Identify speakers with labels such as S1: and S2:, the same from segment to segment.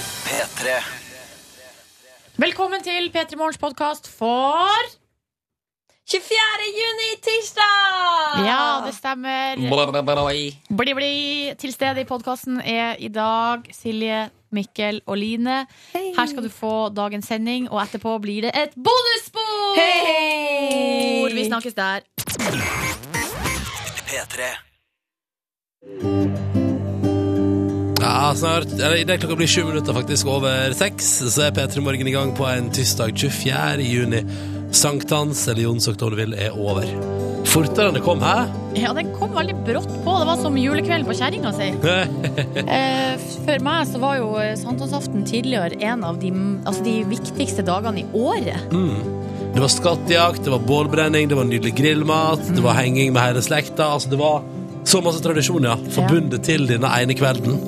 S1: P3.
S2: Velkommen til P3 Morgens podkast for
S3: 24. juni, tirsdag!
S2: Ja, det stemmer. Bli-bli til stede i podkasten er i dag Silje, Mikkel og Line. Her skal du få dagens sending, og etterpå blir det et bonusspor!
S3: Hei!
S2: Vi snakkes der.
S1: P3.
S4: Ja, snart. Eller, i det klokka blir sju minutter faktisk over seks, så er P3 Morgen i gang på en tirsdag 24. juni. Sankthans, eller Jonsok om du vil, er over. Fortere enn det kom, hæ?
S2: Ja, den kom veldig brått på. Det var som julekvelden på kjerringa si. Eh, f- for meg så var jo eh, sankthansaften tidligere en av de, altså de viktigste dagene i året.
S4: Det var skattejakt, det var bålbrenning, det var nydelig grillmat, det var henging med hele slekta. Altså, det var så masse tradisjon, ja. Forbundet til denne ene kvelden.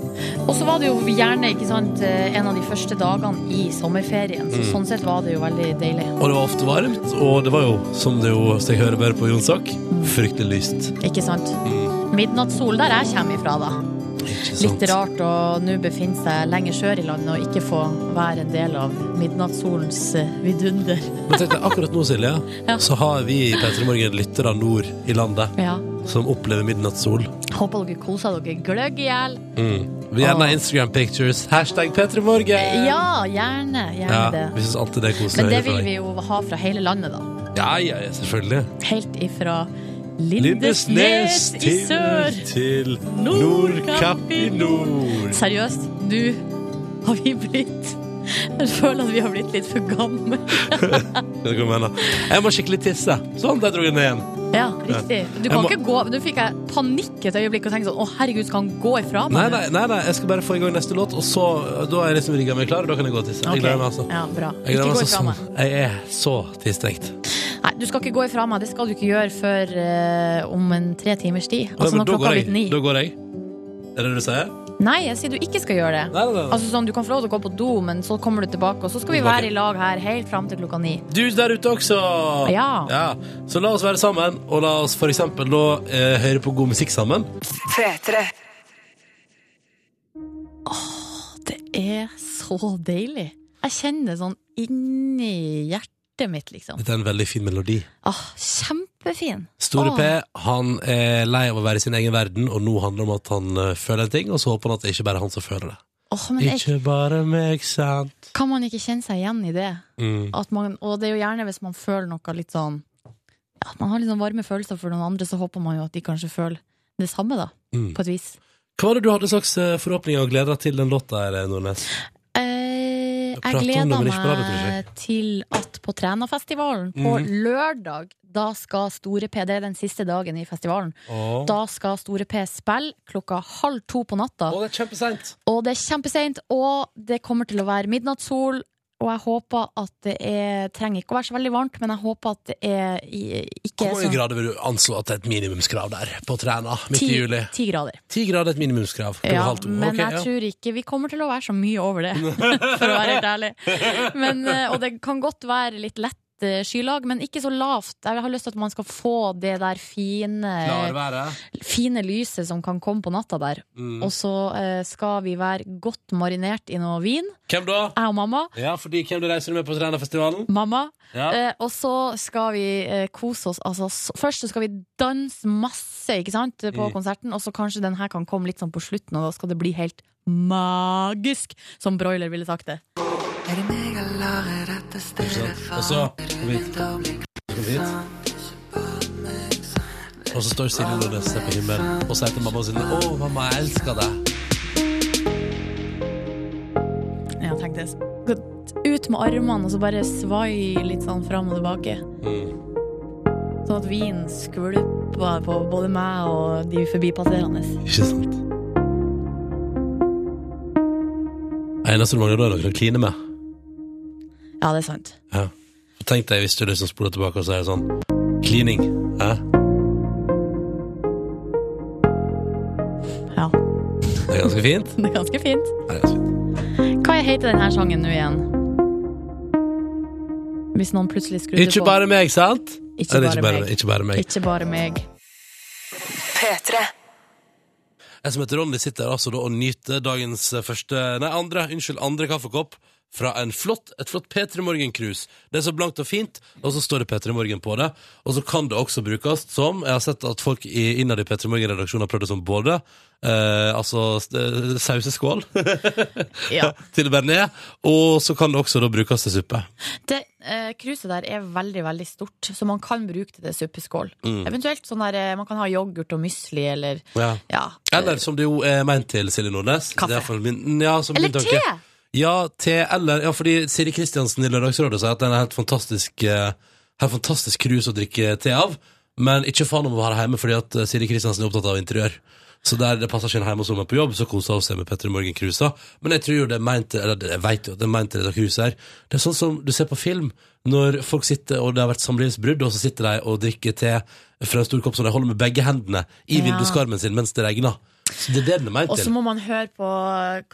S2: Og så var det jo gjerne ikke sant, eh, en av de første dagene i sommerferien, så
S4: Mm.
S2: sånn sett var det jo veldig deilig.
S4: Og det var ofte varmt, og det var jo, som det jo som jeg hører bare på Jonsok, fryktelig lyst. Mm,
S2: Ikke sant? Midnattssol der jeg kommer ifra, da.
S4: Ikke sant?
S2: Litt rart å nå befinne seg lenger sør i landet og ikke få være en del av midnattssolens eh, vidunder.
S4: Men tenk deg, akkurat nå, Silje,
S2: Ja.
S4: så har vi i P3 Morgen lyttere nord i landet
S2: Ja.
S4: som opplever midnattssol.
S2: Håper dere koser dere gløgg i hjel.
S4: Vi gjerne har Instagram pictures. Hashtag P3 Morgen!
S2: Ja, gjerne. Gjerne
S4: Ja,
S2: det.
S4: vi syns alltid det er koselig. å
S2: Men det
S4: høre fra
S2: vil
S4: deg.
S2: vi jo ha fra hele landet, da.
S4: Ja, ja, ja, selvfølgelig.
S2: Helt ifra Lindesnes i sør.
S4: til
S2: Nordkapp i
S4: nord.
S2: Seriøst, nå har vi blitt Jeg føler at vi har blitt litt for gamle.
S4: Vet du hva Jeg mener? Jeg må skikkelig tisse. Sånn, der dro jeg ned igjen.
S2: Ja, riktig. Du
S4: Jeg
S2: kan
S4: må-
S2: ikke gå Nå fikk jeg panikk et øyeblikk og tenkte sånn Å, herregud, skal han gå ifra meg?
S4: Nei,
S2: nå?»
S4: nei, nei, nei, jeg skal bare få i gang neste låt, og så Da er jeg liksom rigga meg klar, og da kan jeg gå og tisse.
S2: Ok.
S4: Jeg gleder meg altså.
S2: Ja, bra. ikke
S4: Jeg, gleder
S2: gå
S4: meg
S2: ifra
S4: så,
S2: meg.
S4: sånn. jeg er så tisstengt.
S2: Nei, du skal ikke gå ifra meg. Det skal du ikke gjøre før eh, om en tre timers tid.
S4: Nei,
S2: Altså
S4: men
S2: når
S4: da
S2: klokka
S4: går
S2: har
S4: jeg.
S2: blitt ni.
S4: Da går jeg. Er det det du sier?
S2: Nei, jeg sier du ikke skal gjøre det.
S4: Nei, nei, nei. nei.
S2: Altså sånn, Du kan få lov til å gå på do, men så kommer du tilbake, og så skal vi
S4: Tilbake.
S2: være i lag her helt fram til klokka ni.
S4: Du der ute også!
S2: Ja.
S4: Så la oss være sammen, og la oss for eksempel nå eh, høre på god musikk sammen.
S2: Det er så deilig. Jeg kjenner det sånn inni hjertet mitt, liksom.
S4: Dette er en veldig fin melodi.
S2: Ah, kjempefin.
S4: Store
S2: Åh.
S4: P han er lei av å være i sin egen verden, og nå handler det om at han eh, føler en ting, og så håper han at det ikke bare er han som føler det.
S2: Åh, men jeg,
S4: Ikke bare meg, sant?
S2: kan man ikke kjenne seg igjen i det?
S4: Mm.
S2: At man, og det er jo gjerne hvis man føler noe litt sånn At man har litt sånn varme følelser for noen andre, så håper man jo at de kanskje føler det samme, da.
S4: Mm.
S2: På et vis.
S4: Hva var det du hadde slags eh, forhåpninger og gleder deg til den låta her, eh, Nordnes?
S2: Eh, jeg
S4: Prate om det,
S2: gleder
S4: men ikke på radio, tror Mhm.
S2: meg til at på Trænafestivalen på lørdag, da skal Store P Det er den siste dagen i festivalen.
S4: Åh.
S2: Da skal Store P spille klokka halv to på natta.
S4: Åh, det er kjempeseint!
S2: Og det er kjempeseint, og det kommer til å være midnattssol. Og jeg håper at det er trenger ikke å være så veldig varmt, men jeg håper at det er i- ikke
S4: Hvor mange
S2: sånn
S4: grader vil du anslå at det er et minimumskrav der, på Træna, midt i
S2: ti,
S4: juli?
S2: ti grader.
S4: Ti grader er et minimumskrav. klokka
S2: Ja,
S4: halv to.
S2: men
S4: Ok,
S2: jeg
S4: ja.
S2: tror ikke vi kommer til å være så mye over det, for å være helt ærlig. Men, eh, og det kan godt være litt lett eh, skylag, men ikke så lavt. Jeg har lyst til at man skal få det der fine,
S4: været.
S2: fine lyset som kan komme på natta der.
S4: Mm.
S2: Og så eh, skal vi være godt marinert i noe vin,
S4: Hvem da?
S2: jeg og mamma.
S4: Ja, fordi hvem du reiser med på Trænafestivalen?
S2: Mamma.
S4: Ja.
S2: Eh, og så skal vi eh, kose oss. Altså, s- først så skal vi danse masse ikke sant, på
S4: Mm.
S2: konserten, og så kanskje den her kan komme litt sånn på slutten, og da skal det bli helt magisk, som Broiler ville sagt det.
S4: Ikke sant? Og så kom hit. Kom hit. Og så står Silje Nordnes og ser på himmelen og sier til mamma sin Å, mamma, jeg elsker deg.
S2: Ja, tenk det. Godt Ut med armene, og så bare svai litt sånn fram og tilbake.
S4: Mm.
S2: Sånn at vinen skvulpa på både meg og de forbipasserende.
S4: Ikke sant? Eneste du mangler da, er noen å kline med.
S2: Ja, det er sant.
S4: Ja. Og Tenk deg hvis du liksom spoler tilbake og sier sånn Klining. Hæ?
S2: Ja,
S4: Det er ganske fint.
S2: Det er ganske fint.
S4: Det er ganske fint.
S2: Hva heter denne sangen nå igjen? Hvis noen plutselig skrudde
S4: Ikke
S2: på.
S4: bare meg, sant?
S2: Ikke
S4: Eller
S2: bare meg.
S4: Ikke bare meg.
S2: Ikke bare meg.
S4: Jeg som heter Ronny sitter altså da og nyter dagens eh, første Nei, andre, unnskyld, andre kaffekopp fra en flott, et flott P3 Morgen-krus. Det er så blankt og fint, og så står det P3 Morgen på det. Og så kan det også brukes som Jeg har sett at folk i- innad i P3 Morgen-redaksjonen har prøvd det som både eh, altså eh, sauseskål
S2: Ja.
S4: til bearnés, og så kan det også da brukes til suppe.
S2: Det eh, kruset der er veldig, veldig stort, så man kan bruke det til suppeskål.
S4: Mm.
S2: Eventuelt sånn der eh, man kan ha yoghurt og mysli eller
S4: Ja.
S2: ja.
S4: Eller som det jo er ment til, Silje Nordnes.
S2: Kaffe.
S4: Det er i hvert fall min, ja, som
S2: Eller
S4: min tanke.
S2: te!
S4: Ja, te eller Ja, fordi Siri Kristiansen i Lørdagsrådet sier at den er helt fantastisk eh, Helt fantastisk krus å drikke te av, men ikke faen om å være hjemme fordi at eh, Siri Kristiansen er opptatt av interiør. Så der det passer ikke inn hjemme hos henne på jobb, så koser hun seg med Petter Morgen-krusa. Men jeg tror jo det er meint til- Eller jeg vet jo at det er meint til dette kruset her. Det er sånn som du ser på film, når folk sitter og det har vært samlivsbrudd, og så sitter de og drikker te fra en stor kopp som de holder med begge hendene i
S2: Ja.
S4: vinduskarmen sin mens det regner. Så det er det den er meint
S2: Og så
S4: til.
S2: må man høre på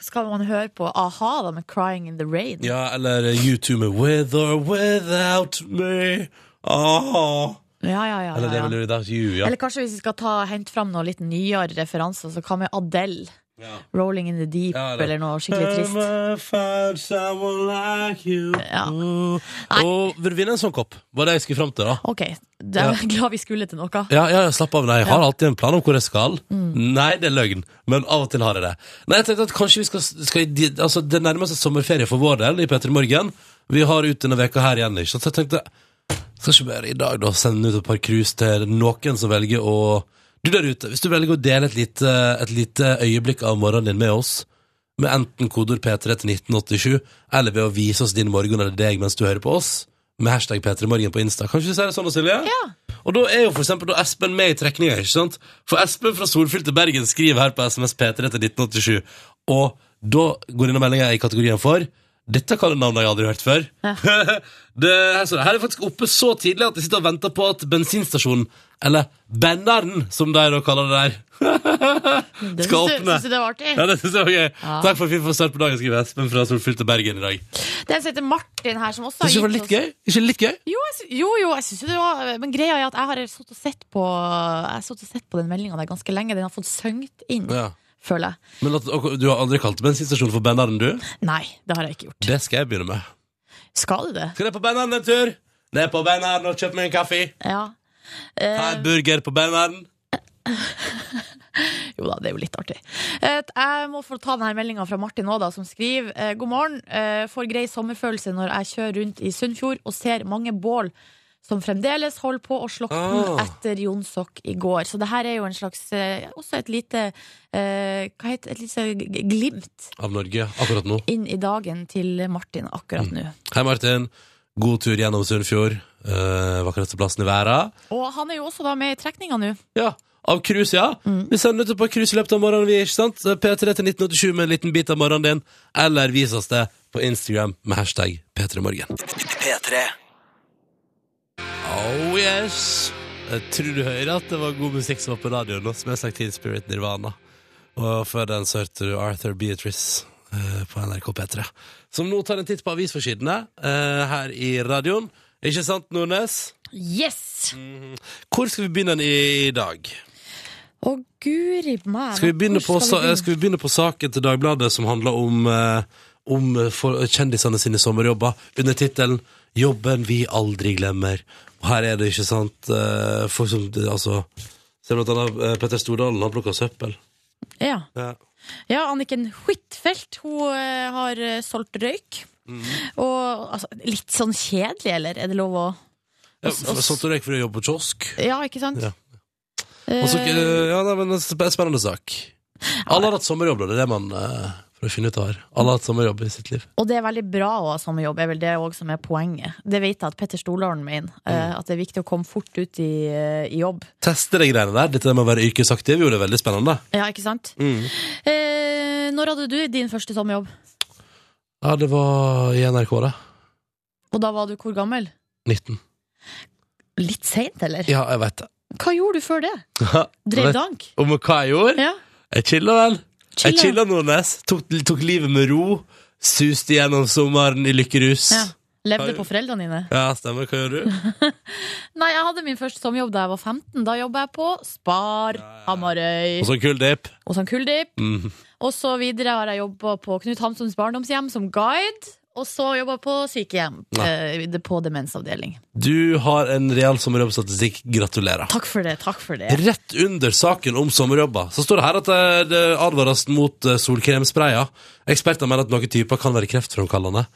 S2: Skal man høre på a-ha da med 'Crying in the Rain'?
S4: Ja, eller uh, U2 med With or without me ah.
S2: Ja, ja, ja,
S4: Eller det
S2: ja, ja.
S4: er vel Without you, ja.
S2: Eller kanskje hvis vi skal ta, hente fram noen litt nyere referanser, så hva med Adele?
S4: Ja.
S2: 'Rolling in the Deep'
S4: Ja, eller-
S2: eller noe skikkelig trist. Ja. Nei.
S4: Og vil du vinne en sånn kopp? Var det jeg skulle fram til, da?
S2: Ok, da er jeg glad vi skulle til noe.
S4: Ja, ja, ja, slapp av, nei, jeg har alltid en plan om hvor jeg skal. Nei, det er løgn, men av og til har jeg det. Nei, jeg tenkte at kanskje vi skal, skal i- altså, Det nærmer seg sommerferie for vår del i P3 Morgen. Vi har ut denne veka her igjen, ikke sant? Så jeg tenkte Skal ikke bare i dag da sende ut et par krus til noen som velger å Du der ute, hvis du velger å dele et lite, et lite øyeblikk av morgenen din med oss, med enten kodord P3 til 1987, eller ved å vise oss din morgen eller deg mens du hører på oss, med hashtag P3morgen på Insta. Kan ikke du si det sånn, Silje?
S2: Ja.
S4: Og da er jo for eksempel da Espen med i trekninga, ikke sant? For Espen fra solfylte Bergen skriver her på SMS P3 til 1987, og da går denne meldinga i kategorien for dette kaller navnet jeg aldri har hørt før. det, her, står det. her er faktisk oppe så tidlig at de sitter og venter på at bensinstasjonen, eller benneren, som de da kaller det der,
S2: Det
S4: skal
S2: syns du-
S4: åpne.
S2: syns du det var artig?
S4: Ja, det synes jeg var gøy. Takk for at vi får start på dagen, skriver Espen fra solfylte Bergen i dag.
S2: Den som heter Martin her, som også
S4: Synes du det var
S2: gitt
S4: litt gøy? Ikke litt gøy?
S2: Jo, jeg, sy- jo, jo, jeg synes jo det var Men greia er at jeg har sittet og sett på Jeg har sittet og sett på den meldinga der ganske lenge. Den har fått søngt inn,
S4: Ja.
S2: føler jeg.
S4: Men at, og, du har aldri kalt bensinstasjonen for benneren, du?
S2: Nei, det har jeg ikke gjort.
S4: Det skal jeg begynne med.
S2: Skal du det?
S4: Skal ned på Benneren en tur? Ned på Benneren og kjøpe meg en kaffe.
S2: Ja.
S4: Ta en burger på Benneren.
S2: Jo da, det er jo litt artig. Eh, Jeg må få ta denne meldinga fra Martin Aada, som skriver eh, God morgen. eh, Får grei sommerfølelse når jeg kjører rundt i Sunnfjord og ser mange bål som fremdeles holder på å slokne
S4: Ah.
S2: etter Jonsok i går. Så det her er jo en slags eh, Også et lite eh, Hva heter Et lite g- glimt
S4: Av Norge, akkurat nå.
S2: inn i dagen til Martin akkurat nå.
S4: Hei, Martin. God tur gjennom Sunnfjord. Eh, Vakreste plassen i verden.
S2: Og han er jo også da med i trekninga nå.
S4: Ja, av cruise, ja. Vi sender ut et par cruise i løpet av morgenen, vi, ikke sant? P3 til 1987 med en liten bit av morgenen din. Eller vis oss det på Instagram med hashtag P3morgen. Oh yes! Jeg tror du hører at det var god musikk som var på radioen nå, som jeg snakket til Spirit Nirvana. Og før den så hørte du Arthur Beatrice eh, på NRK P3. Som nå tar en titt på avisforsidene eh, her i radioen. Ikke sant, Nordnes?
S2: Yes!
S4: Mm. Hvor skal vi begynne i dag?
S2: Å, guri meg.
S4: Skal vi begynne, på,
S2: Hvor skal vi begynne?
S4: sa- skal vi begynne på saken til Dagbladet som handler om, eh, om eh, for, kjendisene sine sommerjobber, under tittelen 'Jobben vi aldri glemmer'. Og her er det, ikke sant, eh, folk som det- altså Ser blant annet eh, Petter Stordalen, han plukker søppel.
S2: Ja.
S4: Ja.
S2: Ja, Anniken Huitfeldt hun eh, har eh, solgt røyk.
S4: Mhm.
S2: Og altså, litt sånn kjedelig, eller? Er det lov å
S4: Ja,
S2: Og- og-
S4: Satt og røyk for å jobbe på kiosk.
S2: Ja, ikke sant?
S4: Ja.
S2: Eh,
S4: Og så, eh, ja, nei, men det er en spennende sak. Alle har hatt sommerjobb, da. Det er det man eh, For å finne ut av her. Alle har hatt sommerjobb i sitt liv.
S2: og det er veldig bra å ha samme jobb, er vel det òg som er poenget. Det vet jeg at Petter Stordalen mener. eh,
S4: Mm.
S2: At det er viktig å komme fort ut i, eh, i jobb.
S4: Teste de greiene der. Dette med å være yrkesaktiv gjorde det veldig spennende.
S2: Ja, ikke sant? Eh, når hadde du din første sommerjobb?
S4: Ja, det var i NRK, det.
S2: Og da var du hvor gammel?
S4: 19.
S2: Litt seint, eller?
S4: Ja, jeg veit det.
S2: Hva gjorde du før det?
S4: Vet-
S2: Drev dank?
S4: Om hva jeg gjorde?
S2: Ja.
S4: Jeg chilla vel. Jeg
S2: Chilla.
S4: chilla Nordnes. Tok, tok livet med ro. Suste gjennom sommeren i lykkerus.
S2: Ja. Levde på foreldrene dine.
S4: Ja, stemmer. Hva gjør du?
S2: Nei, jeg hadde min første sommerjobb da jeg var 15. Da jobba jeg på Spar, Hamarøy
S4: Og så kul dip.
S2: og sånn Kuldip.
S4: Mm.
S2: Og så videre har jeg jobba på Knut Hamsuns barndomshjem som guide. Og så jobba på sykehjem.
S4: Ja.
S2: eh, det- på demensavdeling.
S4: Du har en real sommerjobbstatistikk. Gratulerer.
S2: Takk for det. takk for det
S4: Rett under saken om sommerjobber Så står det her at eh, det advares mot eh, solkremsprayer. Eksperter mener at noen typer kan være kreftfremkallende.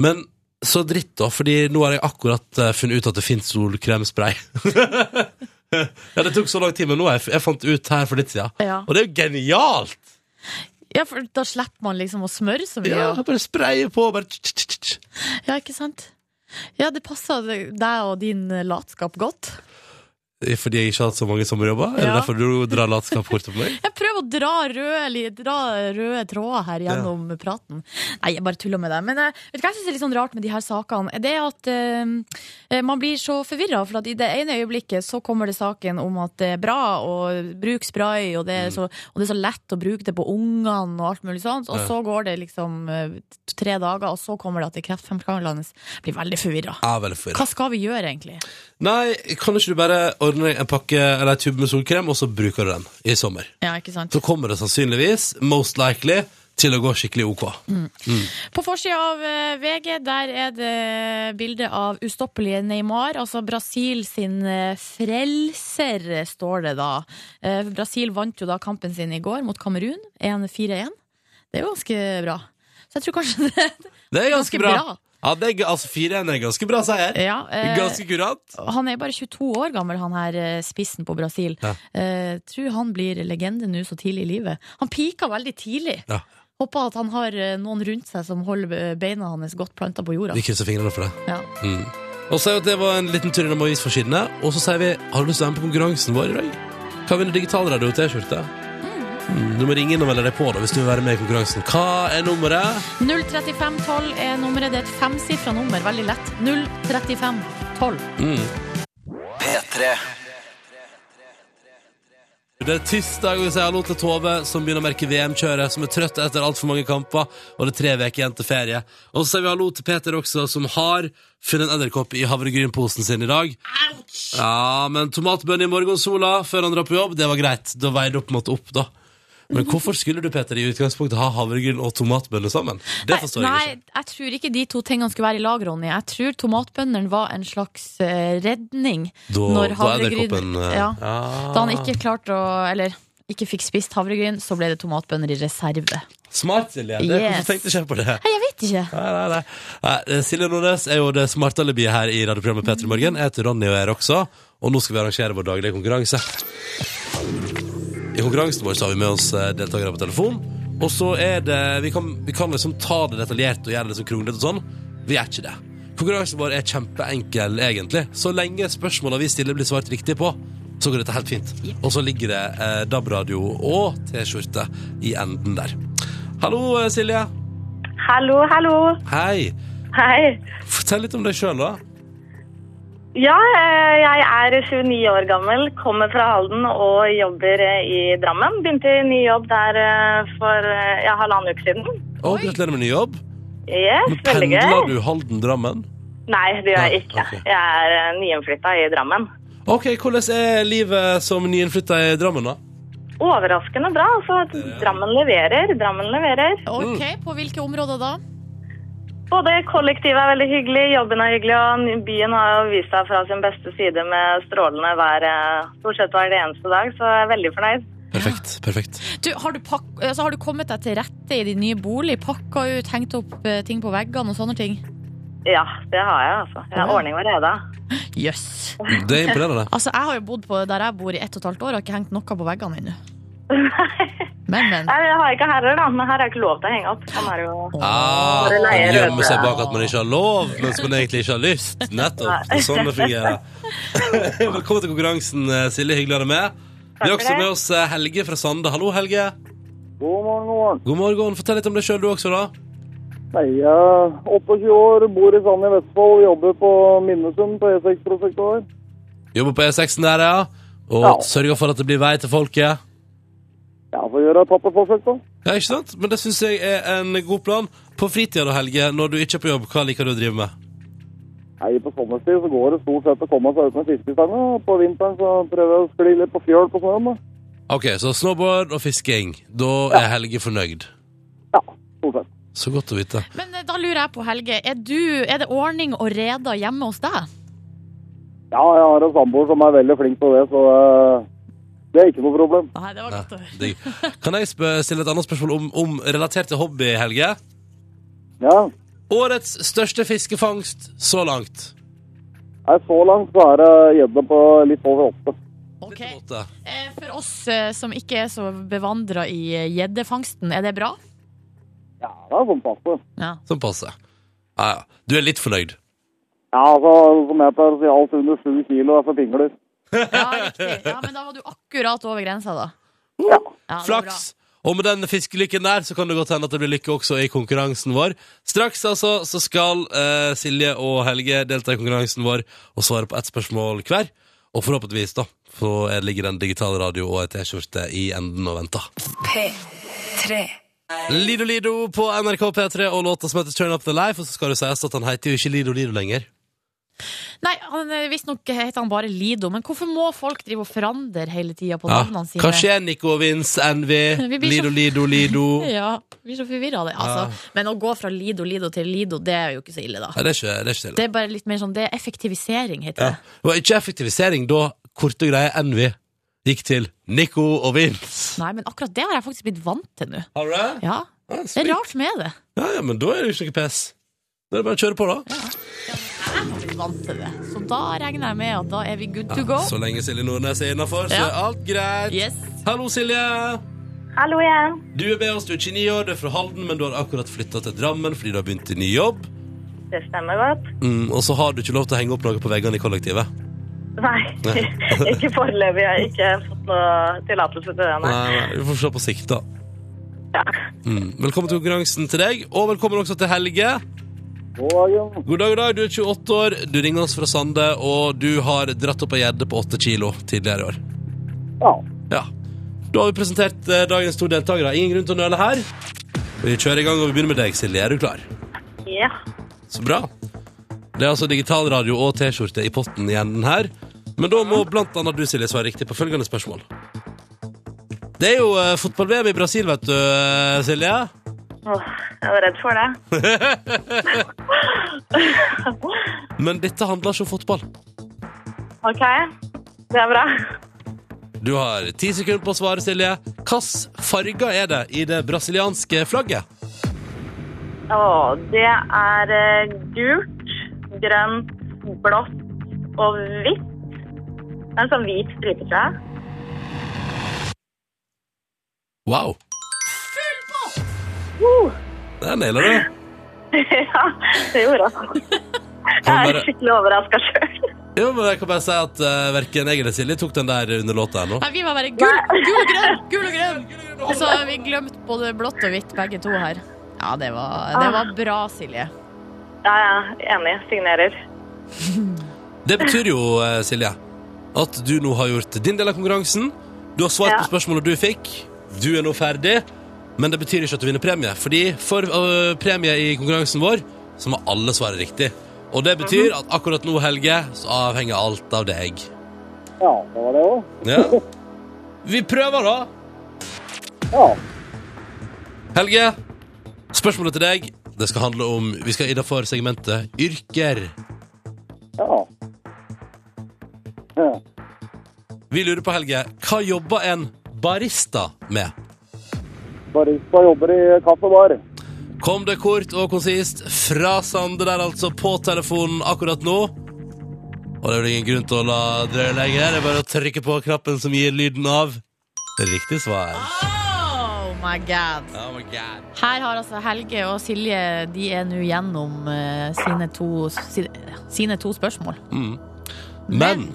S4: Men så dritt, da, fordi nå har jeg akkurat eh, funnet ut at det fins solkremspray. ja, det tok så lang tid, men nå har jeg, jeg fant ut her for litt siden.
S2: Ja.
S4: Og det er jo genialt!
S2: ja, for Da slipper man liksom å smøre så mye.
S4: Ja,
S2: Ja,
S4: Bare spraye på, bare tsk, tsk, tsk, tsk.
S2: ja ikke sant? Ja, det passer deg og din eh, latskap godt.
S4: Fordi jeg ikke har hatt så mange sommerjobber? Er det
S2: Ja.
S4: derfor du drar latskapskortet på meg?
S2: Jeg prøver å dra røde, li- dra røde tråder her gjennom praten. Nei, jeg bare tuller med det. Men eh, vet du hva jeg syns er litt sånn rart med de her sakene? Det er at eh, man blir så forvirra. For at i det ene øyeblikket så kommer det saken om at det er bra å bruke spray, og det er så, og det er så lett å bruke det på ungene og alt mulig sånt. Og
S4: Ja.
S2: så går det liksom eh, t- tre dager, og så kommer det at det er kreftfremkallende. Blir veldig forvirra.
S4: Ja, vel, for-
S2: Hva skal vi gjøre, egentlig?
S4: Nei, kan ikke du bare ordne deg en pakke eller en tube med solkrem, og så bruker du den i sommer?
S2: Ja, ikke sant?
S4: Så kommer det sannsynligvis, most likely, til å gå skikkelig ok.
S2: På forsida av eh, VG der er det bilde av ustoppelige Neymar. Altså Brasil sin eh, frelser, eh, står det da. Eh, Brasil vant jo da kampen sin i går mot Kamerun. 1-4-1. Det er jo ganske bra. Så jeg tror kanskje det
S4: Det er ganske,
S2: Ganske
S4: bra.
S2: bra.
S4: Ja, det er, g- altså 4-1 er ganske bra seier.
S2: Ja, eh,
S4: Ganske kurant.
S2: han er bare 22 år gammel, han her eh, spissen på Brasil.
S4: Ja.
S2: Eh, tror han blir legende nå så tidlig i livet. Han pika veldig tidlig.
S4: Ja.
S2: Håper at han har eh, noen rundt seg som holder beina hans godt planta på jorda.
S4: Vi krysser fingrene for det.
S2: Ja.
S4: Mm. Og så er jo at det var en liten tur innom avisforsidene, og så sier vi har du lyst til å være med på konkurransen vår i dag? Kan vinne digitalradio og T-skjorte? Mm. Du må ringe inn og melde deg på da hvis du vil være med i konkurransen. Hva er nummeret?
S2: 03512 er nummeret. Det er et femsifra nummer. Veldig lett. 03512.
S4: Det er tirsdag, og vi sier hallo til Tove, som begynner å merke VM-kjøret, som er trøtt etter altfor mange kamper, og det er tre uker igjen til ferie. Og så sier vi hallo til Peter også, som har funnet en edderkopp i havregrynposen sin i dag. Ja, men tomatbønn i morgensola før han drar på jobb, det var greit. Da veide det på en måte opp, da. Men hvorfor skulle du, Peter, i utgangspunktet ha havregryn og tomatbønner sammen? Det forstår
S2: nei,
S4: jeg ikke.
S2: jeg tror ikke de to tingene skulle være i lag, Ronny. Jeg tror tomatbøndene var en slags eh, redning
S4: Da,
S2: når
S4: da
S2: havregryn
S4: edderkoppen, eh,
S2: ja.
S4: ah.
S2: Da han ikke klarte å Eller ikke fikk spist havregryn, så ble det tomatbønner i reserve.
S4: Smart, Silje. Det,
S2: Yes.
S4: Hvorfor tenkte ikke jeg på det?
S2: Nei, jeg vet ikke.
S4: Nei, nei, nei. nei. eh, Silje Nordnes er jo det smarte alibiet her i radioprogrammet Petter i morgen. Jeg heter Ronny og jeg er også, og nå skal vi arrangere vår daglige konkurranse. I konkurransen vår så har vi med oss eh, deltakere på telefon, og så er det Vi kan, vi kan liksom ta det detaljert og gjøre det liksom kronglete og sånn. Vi gjør ikke det. Konkurransen vår er kjempeenkel, egentlig. Så lenge spørsmåla vi stiller, blir svart riktig på, så går dette helt fint. Og så ligger det eh, DAB-radio og T-skjorte i enden der. Hallo, eh, Silje.
S1: Hallo, hallo.
S4: Hei.
S1: Hei.
S4: Fortell litt om deg sjøl, da.
S1: Ja, eh, jeg er 29 år gammel, kommer fra Halden og jobber eh, i Drammen. Begynte i ny jobb der eh, for eh, ja, halvannen uke siden.
S4: Og gratulerer med ny jobb.
S1: Yes,
S4: Men
S1: veldig
S4: pendler
S1: gøy.
S4: du Halden-Drammen?
S1: Nei, det gjør jeg
S4: Nei,
S1: ikke.
S4: ok.
S1: Jeg er eh, nyinnflytta i Drammen.
S4: Ok, Hvordan er livet som nyinnflytta i Drammen, da?
S1: Overraskende bra. Altså, Drammen leverer. Drammen leverer.
S2: Ok, På hvilke områder da?
S1: Både kollektivet er veldig hyggelig, jobben er hyggelig, og byen har jo vist seg fra sin beste side med strålende vær eh, stort sett hver eneste dag, så jeg er veldig fornøyd.
S4: Perfekt. perfekt.
S2: Du, har, du pakk, altså, har du kommet deg til rette i din nye bolig? Pakka ut, hengt opp eh, ting på veggene og sånne ting?
S1: Ja, det har jeg, altså. Jeg har
S2: Ja.
S1: ordning og reda.
S2: Jøss. Yes.
S4: Det er imponerende.
S2: Altså, jeg har jo bodd på der jeg bor i ett og et halvt år, og har ikke hengt noe på veggene ennå. Men, men.
S1: Nei, jeg har ikke herrer, da, men her er ikke lov til å henge opp. Han er jo
S4: Ah,
S1: Bare leie
S4: man gjemmer seg
S1: røde.
S4: bak at man ikke har lov, mens man egentlig ikke har lyst. Nettopp. Det er sånn det fungerer. Velkommen til konkurransen, eh, Silje. Hyggelig å ha deg med. Vi har
S1: Takk for
S4: også
S1: det.
S4: med oss eh, Helge fra Sande. Hallo, Helge.
S5: God morgen, god morgen.
S4: God morgen. Fortell litt om deg sjøl, du også, da.
S5: Nei, jeg er 28 år, bor i Sand i Vestfold og jobber på Minnesund på E6-prosjektet vår.
S4: Jobber på E6-en der, ja. Og
S5: Ja.
S4: sørger for at det blir vei til folket.
S5: Ja, får gjøre et pappaforsøk, da.
S4: Ja, ikke sant? Men det syns jeg er en god plan. På fritida da, Helge, når du ikke er på jobb, hva liker du å drive med?
S5: Nei, på sommerstid så går det stort sett å komme seg ut med fiskestanga. og På vinteren så prøver jeg å skli litt på fjøl på snøen, da.
S4: Ok, så snowboard og fisking. Da er Helge fornøyd.
S5: Stort sett.
S4: Så godt å vite.
S2: Men eh, da lurer jeg på, Helge, er, du, er det ordning og reda hjemme hos deg?
S5: Ja, jeg har en samboer som er veldig flink på det, så eh, det er ikke noe problem.
S2: Nei, det var godt å høre.
S4: Digg. Kan jeg spø- stille et annet spørsmål om, om relatert til hobby, Helge?
S5: Ja.
S4: Årets største fiskefangst så langt.
S5: Nei, så langt så er det gjedde på litt over åtte.
S2: Ok.
S4: Litt på åtte.
S2: Eh, For oss eh, som ikke er så bevandra i eh, gjeddefangsten, er det bra?
S5: Ja, det er sånn passe.
S4: Sånn passe. Ja, ja. Du er litt fornøyd.
S5: Ja, altså, som jeg tar, så er alt under sju kilo er for pingler.
S2: Ja, riktig. Ja, men da var du akkurat over grensa, da. Ja, det var
S4: Flaks. Og med den fiskelykken der så kan det godt hende at det blir lykke også i konkurransen vår. Straks altså så skal eh, Silje og Helge delta i konkurransen vår og svare på ett spørsmål hver. Og forhåpentligvis, da, så er- ligger det en digital radio og ei T-skjorte i enden og venter. Lido Lido på NRK P3 og låta som heter Turn Up The Life. Og så skal det sies at han heter jo ikke Lido Lido lenger.
S2: bra. Nei, han, eh, visstnok heter han bare Lido, men hvorfor må folk drive og forandre hele tida på
S4: Ja.
S2: navnene sine?
S4: Hva skjer, Nico og Vince, NV,
S2: Vi blir
S4: Lido
S2: så-
S4: Lido Lido?
S2: Ja, blir så forvirra av det. Altså. Men å gå fra Lido Lido til Lido, det er jo ikke så ille, da.
S4: Nei, det er ikke det. Er ikke det.
S2: Det er bare litt mer sånn, det er effektivisering, heter
S4: Ja.
S2: det.
S4: Det var ikke effektivisering da korte og greie NV gikk til Nico og Vince.
S2: Nei, men akkurat det har jeg faktisk blitt vant til nå.
S4: Har du det?
S2: Ja,
S4: Ja,
S2: Det er
S4: sweet.
S2: rart med det.
S4: Ja, ja, men da er det jo ikke noe pes. Da er det bare å kjøre på, da.
S2: Jeg har blitt vant til det. Så da regner jeg med at da er vi good to go.
S4: Ja, så lenge Silje Nordnes er innafor, så
S2: Ja.
S4: er alt greit.
S2: Yes.
S4: Hallo, Silje.
S1: Hallo igjen.
S4: Du er med oss, du er 29 år, du er fra Halden, men du har akkurat flytta til Drammen fordi du har begynt i ny jobb.
S1: Det stemmer godt.
S4: Mm, og så har du ikke lov til å henge opp noe på veggene i kollektivet.
S1: Nei, ikke foreløpig. Jeg har ikke fått noe tillatelse til det.
S4: Nei,
S1: Nei.
S4: nei, Vi får se på sikt, da.
S1: Ja.
S4: Mm. Velkommen til konkurransen til deg, og velkommen også til Helge.
S5: God dagen.
S4: God dag, god dag. Du er 28 år, du ringer oss fra Sande, og du har dratt opp ei gjedde på 8 kilo tidligere i år.
S5: Ja.
S4: Ja. Da har vi presentert eh, dagens to deltakere. Ingen grunn til å nøle her. Vi kjører i gang, og vi begynner med deg, Silje. Er du klar?
S1: Ja.
S4: Så bra. Det er altså digitalradio og T-skjorte i potten igjen den her. Men da må blant annet du, Silje, svare riktig på følgende spørsmål. Det er jo eh, fotball-VM i Brasil, vet du, eh, Silje.
S1: Åh, jeg var redd for det.
S4: Men dette handler ikke om fotball.
S1: OK, det er bra.
S4: Du har ti sekunder på å svare, Silje. Hvilke farger er det i det brasilianske flagget?
S1: Åh, det er eh, gult, grønt, blått og hvitt. Det er En sånn hvit stripe, tror jeg.
S4: Wow. Der nailer du.
S1: ja, det gjorde han. Jeg er skikkelig overraska sjøl.
S4: Jo, men jeg kan bare si at uh, verken jeg eller Silje tok den der under låta ennå.
S2: Nei, vi var bare gul, gul og grønn, gul og grønn. Og så har vi glemt både blått og hvitt, begge to her. Ja, det var, det var bra, Silje.
S1: Ja, ja, enig. Signerer.
S4: Det betyr jo, eh, Silje, at du nå har gjort din del av konkurransen. Du har svart
S1: Ja.
S4: på spørsmålet du fikk. Du er nå ferdig. Men det betyr ikke at du vinner premie, fordi for eh, premie i konkurransen vår, så må alle svare riktig. Og det betyr at akkurat nå, Helge, så avhenger alt av deg.
S5: Ja, det var det òg.
S4: Ja. Vi prøver, da.
S5: Ja.
S4: Helge, spørsmålet til deg Det skal handle om, vi skal innenfor segmentet yrker
S5: Ja. ja.
S4: Vi lurer på Helge, hva jobber en barista med?
S5: Barista jobber i kaffebar.
S4: Kom det kort og konsist fra Sande der altså på telefonen akkurat nå Og det er vel ingen grunn til å la drøye lenger Det er bare å trykke på knappen som gir lyden av Riktig svar
S2: Oh my god.
S4: Oh my god
S2: Her har altså Helge og Silje De er nå gjennom eh, sine, to, sine, sine to spørsmål.
S4: mm. Men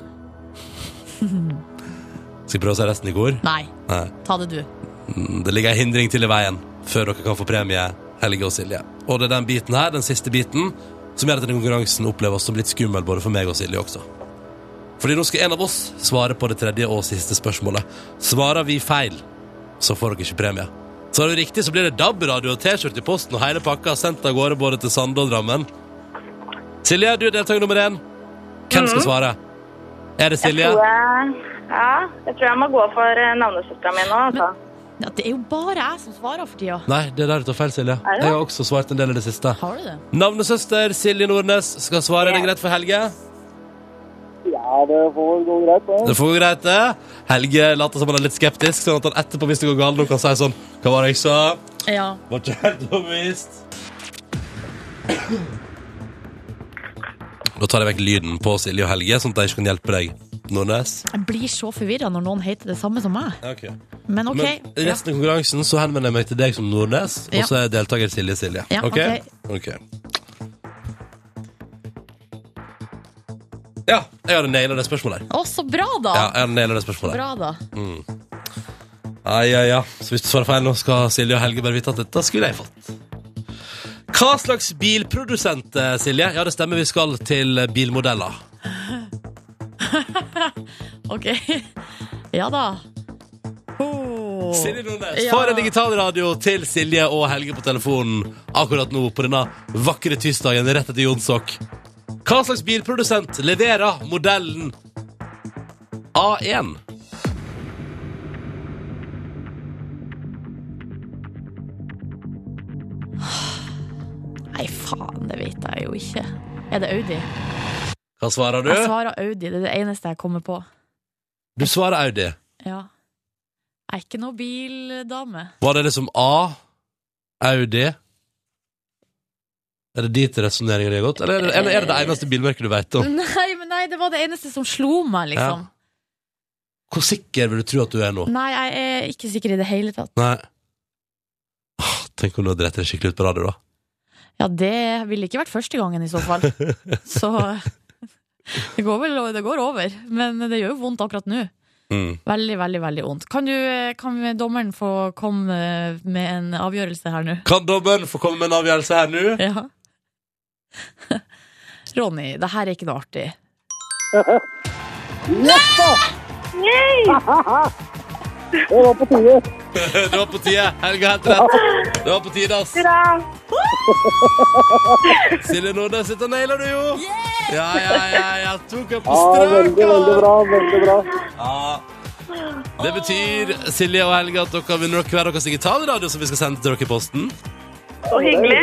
S4: Skal vi prøve å se resten i går?
S2: Nei,
S4: Nei
S2: ta det du.
S4: Mm, Det ligger en hindring til i veien før dere kan få premie, Helge og Silje. Og det er den biten her, den siste biten, som gjør at denne konkurransen oppleves som litt skummel både for meg og Silje også. Fordi nå skal en av oss svare på det tredje og siste spørsmålet. Svarer vi feil, så får dere ikke premie. Svarer vi riktig, så blir det DAB-radio og T-skjorte i posten og hele pakka sendt av gårde både til Sande og Drammen. Silje, du er deltaker nummer én. Hvem skal svare? Er det Silje?
S1: Mhm. Jeg tror jeg, ja, jeg tror jeg må gå for eh, navnesøstera mi nå. Altså.
S2: Ja, det er jo bare jeg som svarer for tida.
S4: Nei, det er der du tar feil, Silje.
S1: det?
S4: Jeg har også svart en del i det siste.
S2: Har du det?
S4: Navnesøster Silje Nordnes skal svare. Er det greit for Helge?
S5: Ja, det får gå greit,
S4: Det
S5: det.
S4: får gå greit, det. Helge later som han er litt skeptisk, sånn at han etterpå, hvis det går galt, nå kan si sånn Hva var det jeg sa?
S2: Ja.
S4: Var ikke helt overbevist. Da tar jeg vekk lyden på Silje og Helge, sånn at jeg ikke kan hjelpe deg. Nordnes.
S2: Jeg blir så forvirra når noen heter det samme som meg.
S4: Ja, ok.
S2: Men OK.
S4: Men resten av konkurransen så henvender jeg meg til deg som Nordnes,
S2: Ja.
S4: og så er deltaker Silje Silje.
S2: Ja,
S4: ok? Ok. Ja, jeg hadde naila det spørsmålet her.
S2: Å, så bra, da!
S4: Ja, jeg hadde nailet det spørsmålet her.
S2: Bra, da.
S4: Ai, ai, ja. Så hvis du svarer feil nå, skal Silje og Helge bare vite at dette skulle jeg fått. Hva slags bilprodusent, eh, Silje? Ja, det stemmer, vi skal til bilmodeller.
S2: OK. Ja da. Ho.
S4: Silje Nordnes
S2: Ja.
S4: får en digital radio til Silje og Helge på telefonen akkurat nå på denne vakre tirsdagen rett etter Jonsok. Hva slags bilprodusent leverer modellen A1?
S2: Nei, faen, det vet jeg jo ikke. Er det Audi?
S4: Hva svarer du?
S2: Jeg svarer Audi. Det er det eneste jeg kommer på.
S4: Du svarer Audi.
S2: Ja. Jeg er ikke noe bildame.
S4: Var det liksom A, Audi Er det dit resonneringen har gått? Eller er det, eller er det det eneste bilmerket du vet om?
S2: Nei, men nei, det var det eneste som slo meg, liksom.
S4: Hvor sikker vil du tro at du er nå?
S2: Nei, jeg er ikke sikker i det hele tatt.
S4: Nei. Åh, Tenk om du hadde rett deg skikkelig ut på radio, da.
S2: Ja, det ville ikke vært første gangen i så fall. Så det går vel det går over. Men det gjør jo vondt akkurat nå.
S4: Mm.
S2: Veldig, veldig veldig vondt. Kan, du, kan dommeren få komme med en avgjørelse her nå?
S4: Kan dommeren få komme med en avgjørelse her nå?
S2: Ja. Ronny, det her er ikke noe artig.
S5: Det var på tide.
S4: Det var på tide. Helga har helt rett. Det var på tide, ass.
S1: Hurra!
S4: Silje Nordnes, dette nailer du jo. Ja, ja, ja. Jeg tok henne på
S5: Ja,
S4: strøk.
S5: Ah, veldig, veldig bra. Veldig bra.
S4: Ja. Det betyr Silje og Helga, at dere vinner hver deres digitalradio som vi skal sende til dere i posten.
S1: Så hyggelig!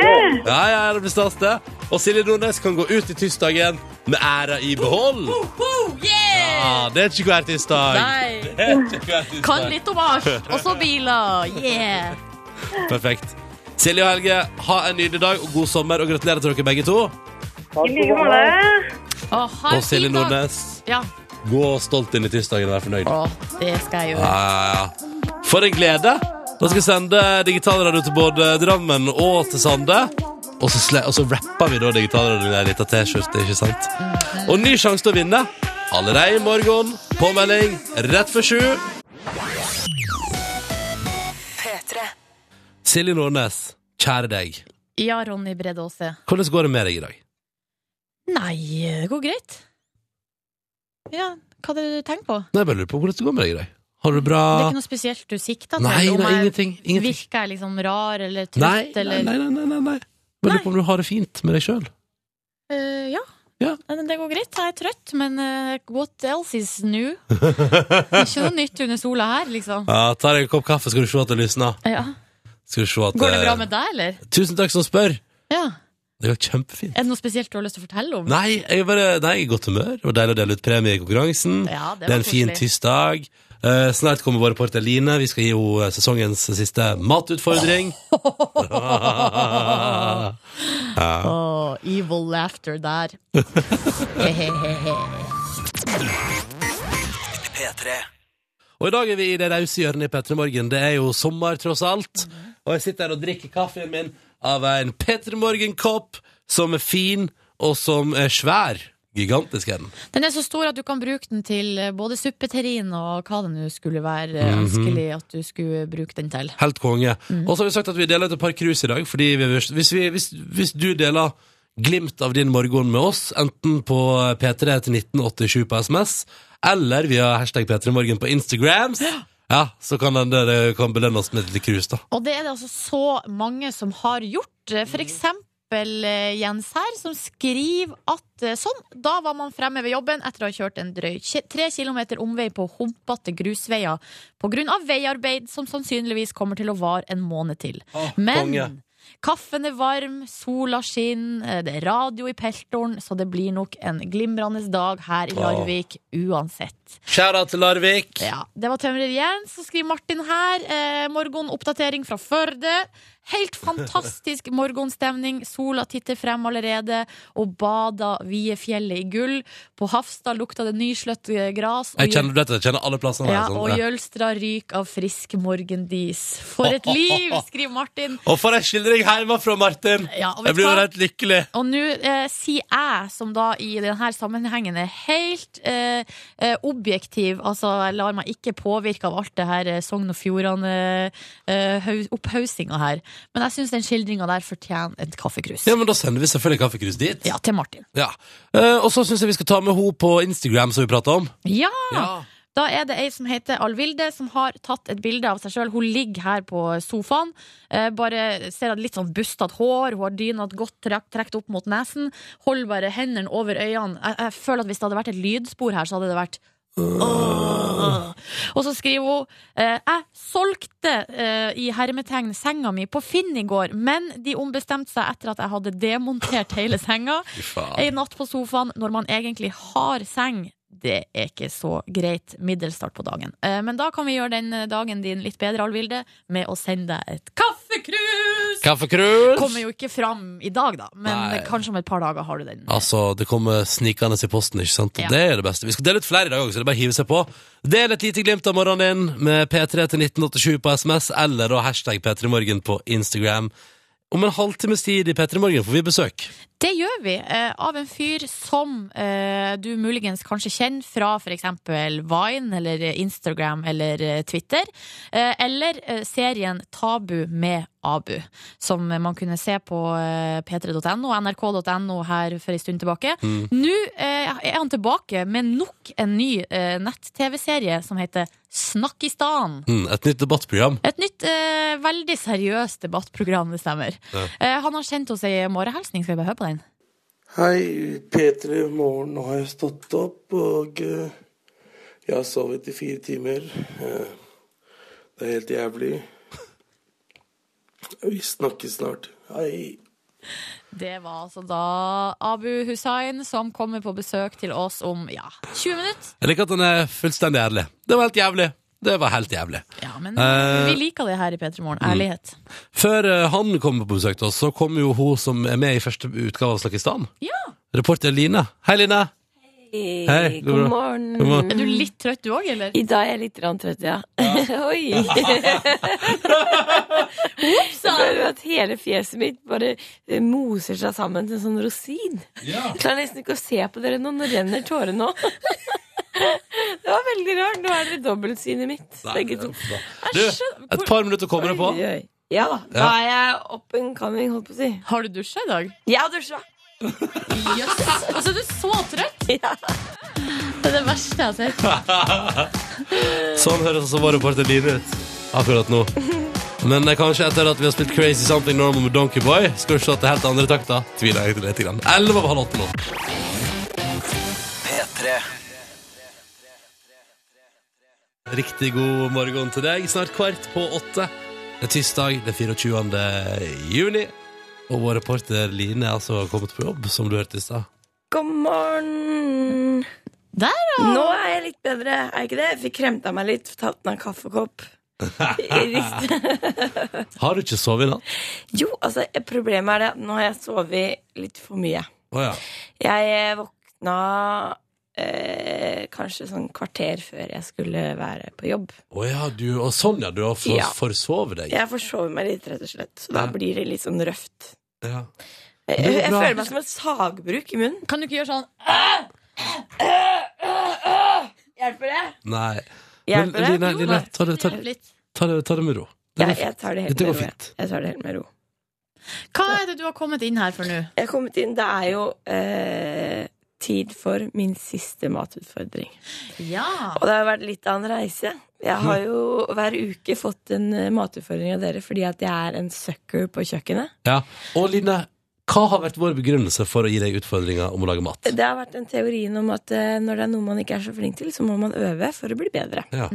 S4: Ja, ja, det blir stas, det. Og Silje Nordnes kan gå ut i tirsdagen med æra i behold. Ja, det er ikke hver tirsdag.
S2: Nei.
S4: Det er ikke hver tirsdag.
S2: Kan litt om alt, også biler. Yeah!
S4: Perfekt. Silje og Helge, ha en nydelig dag og god sommer, og gratulerer til dere begge to.
S5: Takk
S1: I
S5: skal
S1: like
S5: du ha.
S1: måte.
S2: Å, ha en
S4: Og Silje
S2: fin dag.
S4: Nordnes,
S2: Ja.
S4: gå stolt inn i tirsdagen og vær fornøyd.
S2: Å, det skal jeg gjøre.
S4: Ja, ja, ja. For en glede! Da skal jeg sende digitalradio til både Drammen og til Sande. Og så, sle og så rapper vi da digitalradioen i ei lita T-skjorte, ikke sant? Og ny sjanse til å vinne allerede i morgen. Påmelding rett før sju. Silje Nordnes, kjære deg.
S2: Ja, Ronny Brede Aase.
S4: Hvordan går det med deg i dag?
S2: Nei, det går greit. Ja, hva hadde du tenkt på?
S4: Nei, jeg bare lurer på hvordan det går med deg i dag. Har du det bra?
S2: Det er ikke noe spesielt du sikta til?
S4: Nei,
S2: om
S4: nei,
S2: jeg-
S4: ingenting. ingenting.
S2: Virker jeg liksom rar eller trøtt
S4: Nei, nei,
S2: eller
S4: nei, nei, nei, nei. Men lurer på om du har det fint med deg sjøl.
S2: Eh, ja.
S4: Ja.
S2: Nei, men Det går greit. Jeg er trøtt, men eh, what else is new? Det er ikke noe nytt under sola her, liksom.
S4: Ja, ta deg en kopp kaffe, skal du se at det lysner.
S2: Ja.
S4: Skal du se at eh,
S2: Går det bra med deg, eller?
S4: Tusen takk som spør.
S2: Ja.
S4: Det går kjempefint.
S2: Er det noe spesielt du har lyst til å fortelle om?
S4: Nei, jeg er bare nei, jeg er i godt humør. Det var deilig å dele ut premie i konkurransen.
S2: Ja, det
S4: det er
S2: var
S4: en fin
S2: koselig.
S4: tirsdag. Eh, snart kommer vår reporter Line. Vi skal gi henne eh, sesongens siste matutfordring.
S2: Åh, evil laughter der. Hehehehe.
S4: Og i dag er vi i det rause hjørnet i P3 Morgen. Det er jo sommer, tross alt.
S2: Mhm.
S4: Og jeg sitter her og drikker kaffen min av en P3 Morgen-kopp som er fin, og som er svær. Gigantisk er den.
S2: Den er så stor at du kan bruke den til eh, både suppeterrin og hva det nå skulle være eh, ønskelig at du skulle bruke den til.
S4: Helt konge.
S2: Mm.
S4: Og så har vi sagt at vi deler ut et par krus i dag, fordi vi, hvis, vi, hvis, hvis du deler glimt av din morgen med oss, enten på P3 til 1987 på SMS, eller via hashtag P3morgen på Instagrams, ja, så kan den der, eh, kan belønne oss med et lite krus, da.
S2: Og det er det altså så mange som har gjort. For eksempel Jens her, som skriver at eh, sånn, da var man fremme ved jobben etter å ha kjørt en drøy ki- tre kilometer omvei på humpete grusveier pga. veiarbeid som sannsynligvis kommer til å vare en måned til.
S4: Å,
S2: Men
S4: konge.
S2: kaffen er varm, sola skinner, eh, det er radio i peltoren, så det blir nok en glimrende dag her i Larvik uansett.
S4: Skjæra til Larvik.
S2: Ja, Det var tømrer Jens. Så skriver Martin her. Eh, morgenoppdatering fra Førde. Helt fantastisk morgenstemning. Sola titter frem allerede og bada vide fjellet i gull. På Hafstad lukta det nyslått eh, gras. og
S4: Jeg kjenner dette, jeg kjenner alle plassene. her,
S2: ja,
S4: sånn,
S2: og
S4: ja.
S2: Jølstra ryk av frisk morgendis. For et liv, skriver Martin.
S4: Og for ei skildring hjemmefra, Martin!
S2: Ja, og vet
S4: jeg
S2: du
S4: blir jo
S2: hva?
S4: helt lykkelig.
S2: Og nå eh, sier jeg, som da i denne sammenhengen er helt eh, eh, objektiv, altså jeg lar meg ikke påvirke av alt det her eh, Sogn og Fjordane eh, hau- opphaussinga her, men jeg syns den skildringa der fortjener et kaffekrus.
S4: Ja, men Da sender vi selvfølgelig kaffekrus dit.
S2: Ja, til Martin.
S4: Ja. Eh, og så syns jeg vi skal ta med henne på Instagram, som vi prata om.
S2: Ja! Da er det ei som heter Alvilde, som har tatt et bilde av seg sjøl. Hun ligger her på sofaen. Eh, bare ser at litt sånn bustete hår, hun har dyna godt trekt, trekt opp mot nesen. Holder bare hendene over øynene. Jeg, jeg føler at hvis det hadde vært et lydspor her, så hadde det vært Åh. Og så skriver hun eh, Jeg solgte eh, i hermetegn senga mi på Finn i går, men de ombestemte seg etter at jeg hadde demontert hele senga. Ei natt på sofaen når man egentlig har seng. Det er ikke så greit middelstart på dagen. Eh, Men da kan vi gjøre den eh, dagen din litt bedre, Alvilde, med å sende deg et kaffekrus!
S4: Kaffekrus!
S2: Kommer jo ikke fram i dag, da, men
S4: Nei.
S2: kanskje om et par dager har du den.
S4: Altså, det kommer snikende i posten, ikke sant? Og
S2: Ja.
S4: Det er det beste. Vi skal dele ut flere i dag òg, så det er bare å hive seg på. Del et lite glimt av morgenen din med P3 til 1987 på SMS, eller da hashtag P3morgen på Instagram. Om en halvtimes tid i P3 Morgen får vi besøk.
S2: Det gjør vi, eh, av en fyr som eh, du muligens kanskje kjenner fra f.eks. Vine eller Instagram eller eh, Twitter. Eh, eller eh, serien Tabu med Abu, som man kunne se på eh, p3.no, nrk.no her for en stund tilbake. Nå eh, er han tilbake med nok en ny eh, nett-TV-serie som heter Snakkistan.
S4: Mm, et nytt debattprogram.
S2: Et nytt, eh, veldig seriøst debattprogram, det stemmer.
S4: Ja.
S2: Eh, han har sendt oss ei morgenhilsning, skal vi bare høre på den?
S6: Hei, P3 i morgen. Nå har jeg stått opp, og eh, jeg har sovet i fire timer. Eh, det er helt jævlig. Vi snakkes snart. Hei.
S2: Det var altså da Abu Hussain som kommer på besøk til oss om ja, 20 minutter.
S4: Jeg liker at han er fullstendig ærlig. Det var helt jævlig. Det var helt jævlig.
S2: Ja, men
S4: Eh.
S2: vi liker det her i P3 Morgen. Ærlighet.
S4: Før eh, han kom på besøk til oss, så kom jo hun som er med i første utgave av Slakistan.
S2: Ja.
S4: Reporter Line. Hei, Line. Hei, god
S7: Eh, god
S4: morgen.
S7: morgen.
S4: God morgen.
S2: Er du litt trøtt du òg, eller?
S7: I dag er jeg litt rann trøtt, ja. Oi! Jeg føler at hele fjeset mitt bare eh, moser seg sammen til en sånn rosin. Jeg klarer nesten ikke å se på dere nå. Nå renner tårene òg. Det var veldig rart. Nå er dere dobbeltsynet mitt, begge to.
S4: Du, et par minutter kommer det på.
S7: Oi, oi. Ja da. Da er jeg up and coming, holdt på å si.
S2: Har du dusja i dag?
S7: Jeg har dusja.
S2: Jøss. Altså, du er så trøtt!
S7: Ja.
S2: Det er det verste jeg har sett.
S4: Sånn høres også vår reporter Line ut akkurat nå. Men eh, kanskje etter at vi har spilt Crazy Something Normal med Donkey Boy, skal vi slå til helt andre takter. Tviler jeg til litt. grann. Elleve over halv åtte nå. Riktig god morgen til deg. Snart kvart på åtte. Det er tirsdag den 24. juni. Og vår reporter Line er altså kommet på jobb, som du hørte i stad.
S7: God morgen.
S2: Der, ja!
S7: Nå er jeg litt bedre, er jeg ikke det? Jeg fikk kremta meg litt, tatt meg en kaffekopp. Rist-
S4: Har du ikke sovet i natt?
S7: jo, altså, problemet er det at nå har jeg sovet litt for mye.
S4: Å ja.
S7: Jeg eh, våkna eh, kanskje sånn kvarter før jeg skulle være på jobb.
S4: Å ja, du, og sånn ja, du har for,
S7: Ja.
S4: forsovet deg.
S7: Jeg forsover meg litt, rett og slett. Så da
S4: Ja.
S7: blir det litt sånn røft.
S4: Ja. Det
S7: Jeg, jeg,
S4: går bra.
S7: føler meg som et sagbruk i munnen.
S2: Kan du ikke gjøre sånn?
S7: Hjelper det?
S4: Nei. Men
S7: Hjelper det?
S4: Line, Line ta, det, ta, det,
S2: Litt.
S4: ta, det, ta det med ro. Det
S7: Ja,
S4: går
S7: jeg
S4: fint.
S7: tar det helt
S4: Dette går
S7: med ro. jeg.
S4: fint.
S7: Jeg tar det helt med ro.
S2: Hva er det du har kommet inn her for nå?
S7: Jeg har kommet inn. Det er jo eh, tid for min siste matutfordring.
S2: Ja.
S7: Og det har vært litt av en reise. Jeg har jo hver uke fått en eh, matutfordring av dere fordi at jeg er en sucker på kjøkkenet.
S4: Ja. Og Line, Hva har vært vår begrunnelse for å gi deg utfordringer om å lage mat?
S7: Det har vært den teorien om at eh, når det er noe man ikke er så flink til, så må man øve for å bli bedre.
S4: Ja.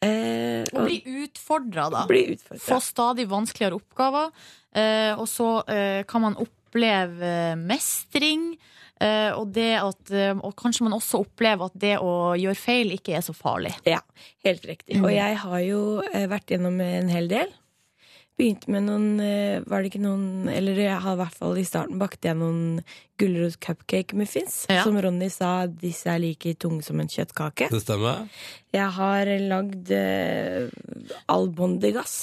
S7: Eh,
S2: Å bli utfordra, da.
S7: bli utfordret.
S2: Få stadig vanskeligere oppgaver. eh, og så eh, kan man oppleve mestring. eh, og, det at, eh, og kanskje man også opplever at det å gjøre feil ikke er så farlig.
S7: Ja, helt
S2: Mm.
S7: riktig. Og jeg har jo eh, vært gjennom en hel del. Begynte med noen eh, Var det ikke noen Eller jeg har i hvert fall i starten bakte jeg noen gulrot cupcake muffins.
S2: Ja. Mm.
S7: Som Ronny sa, disse er like tunge som en kjøttkake.
S4: Det stemmer?
S7: Jeg har lagd eh, albondigas.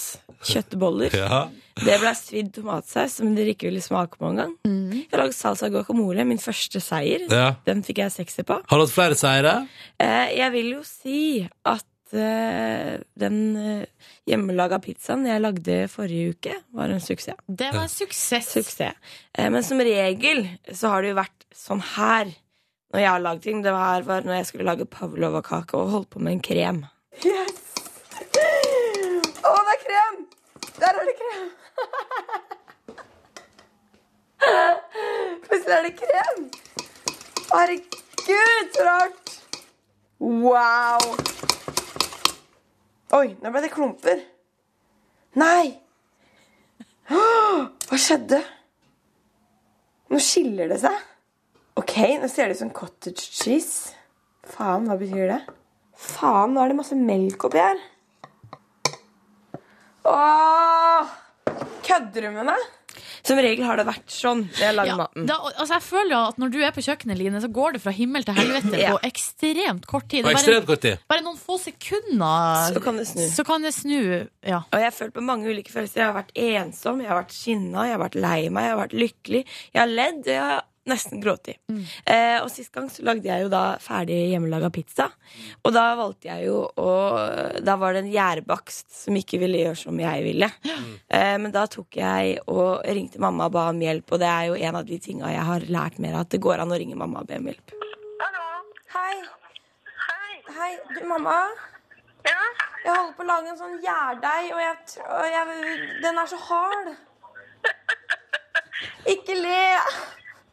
S7: Kjøttboller.
S4: Ja.
S7: Det ble svidd tomatsaus som dere ikke ville smake på engang. Jeg har lagd salsa guacamole, min første seier.
S4: ja.
S7: Den fikk jeg sekser på.
S4: Har du hatt flere seire?
S7: Eh, jeg vil jo si at eh, den eh, hjemmelaga pizzaen jeg lagde forrige uke, var en suksess.
S2: Det var en suksess.
S7: suksess. Eh, men som regel så har det jo vært sånn her når jeg har lagd ting. Det her var når jeg skulle lage pavlova-kake og holdt på med en krem. Å, det er krem! Der er det krem! Plutselig er det krem! Herregud, så rart! Wow! Oi, nå ble det klumper. Nei! Hva skjedde? Nå skiller det seg. Ok, nå ser det ut som cottage cheese. Faen, hva betyr det? Faen, nå er det masse melk oppi her. Åh! Kødder du med meg? Som regel har det vært sånn når jeg lager
S2: Ja,
S7: maten.
S2: da, altså jeg føler at Når du er på kjøkkenet, Line, så går det fra himmel til helvete
S7: Ja.
S2: på ekstremt kort tid. Det
S4: På
S2: er
S4: ekstremt
S2: bare,
S4: kort tid.
S2: bare noen få sekunder,
S7: Så kan det snu.
S2: så kan det snu. Ja.
S7: Og jeg har følt på mange ulike følelser. Jeg har vært ensom, jeg har vært sinna, jeg har vært lei meg, jeg har vært lykkelig. Jeg har ledd, og jeg har nesten grått i. Eh, og sist gang så lagde jeg jo da ferdig hjemmelaga pizza. Og da valgte jeg jo å Da var det en gjærbakst som ikke ville gjøre som jeg ville. Eh, men da tok jeg og ringte mamma og ba om hjelp, og det er jo en av de tinga jeg har lært mer av, at det går an å ringe mamma og be om hjelp.
S1: Hallo.
S7: Hei.
S1: Hei.
S7: Hei, du, mamma.
S1: Ja.
S7: Jeg holder på å lage en sånn gjærdeig, og, jeg, tr- og jeg, den er så hard. Ikke le!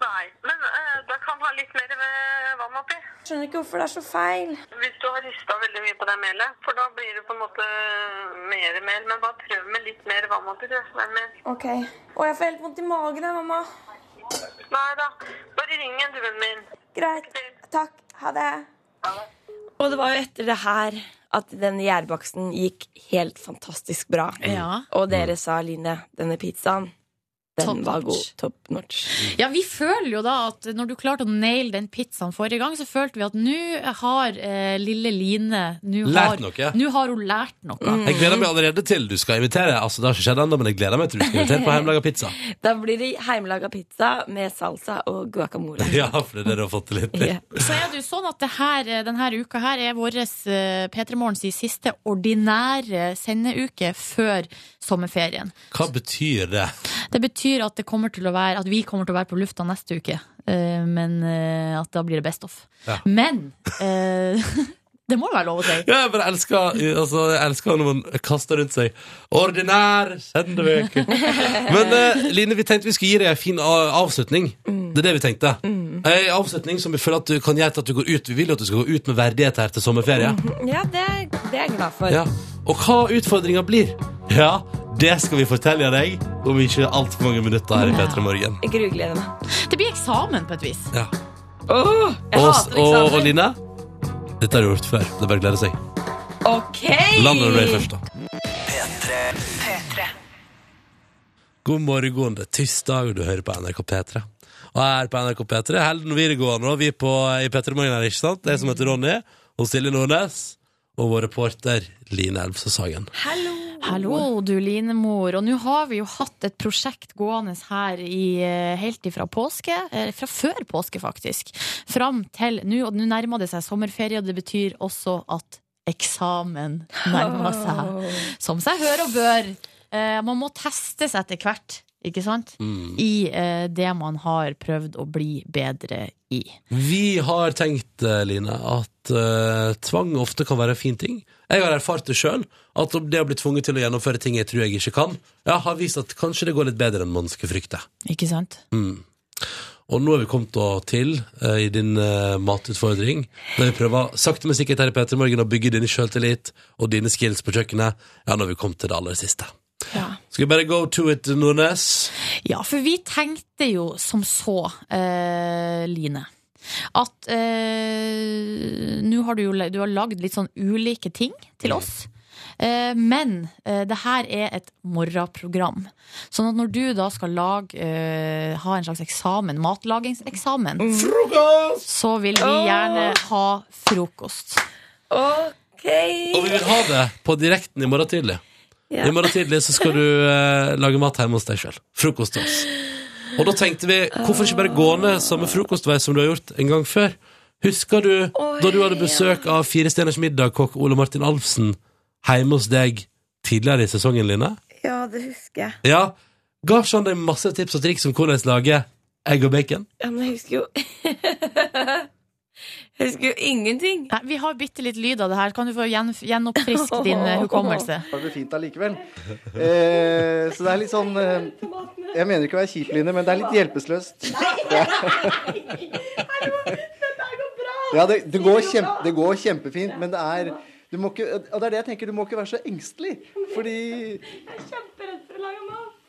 S1: Nei, men eh, da kan ha litt mer eh, vann oppi.
S7: Skjønner ikke hvorfor det er så feil.
S1: Hvis du har rista veldig mye på det melet, for da blir det på en måte eh, mer mel. Men bare prøv med litt mer vann oppi. Det. Nei, men,
S7: Ok. Og jeg får helt vondt i magen, jeg, mamma.
S1: nei da. Bare ring en, du, vennen min.
S7: Greit. Takk. Ha det. Og det var jo etter det her at den gjærbaksten gikk helt fantastisk bra.
S2: Ja.
S7: Og dere sa, Line, denne pizzaen,
S2: Top
S7: den var god.
S2: notch.
S7: Top notch.
S2: Ja, vi føler jo da at når du klarte å naile den pizzaen forrige gang, så følte vi at nå har eh, lille Line nå har,
S4: Lært noe.
S2: Nå har hun lært noe.
S4: Jeg gleder meg allerede til du skal invitere. Altså, det har ikke skjedd ennå, men jeg gleder meg til du skal invitere på hjemmelaga pizza.
S7: Da blir det heimelaga pizza med salsa og guacamole.
S4: Ja, for det er det du har fått til litt.
S7: Ja.
S2: Så er det jo sånn at det her, denne uka her er vår eh, P3 Morgens siste ordinære sendeuke før sommerferien.
S4: Hva betyr det?
S2: Det betyr at, det kommer til å være, at vi kommer til å være på lufta neste uke, eh, men eh, at da blir det best of.
S4: Ja.
S2: Men eh, det må jo være lov å si.
S4: Ja, jeg bare elsker altså, Jeg elsker når man kaster rundt seg Ordinær sendeveke Men eh, Line, vi tenkte vi skulle gi deg en fin a- avslutning Det er det vi tenkte
S7: Mm.
S4: En avslutning som vi føler at du kan gjøre til at du går ut Vi vil jo at du skal gå ut med verdighet her til sommerferie
S7: Ja, det, det er jeg glad for.
S4: ja. Og hva utfordringen blir Ja, det skal vi fortelle deg Om ikke alt for mange minutter her i Petremorgen
S7: Jeg grugleder meg.
S2: Det blir eksamen på et vis.
S4: ja.
S7: Åh, jeg
S4: og,
S7: hater
S4: og, og
S7: eksamen.
S4: Line Dette har du gjort før, det er bare å glede seg
S7: Ok!
S4: Land og Ray først, da. God morgen, det er tirsdag, og du hører på NRK P3. Og her på NRK P3 Helden videregående, og vi er på, i P3 Morgen her, ikke sant? Jeg som heter Ronny, og Silje Nordnes, og vår reporter Line Elvsås Hagen.
S2: Hallo, du Linemor. Og nå har vi jo hatt et prosjekt gående her i, eh, helt ifra påske, eh, fra før påske faktisk, fram til nå. Og nå nærmer det seg sommerferie, og det betyr også at eksamen nærmer seg. Som seg hør og bør. Eh, Man må testes etter hvert. ikke sant?
S4: Mm.
S2: I eh, det man har prøvd å bli bedre i.
S4: Vi har tenkt, eh, Line, at eh, tvang ofte kan være en fin ting. Jeg har erfart det sjøl, at det å bli tvunget til å gjennomføre ting jeg tror jeg ikke kan, ja, har vist at kanskje det går litt bedre enn man skulle frykte.
S2: Ikke sant?
S4: Mm. Og nå er vi kommet da til eh, i din eh, matutfordring, der vi prøver sakte, men sikkert her i Peter Morgen å bygge din sjøltillit og dine skills på kjøkkenet. Ja, nå er vi kommet til det aller siste.
S2: Ja.
S4: Skal vi bare go to it, Nordnes?
S2: Ja, for vi tenkte jo som så, eh, Line, at eh, nå har du jo la- du har lagd litt sånn ulike ting til oss. Eh, men eh, det her er et morgenprogram. Sånn at når du da skal lage, eh, ha en slags eksamen, matlagingseksamen, så vil vi gjerne ha frokost.
S3: Ok.
S4: Og vi vil ha det på direkten i morgen tidlig.
S3: Ja.
S4: I morgen tidlig så skal du eh, lage mat hjemme hos deg sjøl. Frokost til oss. Og da tenkte vi, hvorfor ikke bare gå ned samme frokostvei som du har gjort en gang før? Husker du da du hadde besøk av Fire stjerners middag-kokk Ole Martin Alfsen hjemme hos deg tidligere i sesongen, Line?
S3: Ja, det husker jeg.
S4: Ja, ga ikke han deg masse tips og triks om hvordan lage egg og bacon?
S3: Ja, men jeg husker jo Jeg husker jo ingenting.
S2: Nei, vi har bitte litt lyd av det her. Kan du få gjen, gjenoppfriske din eh, hukommelse?
S8: Det blir fint allikevel. Eh, så det er litt sånn eh, Jeg mener ikke å være kjip, Line, men det er litt hjelpeløst. Ja, det, det, går kjempe, det går kjempefint, men det er du må ikke, og det er det jeg tenker, du må ikke være så engstelig, fordi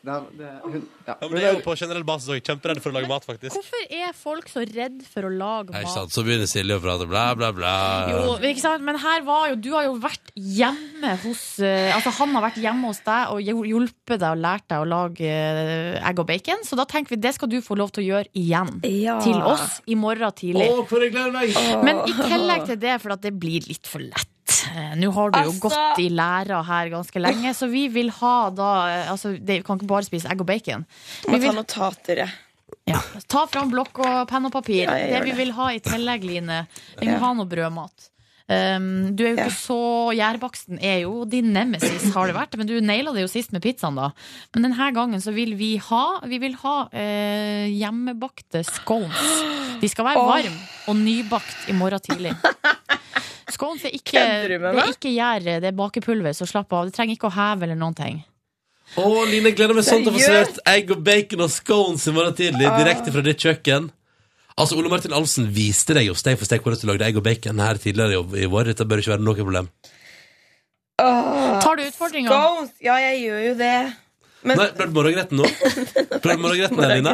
S8: Nei, men det, er- hun, ja.
S4: men det er jo på generell basis òg. Kjemperedd for å lage mat, faktisk.
S2: Hvorfor er folk så redd for å lage
S4: Nei,
S2: mat?
S4: ikke sant. Så begynner Silje å prate bla, bla, bla.
S2: Jo, ikke sant? Men her var jo, du har jo vært hjemme hos eh, Altså han har vært hjemme hos deg og hjul- hjulpet deg og lært deg å lage eh, egg og bacon. Så da tenker vi det skal du få lov til å gjøre igjen.
S3: Ja.
S2: Til oss i morgen tidlig.
S4: Å, hvor jeg gleder meg!
S2: Men i tillegg til det, for at det blir litt for lett. Eh, Nå har du jo
S3: Altså-
S2: gått i læra her ganske lenge, så vi vil ha da eh, altså, det, Vi kan ikke bare spise egg og bacon.
S3: Må
S2: Vi
S3: ta
S2: vil
S3: notater, jeg.
S2: ja. Ta fram blokk og penn og papir.
S3: Ja, jeg
S2: det
S3: gjør
S2: vi
S3: det.
S2: vil ha i tillegg, Line. Vi må
S3: Ja.
S2: ha noe brødmat. Um, du er jo
S3: Ja.
S2: ikke så Gjærbaksten er jo din nemesis, har det vært. Men du naila det jo sist med pizzaen, da. Men denne gangen så vil vi ha Vi vil ha eh, hjemmebakte scones. De skal være
S3: Åh.
S2: varme og nybakt i morgen tidlig. Scones er ikke,
S3: Kødder du
S2: det
S3: med
S2: er
S3: meg?
S2: ikke gjær, det er bakepulver, så slapp av. Du trenger ikke å heve eller noen ting.
S4: Å, Line, jeg gleder meg sånn til å få
S3: Seriøst? Ah.
S4: servert egg og bacon og scones i morgen tidlig direkte fra ditt kjøkken. Altså, Ole Martin Alsen viste deg jo steg for steg hvordan du lagde egg og bacon her tidligere i- i vår. Dette bør ikke være noe problem.
S3: Åh,
S2: Tar du utfordringa?
S3: Scones! Ja, jeg gjør jo det. Men,
S4: Nei, prøv morgenretten nå. Prøv morgenretten, her, Line.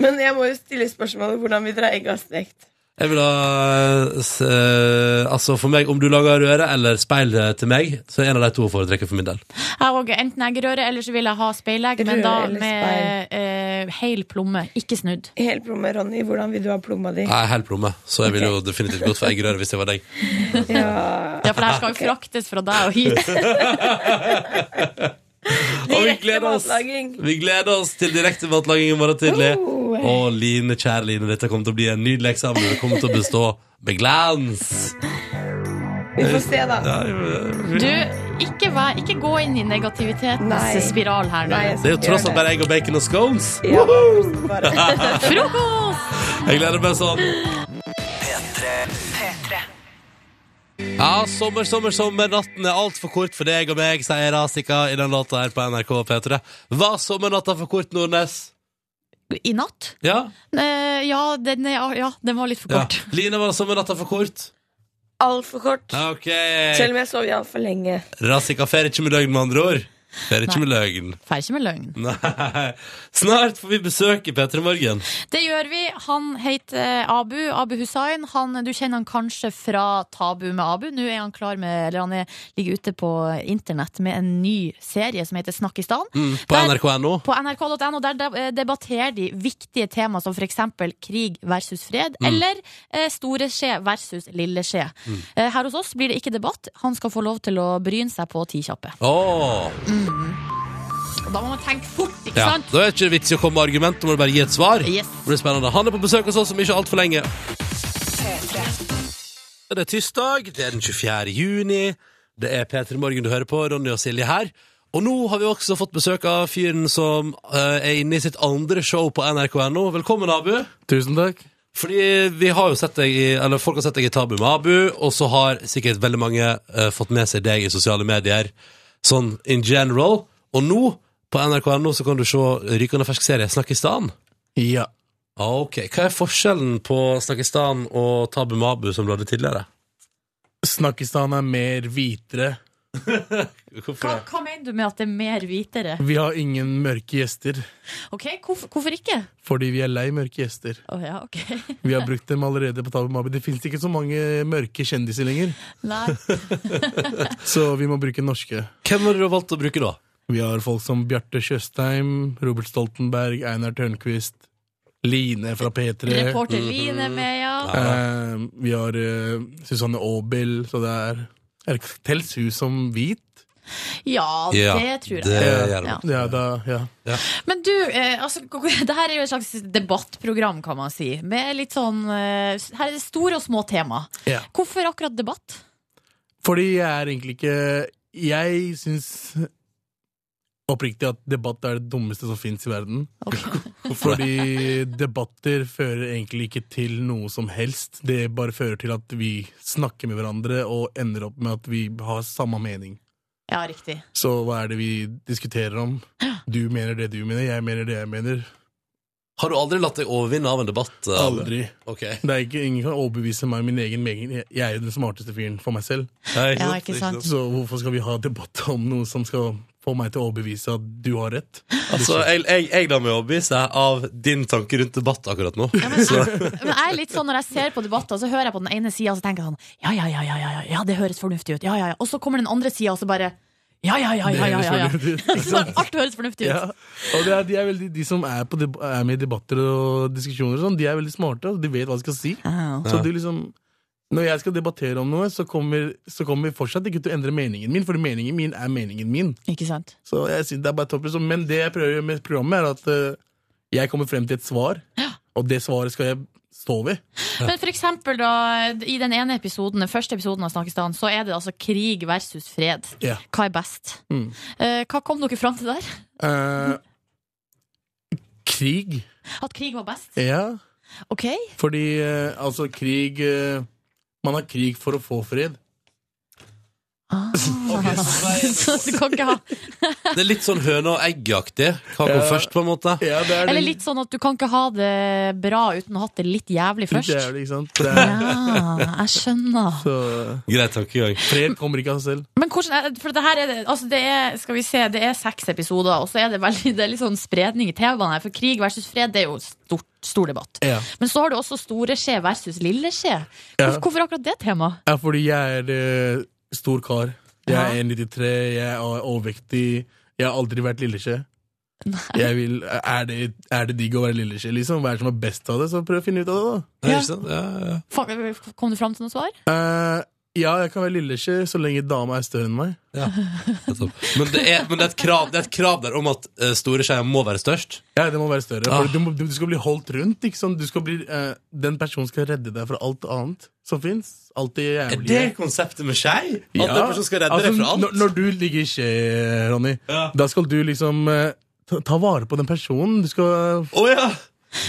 S3: men jeg må jo stille spørsmålet hvordan vil dere ha egga stekt?
S4: Jeg vil ha eh, s- eh, Altså for meg, om du lager røre eller speil eh, til meg, så er en av de to å foretrekke for min del.
S2: Jeg òg. Enten eggerøre, eller så vil jeg ha speilegg, men
S3: Røre
S2: da
S3: eller
S2: med eh, hel plomme. Ikke snudd.
S3: Hele plomma, Ronny. Hvordan vil du ha plomma di?
S4: Jeg er helt plomme, så jeg ville jo definitivt gått for eggerøre hvis jeg var deg.
S3: Ja.
S2: Ja, for det her skal jo fraktes fra deg og hit.
S4: Og vi gleder oss,
S3: matlaging.
S4: vi gleder oss til direkte matlaging i morgen tidlig.
S3: Oh.
S4: Og Line, kjære Line, dette kommer til å bli en nydelig eksamen. Du kommer til å bestå med glans.
S3: Vi får se, da.
S4: Ja, vi-
S2: Du, ikke, vær, ikke gå inn i negativitetens
S3: Nei.
S2: spiral her nå.
S3: Nei, jeg skal
S4: Det er jo
S3: ikke
S4: tross
S3: gjøre
S4: alt bare egg og bacon og scones.
S3: Ja, bare.
S2: Frokost!
S4: Jeg gleder meg sånn. Ja, sommer, sommer, sommer. Natten er altfor kort for deg og meg, sier Rasika i den låta her på NRK P3. Var sommernatta for kort, Nordnes?
S2: I natt?
S4: Ja.
S2: Eh, ja, den, er- ja, den var litt for
S4: ja.
S2: kort.
S4: Line, var sommernatta for kort?
S3: Altfor kort.
S4: Ja, OK.
S3: Selv om jeg sov altfor lenge.
S4: Rasika fer ikke med løgn, med andre ord. Fer ikke med løgn.
S2: Får ikke med løgn.
S4: Nei. Snart får vi besøk i P3 Morgen.
S2: Det gjør vi. Han heter eh, Abu. Abu Hussain. Han, du kjenner han kanskje fra Tabu med Abu. Nå er han klar med, eller han er, ligger ute på internett med en ny serie som heter Snakkistan.
S4: Mm, på
S2: Der-
S4: nrk.no.
S2: På nrk.no der de- debatterer de viktige tema som f.eks. krig versus fred,
S4: Mm.
S2: eller eh, store skje versus lille skje. Eh, her hos oss blir det ikke debatt. Han skal få lov til å bryne seg på ti kjappe.
S4: Åh.
S2: Og Da må man tenke fort, ikke
S4: Ja,
S2: sant?
S4: da er det ikke vits i å komme med argument, da må du bare gi et svar.
S2: Yes.
S4: Det blir spennende. Han er på besøk hos oss om ikke altfor lenge. Det er tirsdag, det er den 24. juni. Det er P3 Morgen du hører på, Ronny og Silje her. Og nå har vi også fått besøk av fyren som eh, er inne i sitt andre show på nrk.no. Velkommen, Abu.
S6: Tusen takk.
S4: Fordi vi har jo sett deg i, eller folk har sett deg i Tabu med Abu, og så har sikkert veldig mange eh, fått med seg deg i sosiale medier, sånn in general. Og nå, på nrk.no, så kan du se rykende fersk serie Snakkistan.
S6: Ja.
S4: Ah, Ok, Hva er forskjellen på Snakkistan og Tabu med Abu, som du hadde tidligere?
S6: Snakkistan er mer hvitere.
S4: Hvorfor
S2: Hva, hva mener du med at det er mer hvitere?
S6: Vi har ingen mørke gjester,
S2: Ok, Hvorfor, hvorfor ikke?
S6: fordi vi er lei mørke gjester.
S2: Å ja, ok.
S6: Vi har brukt dem allerede på Tabu Mabi. Det fins ikke så mange mørke kjendiser lenger,
S2: Nei.
S6: så vi må bruke norske.
S4: Hvem har du valgt å bruke, da?
S6: Vi har folk som Bjarte Tjøstheim, Robert Stoltenberg, Einar Tørnquist, Line fra P3.
S2: Reporter Line er med, ja.
S6: Eh, vi har eh, Susanne Aabel, så det er Er det tels hun som hvit?
S2: Ja,
S4: Ja,
S2: det tror jeg.
S4: det gjør det.
S2: ja.
S6: Ja, da, ja.
S2: Men du, eh, altså, det her er jo et slags debattprogram, kan man si. Med litt sånn eh, Her er det store og små tema.
S6: Ja.
S2: Hvorfor akkurat debatt?
S6: Fordi jeg er egentlig ikke Jeg syns oppriktig at debatt er det dummeste som fins i verden. Fordi debatter fører egentlig ikke til noe som helst. Det bare fører til at vi snakker med hverandre og ender opp med at vi har samme mening.
S2: Ja, riktig.
S6: Så hva er det vi diskuterer om? Du mener det du mener, jeg mener det jeg mener.
S4: Har du aldri latt deg overvinne av en debatt? eh, Abu?
S6: Aldri.
S4: Ok.
S6: Det er ikke, ingen kan overbevise meg om min egen mening. Jeg- Jeg er jo den smarteste fyren for meg selv.
S4: Nei,
S2: Ja, ikke sant.
S6: Så hvorfor skal vi ha debatt om noe som skal få meg til å overbevise at du har rett?
S4: Altså, jeg, jeg, jeg lar meg overbevise av din tanke rundt debatt akkurat nå.
S2: Men jeg er litt sånn Når jeg ser på debatter, så hører jeg på den ene sida og så tenker jeg sånn Ja, ja, ja, ja, ja, ja, ja det høres fornuftig ut. Ja, ja, ja. Og så kommer den andre sida, og så bare Ja, ja, ja, ja, ja. ja, ja.
S6: Det høres fornuftig ut, ikke
S2: Så
S6: sant?
S2: alt høres fornuftig
S6: Ja,
S2: ut.
S6: og det er, de, er veldig, de som er, på deb er med i debatter og diskusjoner, og sånn, de er veldig smarte, og de vet hva de skal si.
S2: Ja.
S6: Så du liksom Når jeg skal debattere om noe, så kommer, så kommer vi fortsatt ikke til å endre meningen min, for meningen min er meningen min.
S2: Ikke sant?
S6: Så jeg synes det er bare topp, liksom. Men det jeg prøver å gjøre med programmet, er at eh, jeg kommer frem til et svar, og det svaret skal jeg stå ved.
S2: Men for eksempel da, i den ene episoden, den første episoden av Snakkestan, så er det altså krig versus fred.
S6: Ja.
S2: Hva er best?
S6: Mm.
S2: Eh, hva kom dere fram til der?
S6: Eh, krig.
S2: At krig var best?
S6: Ja,
S2: Ok.
S6: fordi eh, altså krig eh, Man har krig for å få fred.
S2: Ah. så du kan ikke ha
S4: Det er litt sånn høne og egg-aktig. Hva kom
S6: Ja.
S4: først, på en måte?
S6: Ja, det er
S2: Eller litt sånn at du kan ikke ha det bra uten å ha hatt det litt jævlig først.
S6: Det er det, ikke sant? Det er,
S2: Ja, jeg skjønner.
S6: så,
S4: Grei tankegang.
S6: fred kommer ikke av seg selv.
S2: Men hvordan er, for det her er det, altså det er, skal vi se, det er seks episoder, og så er det, veldig, det er litt sånn spredning i temaene her. For krig versus fred, det er jo stort, stor debatt.
S6: Ja.
S2: Men så har du også store skje versus lille skje. Hvorfor,
S6: Ja.
S2: hvorfor akkurat det temaet?
S6: Ja, fordi jeg er eh, stor kar. Jeg
S2: Ja.
S6: er 1,93, jeg er overvektig. Jeg har aldri vært lilleskje. Jeg vil, er, det, er det digg å være lilleskje, liksom? Hva er det som er best av det? Så prøv å finne ut av det, da.
S4: Ja. Ikke sant? Ja, ja.
S2: Fa- Kom du fram til noe svar?
S6: Eh, ja, jeg kan være lilleskje så lenge dama er større enn meg.
S4: Men, det er, men det, er et krav, det er et krav der om at eh, store skeier må være størst.
S6: Ja, det må være større.
S4: Ah.
S6: For du, må, du skal bli holdt rundt. ikke sant? Du skal bli, eh, den personen skal redde deg fra alt annet som fins. Alt det
S4: Er
S6: jævlige.
S4: det konseptet med skei? At ja. den personen skal redde
S6: Altså,
S4: deg fra alt?
S6: Når, når du ligger i skje, Ronny,
S4: Ja.
S6: da skal du liksom eh, ta, ta vare på den personen. Du skal
S4: Å ja!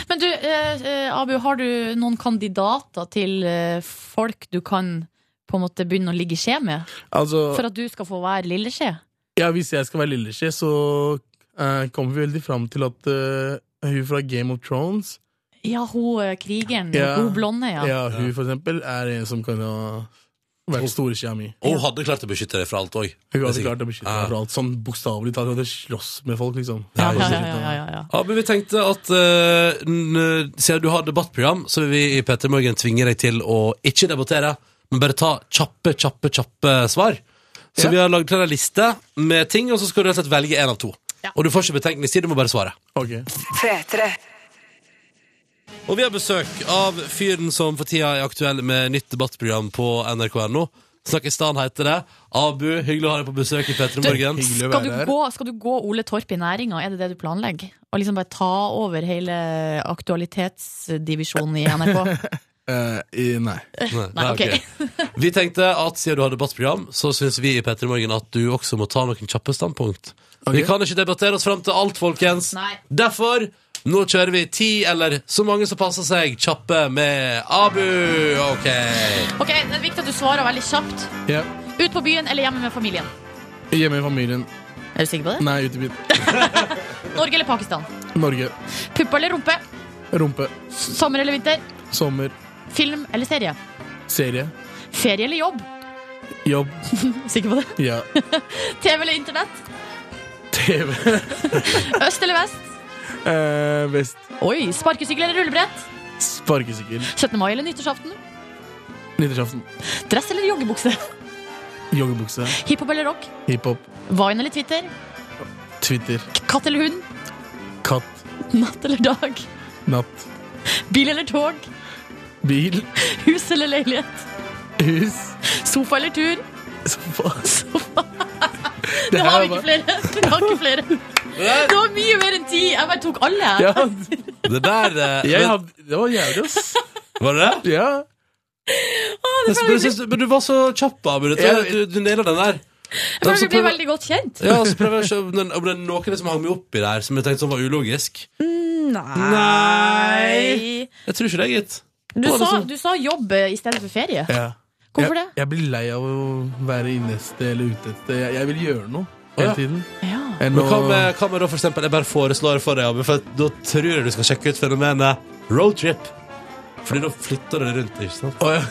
S2: Men du, eh, eh, Abu, har du noen kandidater til eh, folk du kan på en måte begynne å ligge i skje med?
S6: Altså
S2: For at du skal få være lille skje?
S6: Ja, hvis jeg skal være lilleskje, så eh, kommer vi veldig fram til at eh, hun fra Game of Thrones,
S2: Ja, hun eh, krigeren,
S6: Ja.
S2: hun blonde,
S6: ja.
S2: ja.
S6: hun for eksempel, er en som kan ha vært storeskia mi.
S4: Og hun hadde klart å beskytte deg fra alt òg.
S6: Hun hadde klart å beskytte
S4: Ja.
S6: meg fra alt. Sånn bokstavelig talt. Hun hadde slåss med folk, liksom.
S2: Ja, ja, ja, ja, ja, ja.
S4: Ja, men vi tenkte at eh, n- siden du har debattprogram, så vil vi i P3 Morgen tvinge deg til å ikke debattere, men bare ta kjappe, kjappe, kjappe svar. Så
S6: Ja.
S4: vi har lagd klar en liste med ting, og så skal du rett og slett velge en av to. Og du får ikke betenkningstid, du må bare svare.
S6: Ok.
S4: Og vi har besøk av fyren som for tida er aktuell med nytt debattprogram på nrk.no. Snakkestan heter det. Abu, hyggelig å ha deg på besøk i P3 Morgen.
S6: Hyggelig
S2: Skal
S6: å være
S2: du,
S6: her.
S2: gå, skal du gå Ole Torp i næringa, er det det du planlegger? Og liksom bare ta over hele aktualitetsdivisjonen i NRK?
S6: Eh, i, nei.
S4: Nei, ok. Vi tenkte at siden du har debattprogram, så syns vi i Petter i Morgen at du også må ta noen kjappe standpunkt. Vi kan ikke debattere oss fram til alt, folkens.
S2: Nei.
S4: Derfor, nå kjører vi ti eller så mange som passer seg, kjappe med Abu. Ok.
S2: Ok, Det er viktig at du svarer veldig kjapt.
S6: Ja.
S2: Ut på byen eller hjemme med familien?
S6: Hjemme i familien.
S2: Er du sikker på det?
S6: Nei, ute i byen.
S2: Norge eller Pakistan?
S6: Norge.
S2: Puppe eller rumpe?
S6: Rumpe.
S2: Sommer eller vinter?
S6: Sommer.
S2: Film eller serie?
S6: Serie.
S2: Ferie eller jobb?
S6: Jobb.
S2: Sikker på det?
S6: Ja.
S2: TV eller internett?
S6: TV.
S2: Øst eller vest?
S6: Eh, vest.
S2: Oi, Sparkesykkel eller rullebrett?
S6: Sparkesykkel.
S2: 17. mai eller nyttårsaften?
S6: Nyttårsaften.
S2: Dress eller joggebukse?
S6: Joggebukse.
S2: Hiphop eller rock?
S6: Hiphop.
S2: Vine eller Twitter?
S6: Twitter.
S2: Katt eller hund?
S6: Katt.
S2: Natt eller dag?
S6: Natt.
S2: Bil eller tog?
S6: Bil.
S2: Hus eller leilighet?
S6: Hus.
S2: Sofa eller tur?
S6: Sofa.
S2: Det
S6: her
S2: har
S6: var
S2: vi ikke
S6: bare-
S2: flere. Vi har ikke flere. Det var mye mer enn ti. Jeg bare tok alle.
S6: Ja, altså,
S2: her.
S4: Det der eh,
S6: jeg hadde, det var jævlig, ass.
S4: Var det det?
S6: Ja.
S4: Jeg synes- jeg synes- Men du var så kjapp, Abu. Du, du, du nailer den der.
S2: Jeg føler vi
S4: Så
S2: blir
S4: prøver-
S2: veldig godt kjent.
S4: Ja, så prøver jeg å se om den- om det er noen som hang meg oppi der, som jeg tenkte som var ulogisk. Nei. Jeg tror ikke det, gitt.
S2: Du
S4: Hva er det
S2: sa,
S4: som-
S2: du sa jobb eh, i stedet for ferie.
S6: sånn- ja.
S2: Hvorfor det?
S6: Jeg, jeg blir lei av å være inne et sted eller ute et sted. Jeg, jeg vil gjøre noe hele
S4: Ja.
S6: tiden.
S2: Ja.
S6: Enn
S4: Men hva
S6: å-
S4: med, hva med da for eksempel, jeg bare foreslår det for deg, Abu, for at da tror jeg du skal sjekke ut fenomenet roadtrip. Fordi da flytter du det rundt, ikke sant?
S6: Å, ja.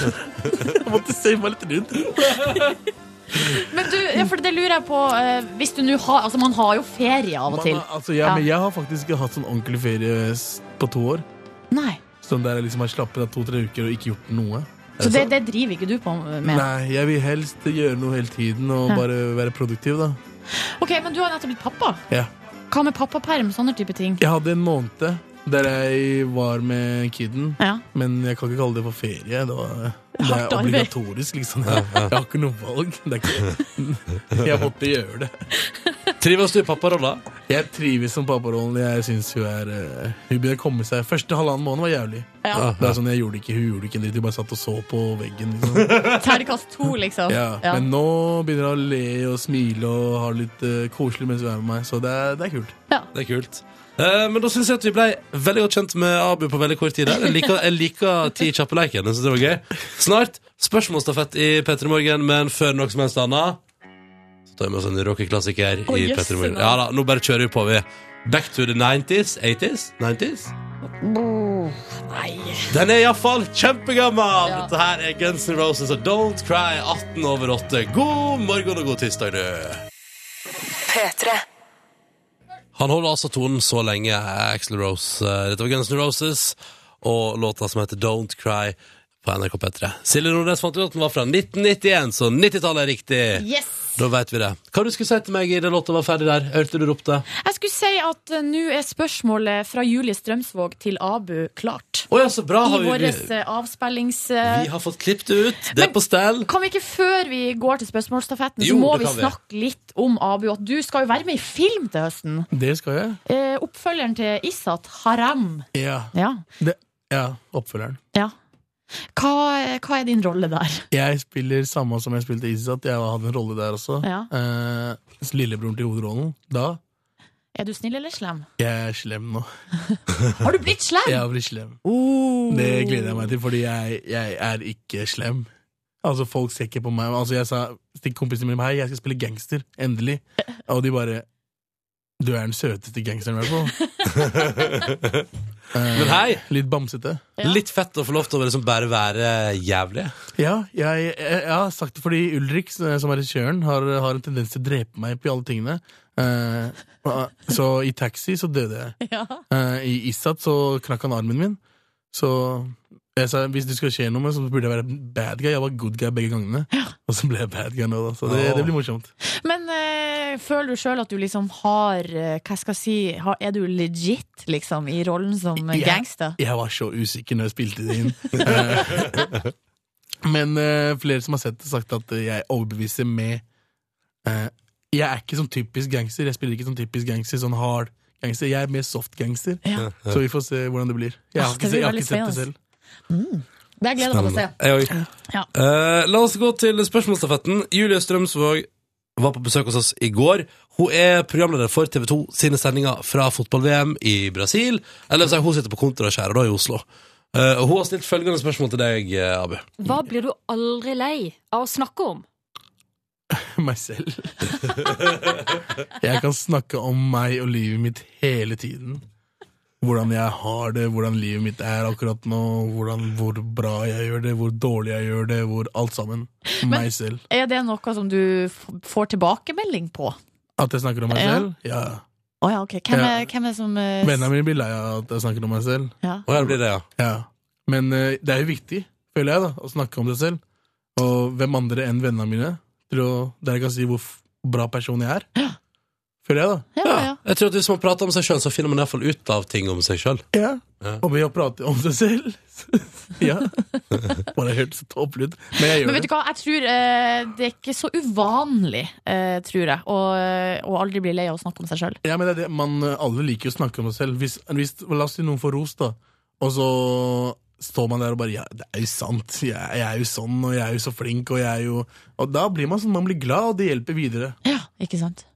S6: jeg måtte se meg litt rundt.
S2: Men du, ja, for det lurer jeg på eh, Hvis du nå har Altså, man har jo ferie av og
S6: Man,
S2: til.
S6: altså, jeg,
S2: Ja.
S6: men jeg har faktisk ikke hatt sånn ordentlig ferie s- på to år.
S2: Nei.
S6: Sånn der jeg liksom har slappet av to-tre uker og ikke gjort noe.
S2: Så det, det driver ikke du på med?
S6: Altså- Nei, jeg vil helst gjøre noe hele tiden og
S2: Ja.
S6: bare være produktiv, da.
S2: Ok, Men du har nettopp blitt pappa.
S6: Ja.
S2: Hva med pappaperm? Sånne type ting.
S6: Jeg hadde en måned der jeg var med kiden,
S2: Ja.
S6: men jeg kan ikke kalle det for ferie. Det, var, det
S2: Hardt
S6: er
S2: arbeid.
S6: obligatorisk, liksom. Jeg har ikke noe valg. Det er ikke, jeg måtte gjøre det.
S4: Trives du i papparolla?
S6: Jeg trives som papparollen. Jeg synes hun er eh, Hun begynner å komme seg. Første halvannen måned var jævlig.
S2: Ja.
S6: Det er sånn, jeg gjorde ikke, Hun gjorde ikke en dritt, hun bare satt og så på veggen. Liksom.
S2: Terningkast to, liksom.
S6: Ja.
S2: Ja.
S6: Men nå begynner hun å le og smile og ha det litt eh, koselig mens hun er med meg, så det er, det er kult.
S4: Det er kult. Eh, men da synes jeg at vi ble veldig godt kjent med Abu på veldig kort tid her. Jeg liker, jeg liker ti kjappe leker, jeg synes det var gøy. Snart spørsmålstafett i P3 Morgen, men før noe som helst annet, så tar vi med oss en rockeklassiker
S2: Å,
S4: i
S2: jøsse
S4: P3 Morgen.
S2: navn.
S4: Ja da, nå bare kjører vi på, vi. Back to the 90s, 80s, 90s.
S2: Nei.
S4: Den er iallfall kjempegammel!
S2: Ja.
S4: Dette her er Guns N' Roses og Don't Cry 18 over 8. God morgen og god tirsdag, du! Han holder altså tonen så lenge, Axel Rose. eh, Dette var Guns N' Roses og låta som heter Don't Cry på NRK P3. Silje Nordnes fant ut at den var fra 1991, så 90-tallet er riktig.
S2: Yes.
S4: Da veit vi det. Hva du skulle si til meg i den låta var ferdig der? Hørte du ropte? Å
S2: Jeg skulle si at eh, nå er spørsmålet fra Julie Strømsvåg til Abu klart.
S4: ja, så bra!
S2: I
S4: Har vi,
S2: vår eh,
S4: vi,
S2: avspillings...
S4: vi har fått klippet det ut. Det
S2: Men-
S4: er på stell.
S2: Kan vi ikke før vi går til spørsmålsstafetten,
S4: Jo,
S2: så må
S4: det
S2: vi
S4: kan vi.
S2: snakke litt om Abu. At du skal jo være med i film til høsten.
S6: Det skal jeg.
S2: Eh, oppfølgeren til Isat, Haram.
S6: Ja.
S2: Ja.
S6: Det, ja. Oppfølgeren.
S2: ja. Hva, hva er din rolle der?
S6: Jeg spiller samme som jeg spilte i Isisat. Jeg hadde en rolle der også.
S2: Ja.
S6: Eh, lillebroren til hovedrollen. Da
S2: Er du snill eller slem?
S6: jeg er slem nå.
S2: Har du blitt slem?
S6: Jeg blir slem. Oh. Det
S2: Mm.
S6: gleder jeg meg til, fordi jeg, jeg er ikke slem. Altså Folk ser ikke på meg. Altså Jeg sa til kompisene mine Hei, jeg skal spille gangster. Endelig. Og de bare Du er den søteste gangsteren i hvert fall.
S4: Men hei!
S6: Litt bamsete.
S2: Ja.
S4: Litt fett å få lov til å liksom bare være jævlig.
S6: Ja, jeg, jeg, jeg har sagt det fordi Ulrik, som er regissøren, har, har en tendens til å drepe meg på alle tingene. Eh, så i taxi så døde jeg.
S2: Ja.
S6: Eh, I Issat så knakk han armen min. Så jeg sa hvis du skal skje noe med, så burde jeg være bad guy. Jeg var good guy begge gangene. Og så ble jeg bad guy nå, da. Så det,
S4: Åh.
S6: det blir morsomt.
S2: Men eh, føler du sjøl at du liksom har eh, Hva skal jeg si har, Er du legit, liksom, i rollen som eh,
S6: Ja.
S2: gangster?
S6: Jeg var så usikker når jeg spilte det inn. Eh, Men eh, flere som har sett det, har sagt at jeg overbeviser med eh, Jeg er ikke sånn typisk gangster. Jeg spiller ikke sånn typisk gangster, sånn hard gangster. Jeg er mer soft gangster.
S2: Ja.
S6: Så vi får se hvordan det blir. Jeg
S2: Ah,
S6: har
S2: det
S6: ikke,
S2: blir
S6: jeg har
S2: veldig
S6: ikke sett det
S2: spennende.
S6: selv.
S2: Det gleder jeg meg til å se.
S4: Jeg òg.
S2: Ja.
S4: Eh, la oss gå til spørsmålstafetten. Julie Strømsvåg var på besøk hos oss i går. Hun er programleder for TV 2 sine sendinger fra fotball-VM i Brasil. Eller så er hun sitter på kontraskjæret da i Oslo. Eh, og hun har stilt følgende spørsmål til deg, eh, Abu.
S9: Hva blir du aldri lei av å snakke om?
S6: meg selv. jeg kan snakke om meg og livet mitt hele tiden. Hvordan jeg har det, hvordan livet mitt er akkurat nå, hvordan, hvor bra jeg gjør det, hvor dårlig jeg gjør det, hvor alt sammen. Meg selv.
S2: Er det noe som du f- får tilbakemelding på?
S6: At jeg snakker om meg
S2: Ja.
S6: selv? Ja.
S2: Å ja, ok. Hvem er,
S6: Ja.
S2: hvem er som eh,
S6: Vennene mine blir lei av at jeg snakker om meg selv.
S2: Ja.
S4: Og her blir det, ja.
S6: Ja. Men eh, det er jo viktig, føler jeg, da, å snakke om det selv. Og hvem andre enn vennene mine, til å, der jeg kan si hvor f- bra person jeg er. Føler jeg, da.
S4: Ja, Jeg tror at Hvis man prater om seg sjøl, så finner man i hvert fall ut av ting om seg sjøl.
S6: Ja.
S4: Ja.
S6: Og ved å prate om seg selv. ja. Bare hørtes så tåpelig ut. Men jeg
S2: Men
S6: gjør
S2: vet du
S6: det.
S2: hva, jeg tror eh, det er ikke så uvanlig, eh, tror jeg, å, eh, å aldri bli lei av å snakke om seg sjøl.
S6: Ja, men det er det. Man, eh, alle liker jo å snakke om seg selv. Hvis, hvis, la oss si noen får ros, da. Og så står man der og bare Ja, det er jo sant. Jeg, jeg er jo sånn, og jeg er jo så flink, og jeg er jo Og da blir man sånn, man blir glad, og det hjelper videre.
S2: Ja, ikke sant?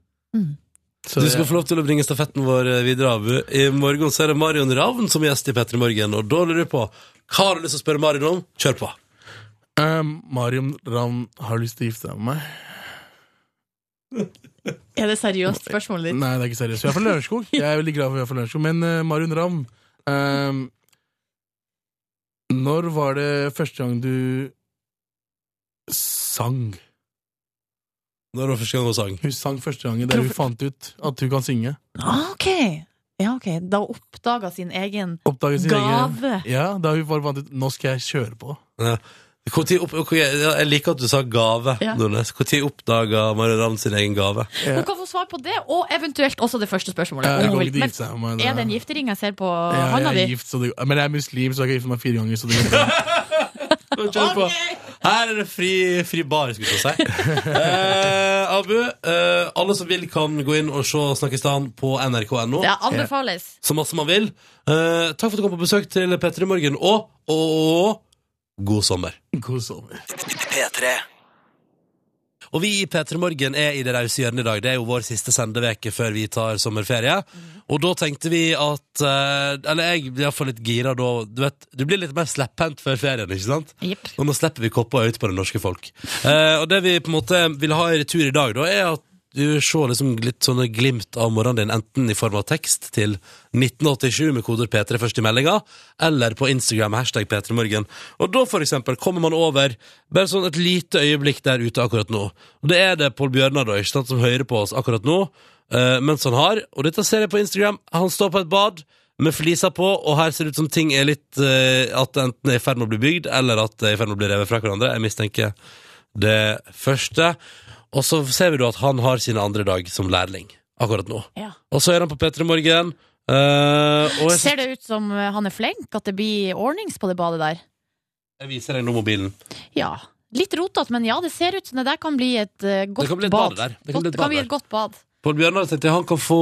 S6: Så
S4: du skal få
S6: jeg-
S4: lov til å bringe stafetten vår eh, videre, Abu. I morgen så er det Marion Ravn som gjest i P3 Morgen, og da lurer du på hva har du lyst til å spørre Marion om? Kjør på.
S6: Um, Marion Ravn har lyst til å gifte seg med meg.
S2: Er det seriøst spørsmålet ditt?
S6: Nei, det er ikke seriøst. Vi er fra Lørenskog. Jeg er veldig glad for at vi er fra Lørenskog. Men eh, Marion Ravn ehm, Når var det første gang du sang?
S4: Når var første gang hun sang?
S6: Hun sang første gangen der hun fant ut at hun kan synge.
S2: Ah, ok. Ja, ok. Da hun oppdaga sin egen
S6: Oppdaget sin egen
S2: gave.
S6: Ja, da hun bare fant ut Nå skal jeg kjøre på.
S4: Ja. Hvor tid opp, hvor- ja, jeg liker at du sa gave,
S2: Ja.
S4: Nordnes. Når oppdaga Marion Ravn sin egen gave?
S6: Ja.
S2: Hun kan få svar på det, og eventuelt også det første spørsmålet.
S6: Jeg
S2: om
S6: kan
S2: hun
S6: ikke
S2: vil. Men
S6: gifte seg med meg,
S2: er det en
S6: da.
S2: giftering jeg ser på
S6: Ja,
S2: handa
S6: jeg er
S2: di?
S6: gift, så det, men jeg er muslim, så jeg kan gifte meg fire ganger. Så det går bra.
S4: Kjør på. Her er det fri, fri bar, skulle jeg til å si. Eh, Abu, eh, alle som vil, kan gå inn og se Snakkistan på nrk.no.
S2: Det anbefales.
S4: Så masse man vil. Eh, takk for at du kom på besøk til P3 Morgen, og, og god sommer.
S6: God sommer.
S4: Og vi i P3 Morgen er i det rause hjørnet i dag. Det er jo vår siste sendeveke før vi tar sommerferie. Og da tenkte vi at eh, Eller jeg blir iallfall litt gira da. Du vet, du blir litt mer slepphendt før ferien, ikke sant?
S2: Jepp.
S4: Og nå slipper vi koppa ut på det norske folk. Eh, og det vi på en måte vil ha i retur i dag, da, er at du ser liksom litt sånne glimt av morgenen din, enten i form av tekst til 1987 med koder P3 først i meldinga, eller på Instagram med hashtag P3morgen. Og da for eksempel kommer man over bare sånn et lite øyeblikk der ute akkurat nå. Og det er det Pål Bjørnar da, ikke sant, som hører på oss akkurat nå, eh, mens han har, og dette ser jeg på Instagram, han står på et bad, med flisa på, og her ser det ut som ting er litt eh, At det enten er i ferd med å bli bygd, eller at det er i ferd med å bli revet fra hverandre. Jeg mistenker det første. Og så ser vi da at han har sin andre dag som lærling akkurat nå.
S2: Ja.
S4: Og så er han på P3 Morgen. eh, og jeg,
S2: Ser det ut som eh, han er flink, at det blir ordnings på det badet der?
S4: jeg viser deg nå mobilen.
S2: Ja. Litt rotete, men ja, det ser ut som det der kan bli et eh, godt
S4: kan bli et
S2: bad.
S4: bad der. Det kan
S2: Godt-
S4: bli et
S2: det
S4: bad
S2: kan bli et godt bad.
S4: Pål Bjørnar tenkte jeg han kan få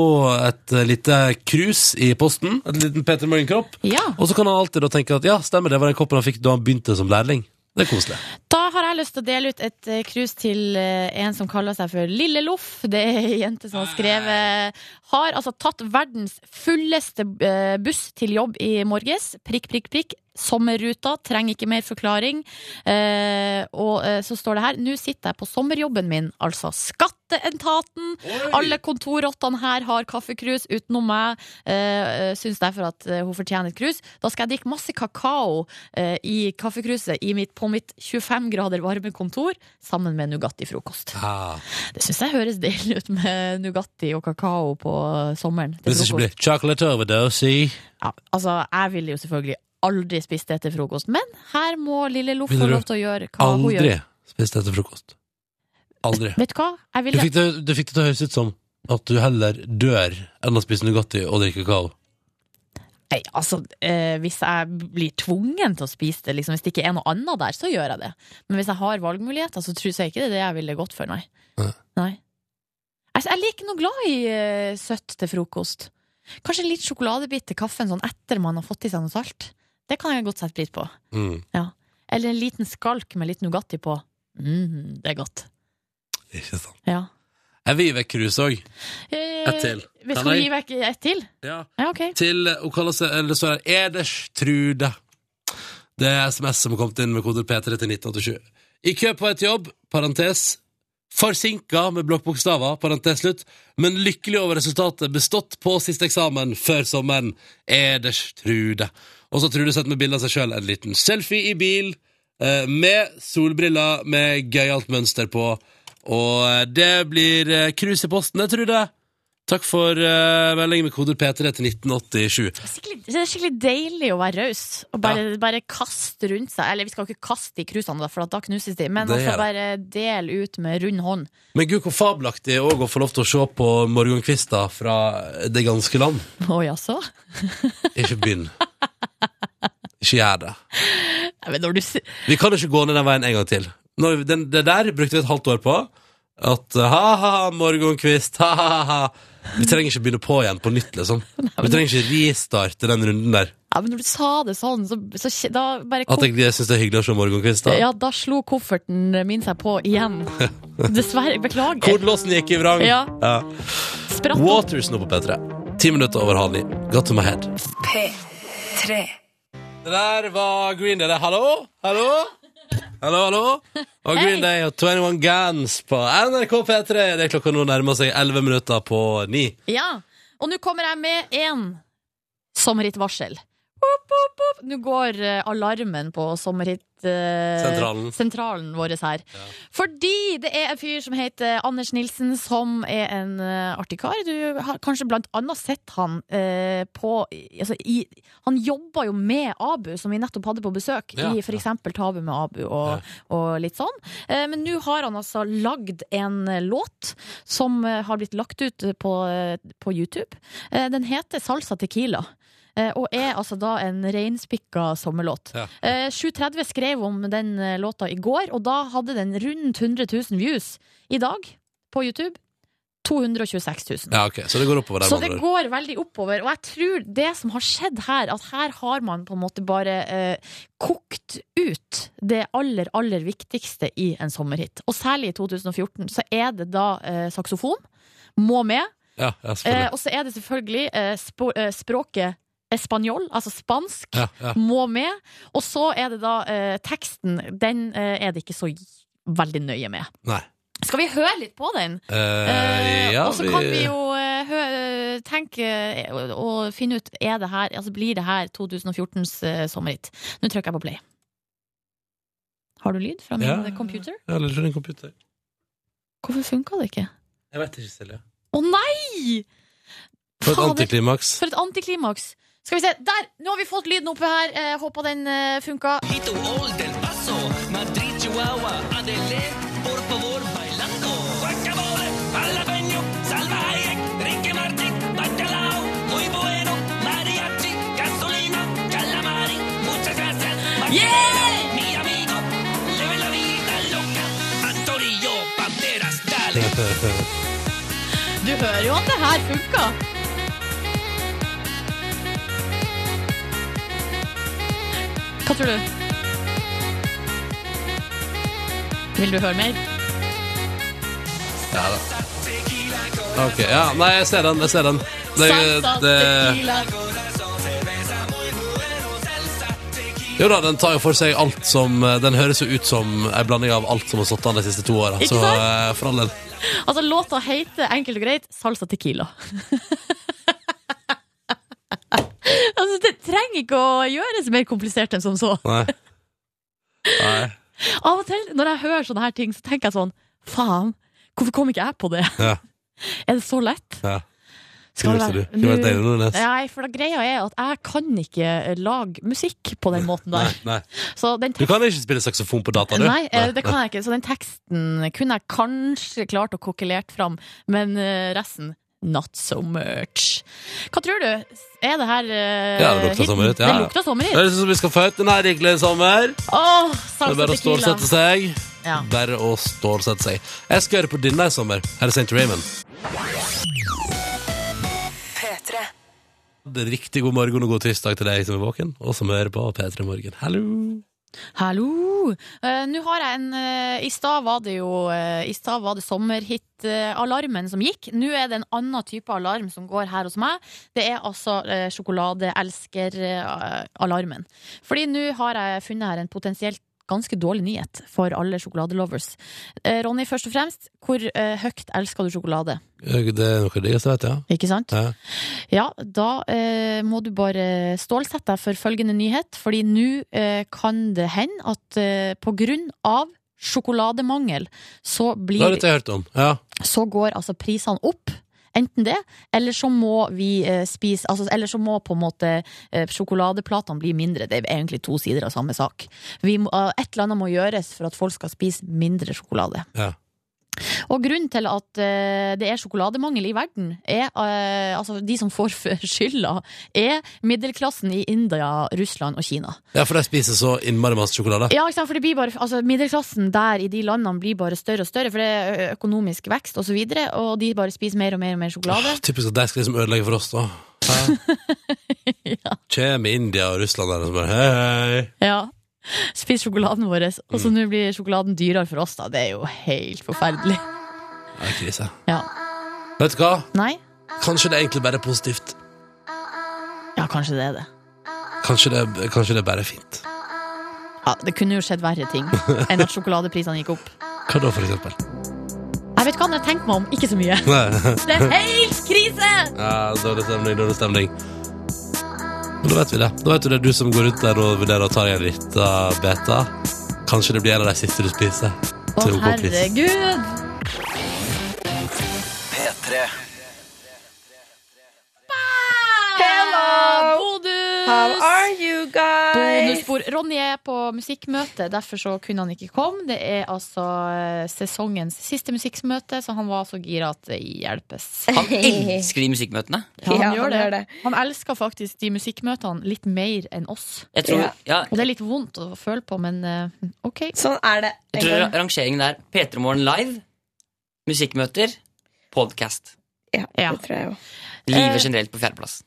S4: et eh, lite krus i posten. Et liten P3 Morgen-kropp.
S2: Ja.
S4: Og så kan han alltid da tenke at ja, stemmer, det var den koppen han fikk da han begynte som lærling. Det er koselig.
S2: Da har jeg lyst til å dele ut et eh, krus til eh, en som kaller seg for Lille Loff. Det er ei jente som har skrevet Har altså tatt verdens fulleste eh, buss til jobb i morges. Prikk, prikk, prikk. Sommerruta, trenger ikke mer forklaring. Eh, og eh, så står det her Nå sitter jeg på sommerjobben min, altså skatteetaten. Alle kontorrottene her har kaffekrus utenom meg. Uh, Syns derfor at eh, hun fortjener et krus. Da skal jeg drikke masse kakao eh, i kaffekruset i mitt, på mitt 25 grader varme kontor sammen med Nugatti-frokost.
S4: Ah.
S2: Det syns jeg høres deilig ut med Nugatti og kakao på sommeren. Til
S4: Hvis det ikke
S2: frokost.
S4: blir chocolate overdose.
S2: Ja, altså, jeg ville jo selvfølgelig aldri spist det til frokost, men her må lille Loff
S4: Ville
S2: få
S4: du
S2: lov til å gjøre hva hun gjør.
S4: Aldri spist etter frokost. Aldri.
S2: Vet du hva? Jeg
S4: Du
S2: ville
S4: fikk, det, du fikk det til å høres ut som at du heller dør enn å spise Nugatti og drikke kakao.
S2: Nei, altså, eh, hvis jeg blir tvungen til å spise det, liksom, hvis det ikke er noe annet der, så gjør jeg det. Men hvis jeg har valgmuligheter, så tror jeg ikke det er det jeg ville gått for, nei.
S4: Nei.
S2: nei. Altså, jeg er ikke noe glad i eh, søtt til frokost. Kanskje en liten sjokoladebit til kaffen sånn etter man har fått i seg noe salt. Det kan jeg godt sette pris på.
S4: Mm.
S2: Ja. Eller en liten skalk med litt Nugatti på. Mm, det er godt.
S4: Ikke sant.
S2: Ja.
S4: Jeg vil gi vekk krus òg.
S2: Eh,
S4: Ett til.
S2: Vi
S4: Kan
S2: skal
S4: jeg?
S2: gi vekk ett til?
S4: Ja.
S2: ok.
S4: Til hun kaller seg Eller det står her Eders Trude. Det er SMS som har kommet inn med koder P3 til 1987. I kø på et jobb, parentes. Forsinka med blokkbokstaver, parentes slutt. Men lykkelig over resultatet. Bestått på siste eksamen før sommeren. Eders Trude. Og så har Trude sett med bilde av seg sjøl. En liten selfie i bil. eh, Med solbriller med gøyalt mønster på. Og eh, det blir eh, krus i posten, det, Trude. Takk for eh, meldingen med koder P3 til 1987.
S2: Skikkelig, det er skikkelig deilig å være raus og bare, bare kaste rundt seg. Eller vi skal jo ikke kaste de krusene, da, for at da knuses de, men
S4: Det
S2: altså
S4: gjør det.
S2: bare dele ut med rund hånd.
S4: Men gud, hvor fabelaktig òg å få lov til å se på morgenkvista fra det ganske land.
S2: Å jaså?
S4: Ikke begynn. Ikke gjør det.
S2: Nei, men når du si-
S4: Vi kan ikke gå ned den veien en gang til. Når, vi- den, det der brukte vi et halvt år på. At eh, ha-ha, morgenkvist, ha-ha-ha. Vi trenger ikke begynne på igjen på nytt, liksom. Vi trenger ikke restarte den runden der.
S2: ja, men når du sa det sånn, så, så kje- da bare
S4: At jeg, jeg syns det er hyggelig å se morgenkvist. da.
S2: Ja, da slo kofferten min seg på igjen. Dessverre. Beklager.
S4: Kortlåsen gikk i vrang.
S2: Ja. Spratt opp.
S4: Waters nå på P3. Ti minutter over halv ni. Got to my head.
S10: P3.
S4: Det der var Green Day. Det er Hallo? Hallo? Hallo, hallo? Og Green Day og 21 Guns på NRK P3. Det er klokka nå nærmer seg 11 minutter på ni.
S2: Ja. Og nå kommer jeg med en sommerhitvarsel. Pop, pop, pop. Nå går eh, alarmen på sommerhitsentralen
S4: Sentralen.
S2: sentralen vår her. Fordi det er en fyr som heter Anders Nilsen, som er en eh, artig kar. Du har kanskje blant annet sett han eh, på altså, i, Han jobba jo med Abu, som vi nettopp hadde på besøk,
S9: Ja,
S2: i for eksempel Tabu med Abu og, og litt sånn. Eh, Men nå har han altså lagd en eh, låt som eh, har blitt lagt ut på, eh, på YouTube. Eh, Den heter Salsa Tequila. eh, Og er altså da en reinspikka sommerlåt.
S4: Ja.
S2: Eh, 730 skrev om den eh, låta i går, og da hadde den rundt 100 000 views. I dag, på YouTube, 226 000.
S4: Ja, ok, Så det går oppover der.
S2: Så
S4: med
S2: det
S4: andre ord.
S2: går veldig oppover, og jeg tror det som har skjedd her, at her har man på en måte bare eh, kokt ut det aller, aller viktigste i en sommerhit. Og særlig i 2014 så er det da eh, saksofon, må med,
S4: Ja, ja,
S2: eh,
S4: selvfølgelig.
S2: og så er det selvfølgelig eh, spå- eh, språket Espanjol, altså spansk,
S4: Ja, ja.
S2: må med. Og så er det da eh, teksten, den eh, er det ikke så veldig nøye med.
S4: Nei.
S2: Skal vi høre litt på den?
S4: Eh, ja,
S2: og så kan vi jo eh, hø tenke eh, og, og finne ut er det her, altså blir det her 2014s eh, sommerhit. Nå trykker jeg på play. Har du lyd fra min
S4: Ja, ja, ja.
S2: computer?
S4: Ja, eller fra din computer.
S2: Hvorfor funka det ikke?
S4: Jeg vet ikke, Silje.
S2: Å nei!
S4: For et
S2: Fader.
S4: antiklimaks.
S2: For et antiklimaks. Skal vi se, der! Nå har vi fått lyden oppe her. Eh, håper den eh, funka. Du hører jo at det her funka. Hva tror du? Vil du høre mer?
S4: Ja da. Ok, ja. Nei, jeg ser den. Jeg ser den. Det,
S2: Salsa
S4: det,
S2: tequila.
S4: jo da, den tar jo for seg alt som Den høres jo ut som en blanding av alt som har stått an de siste to åra.
S2: Ikke
S4: Så
S2: sant?
S4: eh, for all del.
S2: Altså, låta heter enkelt og greit Salsa Tequila. altså, det trenger ikke å gjøres mer komplisert enn som så.
S4: Nei. Nei.
S2: Av og til når jeg hører sånne her ting, så tenker jeg sånn Faen, hvorfor kom ikke jeg på det?
S4: Ja.
S2: Er det så lett?
S4: ja.
S2: Skal
S4: Knuse
S2: det
S4: du. Kunne vært
S2: Nå-
S4: deilig nå, Nes.
S2: Nei, for da greia er at jeg kan ikke lage musikk på den måten
S4: Nei,
S2: der.
S4: nei.
S2: Så den
S4: Du kan ikke spille saksofon på data, du.
S2: Nei, eh, det kan jeg ikke. Så den teksten kunne jeg kanskje klart å kokkelert fram, men eh, resten Not so much. Hva tror du? Er det her eh,
S4: Ja, det lukter
S2: hiten?
S4: sommerhit. Ja.
S2: Det lukter
S4: Det er
S2: sommerhit.
S4: sånn som vi skal få ut en herregelig sommer.
S2: Åh,
S4: Det er
S2: salsa
S4: bare å
S2: tequila.
S4: stålsette seg.
S2: Ja.
S4: Bare å stålsette seg. Jeg skal høre på denne i sommer. Her er St. Raymond. En riktig god morgen og god tirsdag til deg som er våken, og som hører på P3 Morgen. Hallo!
S2: Hallo! Eh, Nå har jeg en eh, I stad var det jo eh, I stad var det sommerhit-alarmen som gikk. Nå er det en annen type alarm som går her hos meg. Det er altså eh, sjokoladeelsker-alarmen. Fordi nå har jeg funnet her en potensielt ganske dårlig nyhet for alle sjokoladelovers. Eh, Ronny, først og fremst, hvor eh, høyt elsker du sjokolade?
S4: Det er noe av det diggeste jeg vet, ja.
S2: Ikke sant?
S4: Ja.
S2: Ja, da eh, må du bare stålsette deg for følgende nyhet, fordi nå eh, kan det hende at eh, på grunn av sjokolademangel, så
S4: Det har
S2: blir
S4: dette jeg hørt om. Ja.
S2: så går altså prisene opp. Enten det, eller så må vi eh, spise altså, Eller så må på en måte eh, sjokoladeplatene bli mindre. Det er egentlig to sider av samme sak. Vi må, eh, et eller annet må gjøres for at folk skal spise mindre sjokolade.
S4: Ja.
S2: Og grunnen til at eh, det er sjokolademangel i verden, er eh, altså de som får f- skylda, er middelklassen i India, Russland og Kina.
S4: ja, for de spiser så innmari masse sjokolade.
S2: Ja, ikke sant, for det blir bare altså, Middelklassen der i de landene blir bare større og større, for det er ø- økonomisk vekst og så videre, og de bare spiser mer og mer og mer sjokolade.
S4: Åh, Typisk at de skal liksom ødelegge for oss, da. ja. Kjem India og Russland der og så bare hei, hei.
S2: Ja. Spiser sjokoladen vår, og så nå blir sjokoladen dyrere for oss, da. Det er jo helt forferdelig.
S4: Det er krise.
S2: Ja.
S4: Vet du hva?
S2: Nei?
S4: Kanskje det egentlig bare er positivt.
S2: Ja, kanskje det er det.
S4: Kanskje det, kanskje det bare er fint.
S2: Ja, det kunne jo skjedd verre ting enn at sjokoladeprisene gikk opp.
S4: Hva da, for eksempel?
S2: Jeg vet hva, når jeg tenker meg om, ikke så mye. Det er
S4: Nei.
S2: helt krise!
S4: Ja, dårlig stemning, dårlig stemning. Men da vet vi det. Da vet du det, du som går rundt der og vurderer å ta deg en liten beta. Kanskje det blir en av de siste du spiser.
S2: Å,
S4: Til OK pris.
S2: herregud!
S11: P3.
S2: Hello! Bonus!
S3: How are you guys?
S2: Bonusbord. Ronny er på musikkmøte, derfor så kunne han ikke komme. Det er altså eh, sesongens siste musikkmøte, så han var så gira at det hjelpes.
S7: Han elsker de musikkmøtene.
S2: Ja, han, gjør det. han elsker faktisk de musikkmøtene litt mer enn oss.
S7: Jeg tror- ja.
S2: Og det er litt vondt å føle på, men eh, OK.
S3: Sånn er det.
S7: Jeg tror ra- rangeringen er P3 Morgen live, musikkmøter, podkast.
S3: Ja, det tror jeg jo. Eh,
S7: Livet generelt på fjerdeplass.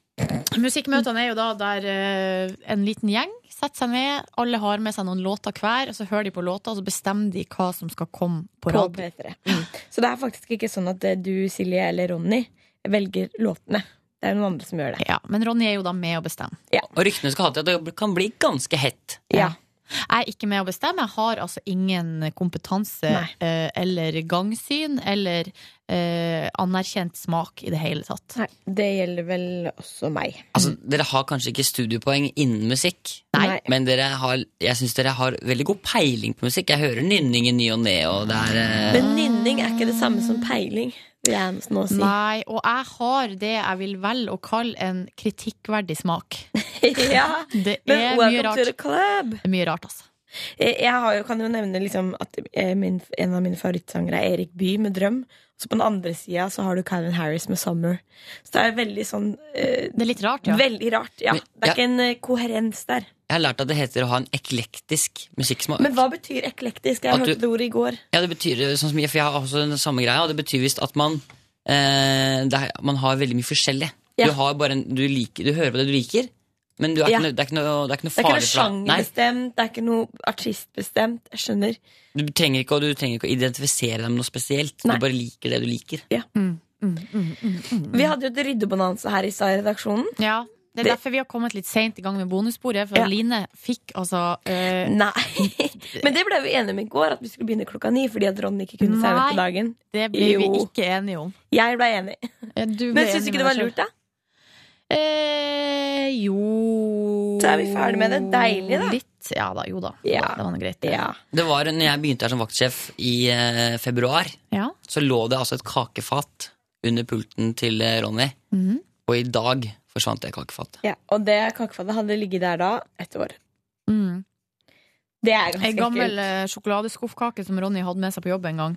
S2: Musikkmøtene er jo da der eh, en liten gjeng setter seg ned, alle har med seg noen låter hver, og så hører de på låta, og så bestemmer de hva som skal komme på
S3: På
S2: radio.
S3: P3. Så det er faktisk ikke sånn at eh, du, Silje eller Ronny velger låtene. Det er noen andre som gjør det.
S2: Ja, men Ronny er jo da med å bestemme.
S7: Og ryktene skal ha til at det kan bli ganske hett.
S2: Jeg er ikke med å bestemme. Jeg har altså ingen kompetanse eh, eller gangsyn eller eh, anerkjent smak i det hele tatt.
S3: Nei, det gjelder vel også meg.
S7: Altså, dere har kanskje ikke studiepoeng innen musikk,
S3: Nei.
S7: men dere har, jeg syns dere har veldig god peiling på musikk. Jeg hører nynning i ny og ne, og det er eh,
S3: Men nynning er ikke det samme som peiling, vil jeg nesten også si.
S2: Nei, og jeg har det jeg vil velge å kalle en kritikkverdig smak.
S3: ja,
S2: Det
S3: men
S2: er
S3: welcome
S2: mye
S3: to the
S2: rart.
S3: club.
S2: Det er mye rart, altså.
S3: Jeg, jeg har jo, kan jo nevne liksom at eh, min, en av mine favorittsangere er Erik Bye med 'Drøm'. Så på den andre sida så har du Calvin Harris med 'Summer'. Så det er veldig sånn Det
S2: er litt rart, ja.
S3: Veldig rart, ja. det er ikke en eh, koherens der.
S7: Jeg har lært at det heter å ha en eklektisk musikksmak.
S3: Men hva betyr eklektisk? Jeg
S7: At du-
S3: hørte det ordet i går.
S7: Ja, det betyr eh, sånn som jeg, for jeg har også den samme greia, og det betyr visst at man eh, det er, Man har veldig mye forskjellig.
S3: Ja.
S7: Du, har bare en, du, liker, du hører på det du liker, men du er
S3: Ja.
S7: ikke, noe- det er ikke noe, det er ikke noe
S3: Det er ikke noe
S7: farlig for deg. Nei,
S3: sjangerbestemt, det er ikke noe artistbestemt. Jeg skjønner.
S7: du trenger, ikke, å- du trenger ikke å identifisere deg med noe spesielt.
S3: Nei.
S7: Du bare liker det du liker.
S3: Vi hadde jo et ryddebonanza her i stad i redaksjonen.
S2: Ja, Det er derfor vi har kommet litt seint i gang med bonussporet, for
S3: Ja.
S2: Line fikk altså eh,
S3: Nei. Men det ble vi enige om i går, at vi skulle begynne klokka ni fordi at Ronny ikke kunne servere
S2: Nei,
S3: på dagen.
S2: Det ble vi
S3: Jo.
S2: ikke enige om.
S3: Jeg ble enig. Men syns du ikke det var lurt, da?
S2: Eh, jo
S3: Så er vi ferdig med det. Deilig, da.
S2: Litt. Ja da, jo da.
S3: Ja.
S2: Det var noe greit.
S7: Det var når jeg begynte her som vaktsjef i eh, februar,
S2: Ja.
S7: så lå det altså et kakefat under pulten til eh, Ronny.
S3: Mhm.
S7: Og i dag forsvant det kakefatet.
S3: Ja, og det kakefatet hadde ligget der da et år.
S2: Mm.
S3: Det er ganske
S2: Ei gammel
S3: ekkelt.
S2: eh, sjokoladeskuffkake som Ronny hadde med seg på jobb en gang.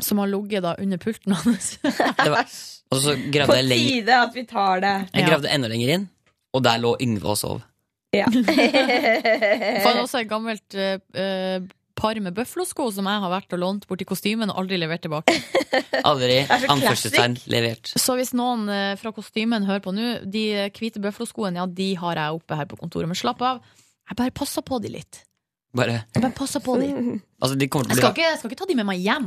S2: som har ligget da under pulten hans.
S3: Eh.
S7: Det var, og så
S3: På
S7: gravde jeg, lenger,
S3: tide at vi tar det.
S7: jeg gravde enda lenger inn, og der lå Yngve og sov.
S3: Ja.
S2: Fant også et gammelt uh, eh, par med bøflosko som jeg har vært og lånt borti kostymen og aldri levert tilbake.
S7: Aldri
S2: er så
S7: anførselstegn
S2: classic.
S7: levert.
S2: Så hvis noen eh, fra kostymen hører på nå, de eh, hvite bøfloskoene, ja, de har jeg oppe her på kontoret. Men slapp av, jeg bare passer på de litt.
S7: Bare
S2: Jeg bare passer på de.
S7: Altså, de kommer
S2: Jeg
S7: til
S2: skal
S7: å bli
S2: ikke, jeg skal ikke ta de med meg hjem.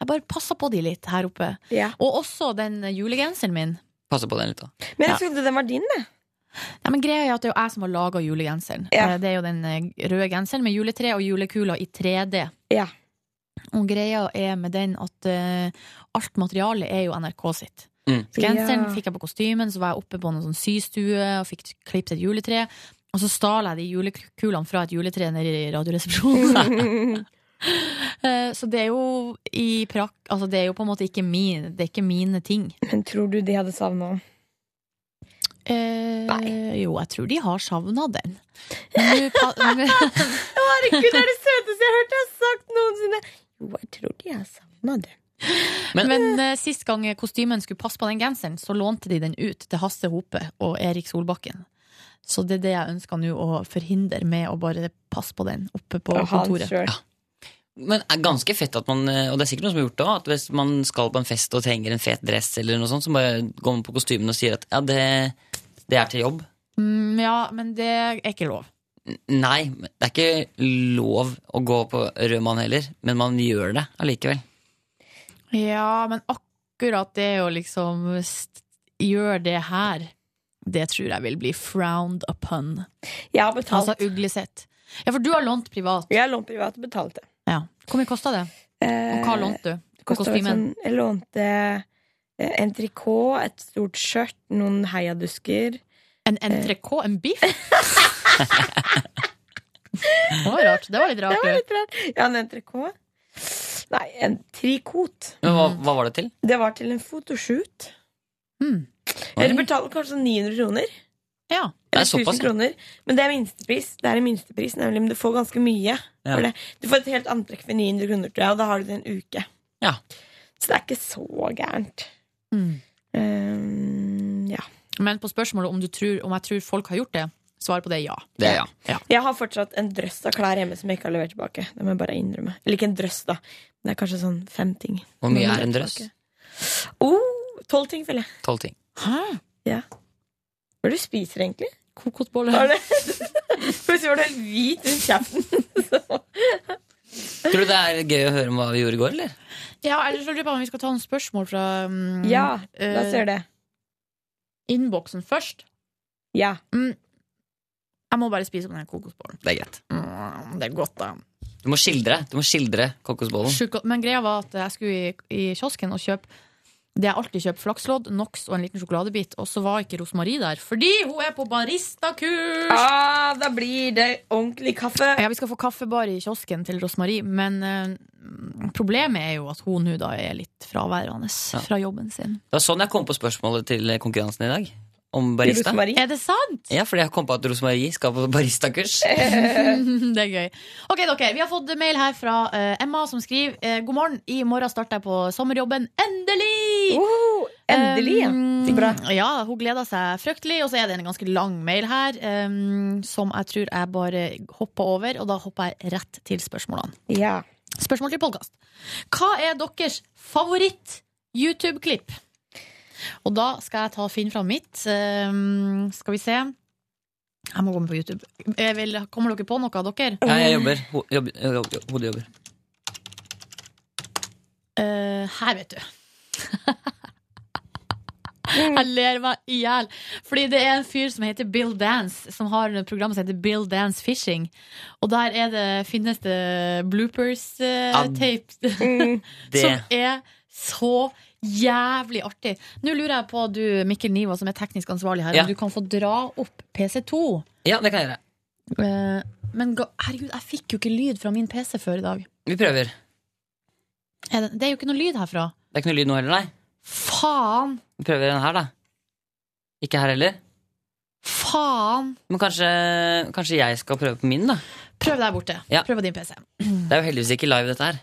S2: Jeg bare passer på de litt her oppe. Og også den eh, julegenseren min.
S7: Passe på den litt, da.
S2: Men
S7: jeg
S2: trodde den var din, det. Nei, men greia er at det er jo jeg som har laga julegenseren. Eh, Det er jo den eh, røde genseren med juletre og julekula i 3D. Og greia er med den at eh, alt materialet er jo NRK sitt.
S7: Mm.
S2: Så genseren
S12: Ja.
S2: fikk jeg på kostymen, så var jeg oppe på noen sånn systue og fikk klippet et juletre. Og så stjal jeg de julekulene fra et juletre nede i Radioresepsjonen. Eh, så det er jo i prak... Altså, det er jo på en måte ikke min, det er ikke mine ting.
S13: Men tror du de hadde savna den?
S2: Nei. Eh, Jo, jeg tror de har savna den. Nå pa-
S13: Herregud, det er det søteste jeg har hørt deg sagt noensinne! Jo, jeg tror de har savna det.
S2: Men, eh, sist gang kostymen skulle passe på den genseren, så lånte de den ut til Hasse Hope og Erik Solbakken. Så det er det jeg ønsker nå å forhindre med å bare passe på den oppe på
S7: Og ha den
S2: kontoret.
S7: selv. Men det er ganske fett at man eh, Og det er sikkert noen som har gjort det også, At hvis man skal på en fest og trenger en fet dress Eller noe sånt Så bare går man på kostymen og sier at Ja, det, det er til jobb
S2: Mm, ja, men det er ikke lov.
S7: N- Nei, men det er ikke lov å gå på rødmann heller Men man gjør det allikevel
S2: Ja, men akkurat det å liksom st- gjøre det her, det tror jeg vil bli frowned upon.
S13: Jeg har betalt.
S2: Altså uglesett. Ja, for du har lånt privat.
S13: Jeg har lånt privat og betalt det. Eh,
S2: Ja. Eh, Hvor mye kosta det? Og hva lånte du?
S13: Det kostet vel
S2: Kostymen?
S13: sånn- Jeg lånte eh, en trikot, et stort skjørt, noen heiadusker.
S2: En entrecôte? En biff? Det var rart. Det var litt rart.
S13: Det var litt rart. Ja, en entrecôte. Nei, en trikot.
S7: Men hva, hva var det til?
S13: Det var til en fotoshoot.
S2: Hmm.
S13: Eller betalte kanskje 900 kroner.
S2: Ja.
S7: Det er
S13: Eller 1000
S7: såpass, ja.
S13: kroner. Men det er minstepris. Det er en minstepris, nemlig. Men du får ganske mye.
S7: Ja.
S13: For det. Du får et helt antrekk for 900 kroner, tror jeg, og da har du det en uke.
S7: Ja. Mm.
S13: Så det er ikke så gærent. Ehm,
S2: Men på spørsmålet om, du tror, om jeg tror folk har gjort det, svaret på det er ja.
S7: Det er ja
S13: Jeg har fortsatt en drøss av klær hjemme som jeg ikke har levert tilbake. Det må jeg bare innrømme. Eller ikke en drøss, da. Men det er kanskje sånn fem ting.
S7: Hvor
S13: Som
S7: mye
S13: jeg
S7: er en
S13: leverte
S7: drøss?
S13: tilbake. Oh, tolv ting, føler jeg.
S7: Tolv ting
S2: Hæ?
S13: Ja. Hva er det du spiser egentlig?
S2: Kokosboller.
S13: Var det- Plutselig var du helt hvit rundt kjeften.
S7: Tror du det er gøy å høre om hva vi gjorde i går, eller?
S2: Ja, eller så lurer jeg på om vi skal ta noen spørsmål fra mm,
S13: Ja, la oss
S2: eh,
S13: gjøre det.
S2: Innboksen først.
S13: Ja.
S2: Mm. Jeg må bare spise opp den kokosbollen.
S7: Det er greit
S2: Mm, Det er godt, da.
S7: Du må skildre, du må skildre kokosbollen
S2: Sjukt godt. Men greia var at jeg skulle i, i kiosken og kjøpe det jeg alltid kjøper, flakslodd, Nox og en liten sjokoladebit. Og så var ikke Rosmarie der, fordi hun er på baristakurs!
S13: Ah, da blir det ordentlig kaffe.
S2: Ja, Vi skal få kaffebar i kiosken til Rosmarie, men eh, problemet er jo at hun nå da er litt fraværende fra jobben sin.
S7: Det var sånn jeg kom på spørsmålet til konkurransen i dag Om barista
S2: Er det sant?
S7: Ja, fordi jeg kom på at Rosmarie skal på baristakurs
S2: det er gøy. Ok, dere, Vi har fått mail her fra eh, Emma, som skriver eh, God morgen. I morgen starter jeg på sommerjobben.
S13: Oh.
S2: Endelig!
S13: Uh, endelig, ja.
S2: Um,
S13: Så bra.
S2: ja, hun gleder seg fryktelig. Og så er det en ganske lang mail her, um, som jeg tror jeg bare hopper over. Og da hopper jeg rett til spørsmålene.
S13: Ja.
S2: Spørsmål til podkast. Hva er deres favoritt-YouTube-klipp? Og da skal jeg ta og finne fram mitt. Um, skal vi se. Jeg må gå med på YouTube. Jeg vil, kommer dere på noe av dere?
S7: Nei, jeg jobber, Ho jobb jobb jobb hodet jobber
S2: Eh, her, vet du. Jeg ler meg i hjel. Fordi det er en fyr som heter Bill Dance, som har et program som heter Bill Dance Fishing. Og der er det, finnes det
S7: Ja,
S2: bloopers-tape
S7: det-
S2: som er så jævlig artig. Nå lurer jeg på, du Mikkel Niva, som er teknisk ansvarlig her,
S7: Ja.
S2: om du kan få dra opp PC2.
S7: Ja, det kan jeg gjøre
S2: Eh, Men ga- herregud, jeg fikk jo ikke lyd fra min PC før i dag.
S7: Vi prøver
S2: Er det, det er jo ikke noe lyd herfra.
S7: Det er ikke noe lyd nå heller, nei.
S2: Faen!
S7: Vi prøver den her, da. Ikke her heller.
S2: Faen!
S7: Men kanskje, kanskje jeg skal prøve på min, da.
S2: Prøv der borte.
S7: Ja.
S2: Prøv på din PC.
S7: Det er jo heldigvis ikke live, dette her.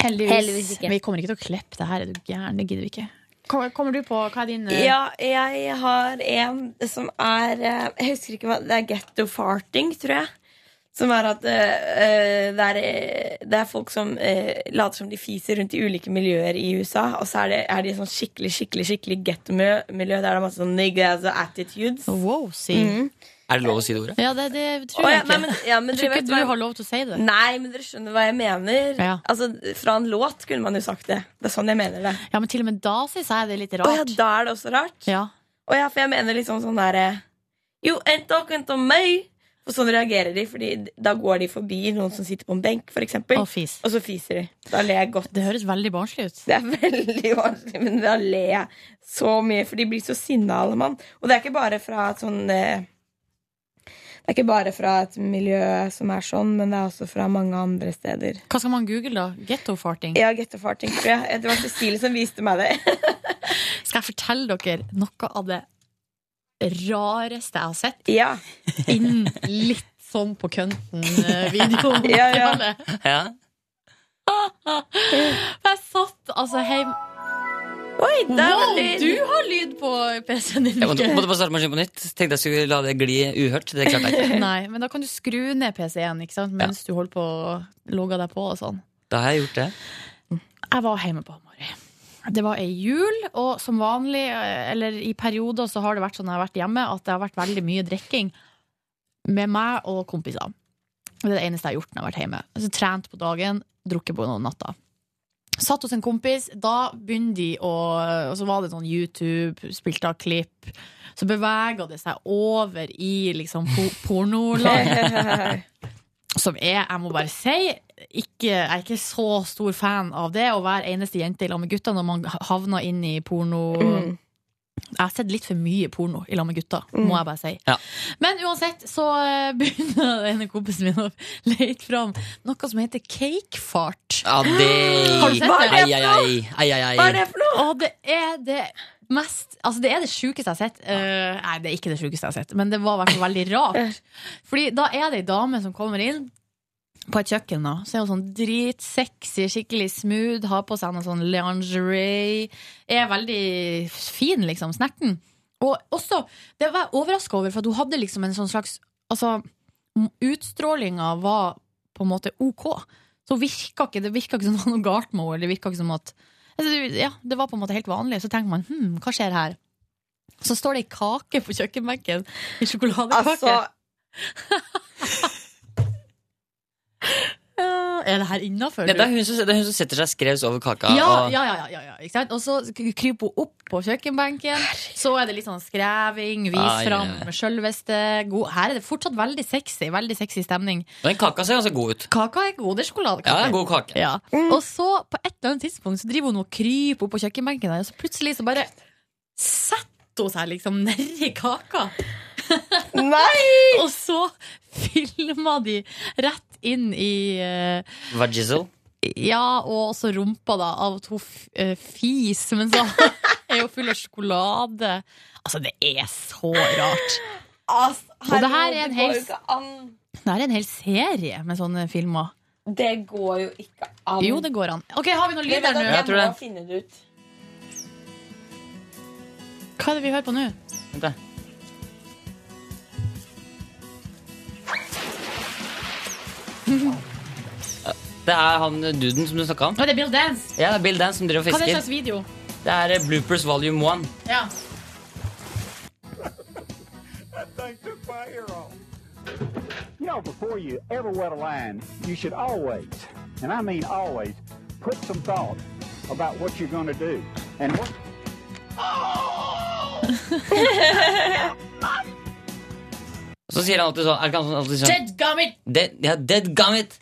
S2: Heldigvis.
S13: Heldigvis ikke.
S2: Vi kommer ikke til å klippe det her, er du gæren? Det gidder vi ikke. Kom- Kommer du på hva er din eh,
S13: Ja, jeg har en som er eh, Jeg husker ikke hva Det er Getto Farting, tror jeg. Som er at eh, eh, det, er, eh, det er folk som eh, later som de fiser rundt i ulike miljøer i USA. Og så er, det, er de i sånn skikkelig skikkelig, skikkelig gettomiljø. Der er det masse sånn niggas og attitudes.
S2: Wow, si.
S7: Er det lov å si det ordet?
S2: Ja, det, det tror
S13: Mm. Å, ja,
S2: jeg ikke.
S13: nei, men- ja, men
S2: jeg tror
S13: dere
S2: ikke
S13: vet
S2: du
S13: hva-
S2: har lov til å si det.
S13: Nei, men dere skjønner hva jeg mener. Altså, Fra en låt kunne man jo sagt det. Det er sånn jeg mener det.
S2: Ja, Men til og med da syns jeg det er litt
S13: Å
S2: rart.
S13: ja, da er det også rart?
S2: Ja.
S13: Å ja, for jeg mener liksom sånn derre You ain't talking to me! Og sånn reagerer de, Fordi da går de forbi noen som sitter på en benk, for eksempel.
S2: Og fis.
S13: Og så fiser de. Da ler jeg godt.
S2: Det høres veldig barnslig ut.
S13: Det er veldig barnslig, men da ler jeg så mye, for de blir så sinna, alle mann. Og det er ikke bare fra et sånn eh, Det er ikke bare fra et miljø som er sånn, men det er også fra mange andre steder.
S2: Hva skal man google, da? Gettofarting?
S13: Ja, gettofarting, tror jeg. Det var Cecilie som viste meg det.
S2: Skal jeg fortelle dere noe av det rareste jeg har sett?
S13: Ja.
S2: Innen litt sånn på eh, kønten-videoen.
S13: Ja, ja.
S7: Ja.
S2: Jeg satt altså hjem
S13: Oi,
S7: der var
S2: wow,
S7: lyd.
S2: du har lyd på PC-en din.
S7: Jeg måtte,
S2: Mikael.
S7: måtte bare starte maskinen på nytt. Tenkte jeg skulle la det gli uhørt. Det klarte jeg ikke.
S2: Nei, men da kan du skru ned PC-en ikke sant? mens du holder på å logge deg på og sånn.
S7: Da har jeg gjort det.
S2: Jeg var hjemme på Hamarøy. Det var ei jul, og som vanlig, eller i perioder, så har det vært sånn når jeg har vært hjemme, at det har vært veldig mye drikking med meg og kompiser. Det er det eneste jeg har gjort når jeg har vært hjemme. Så trent på dagen, drukket på noen natta. Satt hos en kompis, da begynner de å Og så var det sånn YouTube, spilte av klipp. Så bevega det seg over i liksom po pornoland. Som er, jeg må bare si ikke, Jeg er ikke så stor fan av det Å være eneste jente i lag med gutta Når man havner inn i porno Jeg har sett litt for mye porno I lag med gutta, må jeg bare si
S7: Ja.
S2: Men uansett så eh, begynner En av kompisene mine å lete fram Noe som heter cakefart
S7: Ja, Ah, det
S2: Har du sett det?
S7: Ai, ai, ai. ai, ai, ai.
S13: for noe?
S2: Og det er det mest Altså, det er det sjukeste jeg har sett. Eh, nei, det er ikke det sjukeste jeg har sett, men det var i hvert fall veldig rart. Fordi da er det ei dame som kommer inn på et kjøkken, da. Så er hun sånn dritsexy, skikkelig smooth, har på seg noe sånn lingerie. Er veldig fin, liksom. Snerten. Og også, det var jeg overraska over, for at hun hadde liksom en sånn slags Altså, utstrålinga var på en måte ok. Så virka ikke, det virka ikke som det var noe galt med henne. eller Det virka ikke som at altså, det- ja, Det var på en måte helt vanlig. Så tenker man hm, hva skjer her? Så står det ei kake på kjøkkenbenken. En sjokoladekake.
S13: Altså-
S2: Ja, er det her innafor?
S7: Det er hun som, det er hun som setter seg skrevs over kaka.
S2: Ja,
S7: og-
S2: ja, ja, ja, ja, ikke sant? Og så k- kryper hun opp på kjøkkenbenken. Så er det litt sånn skreving, vis
S7: Ai, ai,
S2: fram
S7: ai.
S2: med sjølveste. God. Her er det fortsatt veldig sexy. Veldig sexy stemning.
S7: Den kaka ser ganske god ut.
S2: Kaka er god, det er
S7: Ja, det er
S2: sjokoladekake.
S7: en god kake.
S2: Ja. Og så, på et eller annet tidspunkt, så driver hun og kryper opp på kjøkkenbenken der, og så plutselig så bare setter hun seg liksom nedi kaka.
S13: Nei!
S2: og så filma de rett inn i eh,
S7: Vagizzle.
S2: ja, og også rumpa da av to f eh, fis, men så er jo full av sjokolade. Altså, det er så rart.
S13: Altså,
S2: Og det her er
S13: herregud,
S2: en
S13: går jo
S2: hel-
S13: ikke an.
S2: Det her er en hel serie med sånne filmer.
S13: Det går jo ikke an.
S2: Jo, det går an. Ok, Har vi noe lyd der nå?
S13: Jeg, jeg må finne det ut.
S2: Hva er det vi hører på nå?
S7: Vent da. Det er han duden som du snakka om.
S2: Å, det er Bill Dance.
S7: Ja, det er Bill Dance som driver og
S2: Hva er det
S7: fisker.
S2: slags video?
S7: Det er eh, Bloopers volume 1.
S2: Ja.
S5: You know, before you ever wet a line, you should always, and I mean always, put some thought about what you're going to do. And what.
S7: Og så sier han alltid sånn, er det ikke han som alltid sier sånn
S2: Dead Gummit!
S7: Dead, ja, dead gummit!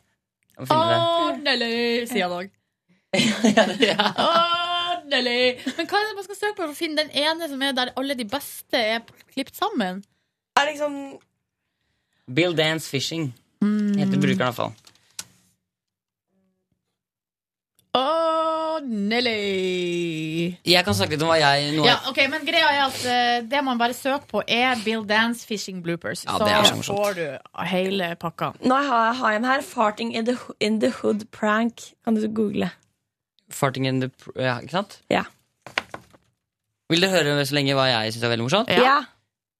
S7: Jeg må finne det.
S2: Ordentlig, sier han òg. Ordentlig! Men hva er det man skal søke på for å finne den ene som er der alle de beste er klippet sammen?
S13: Er liksom
S7: Bill Dance Fishing heter brukeren i hvert fall.
S2: Ordentlig!
S7: Jeg kan snakke litt om hva jeg nå
S2: Ja, ok, men greia er at eh, Det man bare søker på, er Bill Dance Fishing Bloopers.
S7: Ja, det er så morsomt.
S2: får du hele pakka.
S13: Nå har jeg har jeg en her. Farting in the, ho- in the hood prank. Kan du google?
S7: Farting in the pr- ja, Ikke sant?
S13: Ja.
S7: Vil dere høre så lenge hva jeg syns er veldig morsomt?
S13: Ja.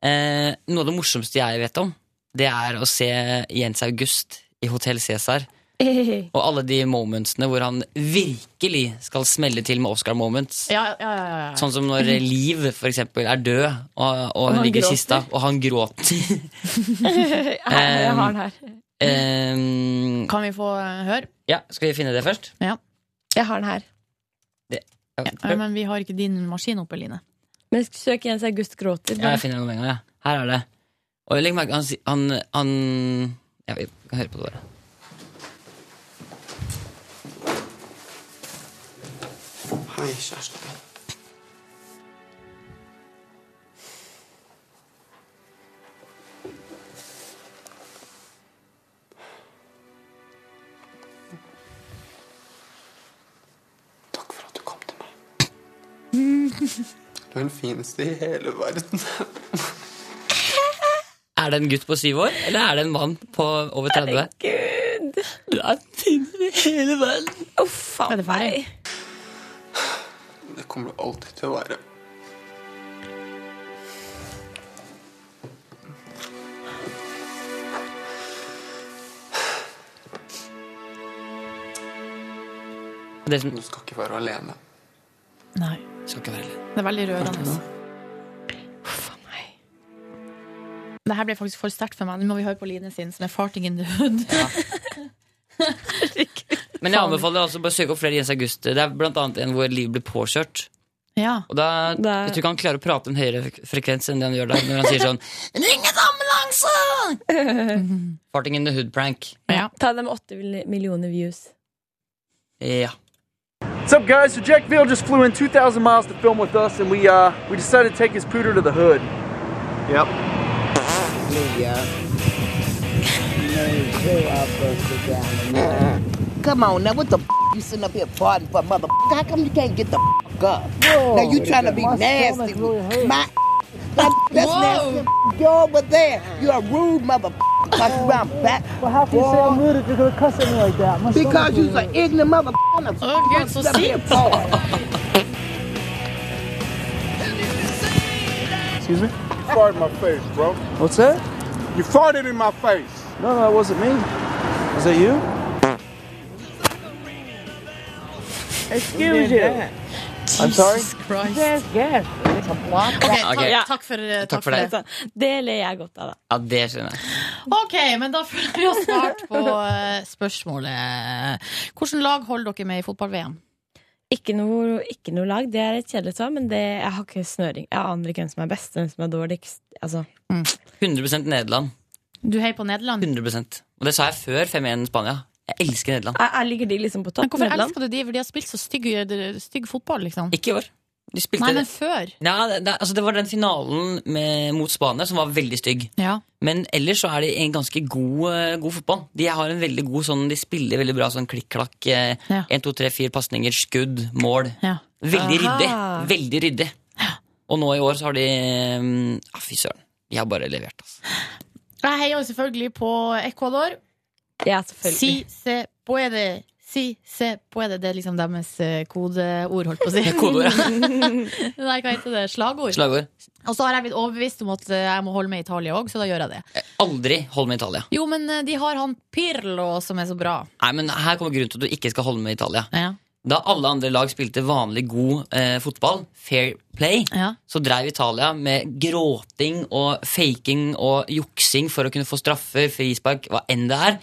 S7: Eh, noe av det morsomste jeg vet om, det er å se Jens August i Hotell Cæsar. Og alle de momentsene hvor han virkelig skal smelle til med Oscar-moments.
S2: Ja, ja, ja, ja.
S7: Sånn som når Liv for eksempel, er død, og, og hun
S2: han
S7: ligger i
S2: gråter.
S7: kista, og han gråter.
S2: jeg har den her.
S7: Ehm,
S2: Kan vi få eh, høre?
S7: ja, skal vi finne det først?
S2: Ja.
S13: Jeg har den her.
S7: Det,
S2: Eh, Men vi har ikke din maskin oppe, Line.
S13: Men søk Jens August gråter.
S7: Ja, jeg finner den med en gang. Ja. Her er det. Og legg merke han, si- han, han Ja, vi kan høre på det bare.
S14: Hei, kjæresten min. Du er den fineste i hele verden.
S7: Er det en gutt på syv år, eller er det en mann på over 30?
S13: Herregud!
S7: Du er finner i hele verden.
S13: Uff a meg.
S14: Det kommer du alltid til å være. Du skal ikke være alene.
S2: Nei.
S7: Skal ikke være alene.
S2: Det er veldig rørende. Det her ble faktisk for sterkt for meg. Nå må vi høre på Line sin, som er 'Farting in the Hood'.
S7: Men jeg anbefaler altså bare å søke opp flere Jens August. Det er blant annet en hvor livet blir påkjørt.
S2: Ja.
S7: Og da, Jeg tror ikke han klarer å prate en høyere fre- frekvens enn det han gjør der, når han sier sånn Ring et ambulanse! Farting in the hood prank.
S13: Ta dem åtte millioner views.
S7: Ja.
S15: What's up, guys? So Jack Veal just flew in 2,000 miles to film with us, and we uh, we decided to take his pooter to the hood. Yep.
S16: Come on now, what the f- you sitting up here partying for, mother? f- How come you can't get the f- up? now you trying to be
S17: My
S16: nasty?
S17: stomach really hurts.
S16: My that, that's nasty, f- you over there. You're a rude mother. f- Cause you around back. Well, how
S17: can you say I'm rude if you're gonna cuss at me like that? My
S16: Because
S17: stomach
S16: you're
S17: really
S16: an ignorant mother. Oh,
S2: you're so sick.
S11: Excuse me? Farted in my face, bro.
S15: What's that?
S11: You farted in my face.
S15: No, no, that wasn't me. Was that you?
S17: Excuse you.
S15: I'm sorry.
S13: Yes, yes.
S7: takk- Ok.
S2: takk for, eh,
S7: Takk takk for for det. det.
S13: Det ler jeg godt av, da.
S7: Ja, det skjønner jeg.
S2: Ok, men da føler vi oss svart på eh, spørsmålet. Hvilket lag holder dere med i fotball-VM?
S13: Ikke noe, ikke noe lag. Det er et kjedelig svar, men det, jeg har ikke snøring. Jeg aner ikke hvem som er best, hvem som er dårligst. Altså.
S7: 100 Nederland.
S2: Du heier på Nederland?
S7: 100 Og det sa jeg før 5-1 Spania. Jeg elsker Nederland.
S13: Jeg, jeg ligger de liksom på topp.
S2: Men hvorfor
S13: Nederland?
S2: elsker du de? For de har spilt så stygg, stygg fotball, liksom.
S7: Ikke i år. De spilte
S2: Nei, men før.
S7: Nei, det, det, altså det var den finalen med, mot Spania som var veldig stygg.
S2: Ja.
S7: Men ellers så er de en ganske god, eh, god fotball. De har en veldig god sånn, de spiller veldig bra sånn klikk-klakk. eh,
S2: Ja.
S7: En, to, tre, fire pasninger, skudd, mål.
S2: Ja.
S7: Veldig
S2: Aha.
S7: ryddig. Veldig ryddig. Og nå i år så har de eh, ah, Fy søren. De har bare levert, altså.
S2: Jeg heier jo selvfølgelig på Ecuador.
S13: Ja,
S2: Si se puede. Si se puede. Det er liksom deres eh, kodeord, holdt på å si.
S7: Kodeord, ja.
S2: Nei, hva heter det? Slagord.
S7: Slagord.
S2: Og så har jeg blitt overbevist om at eh, jeg må holde med Italia òg, så da gjør jeg det.
S7: Aldri hold med Italia.
S2: Jo, men eh, de har han Pirlo som er så bra.
S7: Nei, men Her kommer grunnen til at du ikke skal holde med Italia.
S2: Ja.
S7: Da alle andre lag spilte vanlig god eh, fotball, fair play, så dreiv Italia med gråting og faking og juksing for å kunne få straffer, frispark, hva enn det er.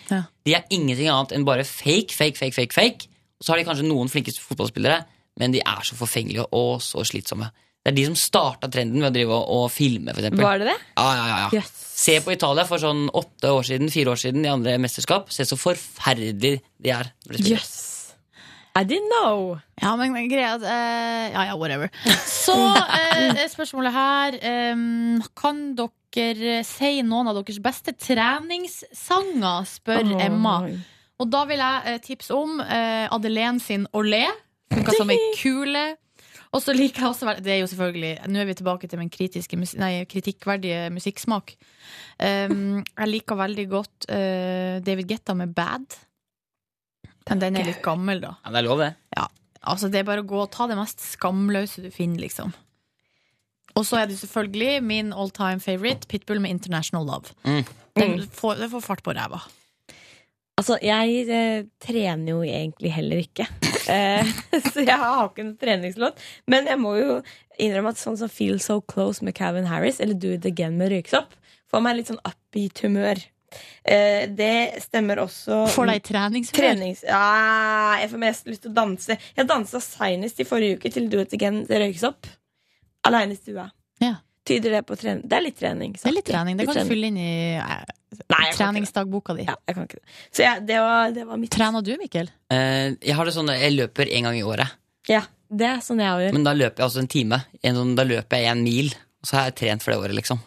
S7: De er ingenting annet enn bare fake, fake, fake, fake. fake. Og så har de kanskje noen flinke fotballspillere, men de er så forfengelige og så slitsomme. Det er de som starta trenden med å drive og, og filme, for eksempel.
S13: Var det det?
S7: Ja, ja, ja, ja. Se på Italia for sånn åtte år siden, fire år siden, i andre mesterskap. Se så forferdelig de er. når de spiller.
S13: I didn't know.
S2: Ja, men greia er at, eh, Ja, ja, whatever. Så eh, er spørsmålet her eh, Kan dere si noen av deres beste treningssanger, spør
S13: Oi.
S2: Emma. Og da vil jeg eh, tipse om eh, Adelén sin Olé. Funka som ei kule. Og så liker jeg også vel- Det er jo selvfølgelig Nå er vi tilbake til min kritiske, mus- nei, kritikkverdige musikksmak. Um, jeg liker veldig godt eh, David Getta med Bad. Men den er litt gammel, da.
S7: Ja, det er lov, det.
S2: Altså, det er bare å gå og ta det mest skamløse du finner, liksom. Og så er det selvfølgelig min all time favorite, Pitbull med International Love.
S7: Mm.
S2: Den får, den får fart på ræva.
S13: Altså, jeg eh, trener jo egentlig heller ikke. Eh, så jeg har ikke noen treningslåt. Men jeg må jo innrømme at sånn som Feel So Close med Calvin Harris eller Do It Again med Røyksopp får meg litt sånn upbeat humør. Eh, det stemmer også
S2: Får deg i treningshumør?
S13: Trenings, ja, jeg får mest lyst til å danse. Jeg dansa seinest i forrige uke til Do It Again med Røyksopp. Aleine i stua. Tyder det på trening? Det er litt trening. sant?
S2: Det er litt trening. Det
S13: Litt
S2: kan du
S13: trening.
S2: fylle inn i eh,
S13: Nei, jeg kan
S2: treningsdagboka di.
S13: Ja, jeg kan ikke det. Så jeg, det, var, det var mitt
S2: Trener du, Mikkel?
S7: Eh, jeg har det sånn, jeg løper en gang i året.
S13: Ja, det er sånn jeg gjør.
S7: Men da løper jeg også en time. En sånn, da løper jeg en mil. Og så har jeg trent for det året, liksom.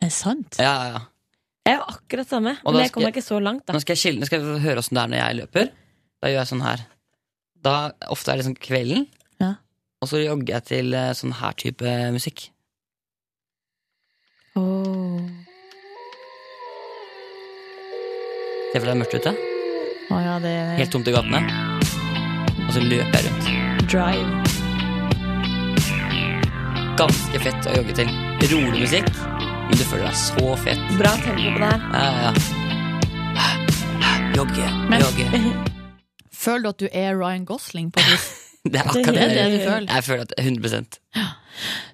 S2: Er det sant?
S7: Ja, ja, ja.
S13: Jeg er jo akkurat samme,
S7: Og da
S13: men jeg
S7: skal-
S13: kommer ikke så langt. da
S7: Nå skal jeg, skille, nå skal jeg høre åssen det er når jeg løper. Da gjør jeg sånn her. Da, ofte er det sånn kvelden,
S2: Ja.
S7: og så jogger jeg til eh, sånn her type musikk. Se for deg det er mørkt ute.
S2: Å ja, det er
S7: Helt tomt i gatene. Og så løper jeg rundt.
S13: Drive.
S7: Ganske fett å jogge til. Rolig musikk, men du føler deg så fet.
S13: Bra tempo på det her.
S7: Ja, ja, ja. Jogge,
S2: Men-
S7: jogge.
S2: Føler du at du er Ryan Gosling på et vis?
S7: Det er akkurat det,
S2: Det er det du føler.
S7: Jeg føler at 100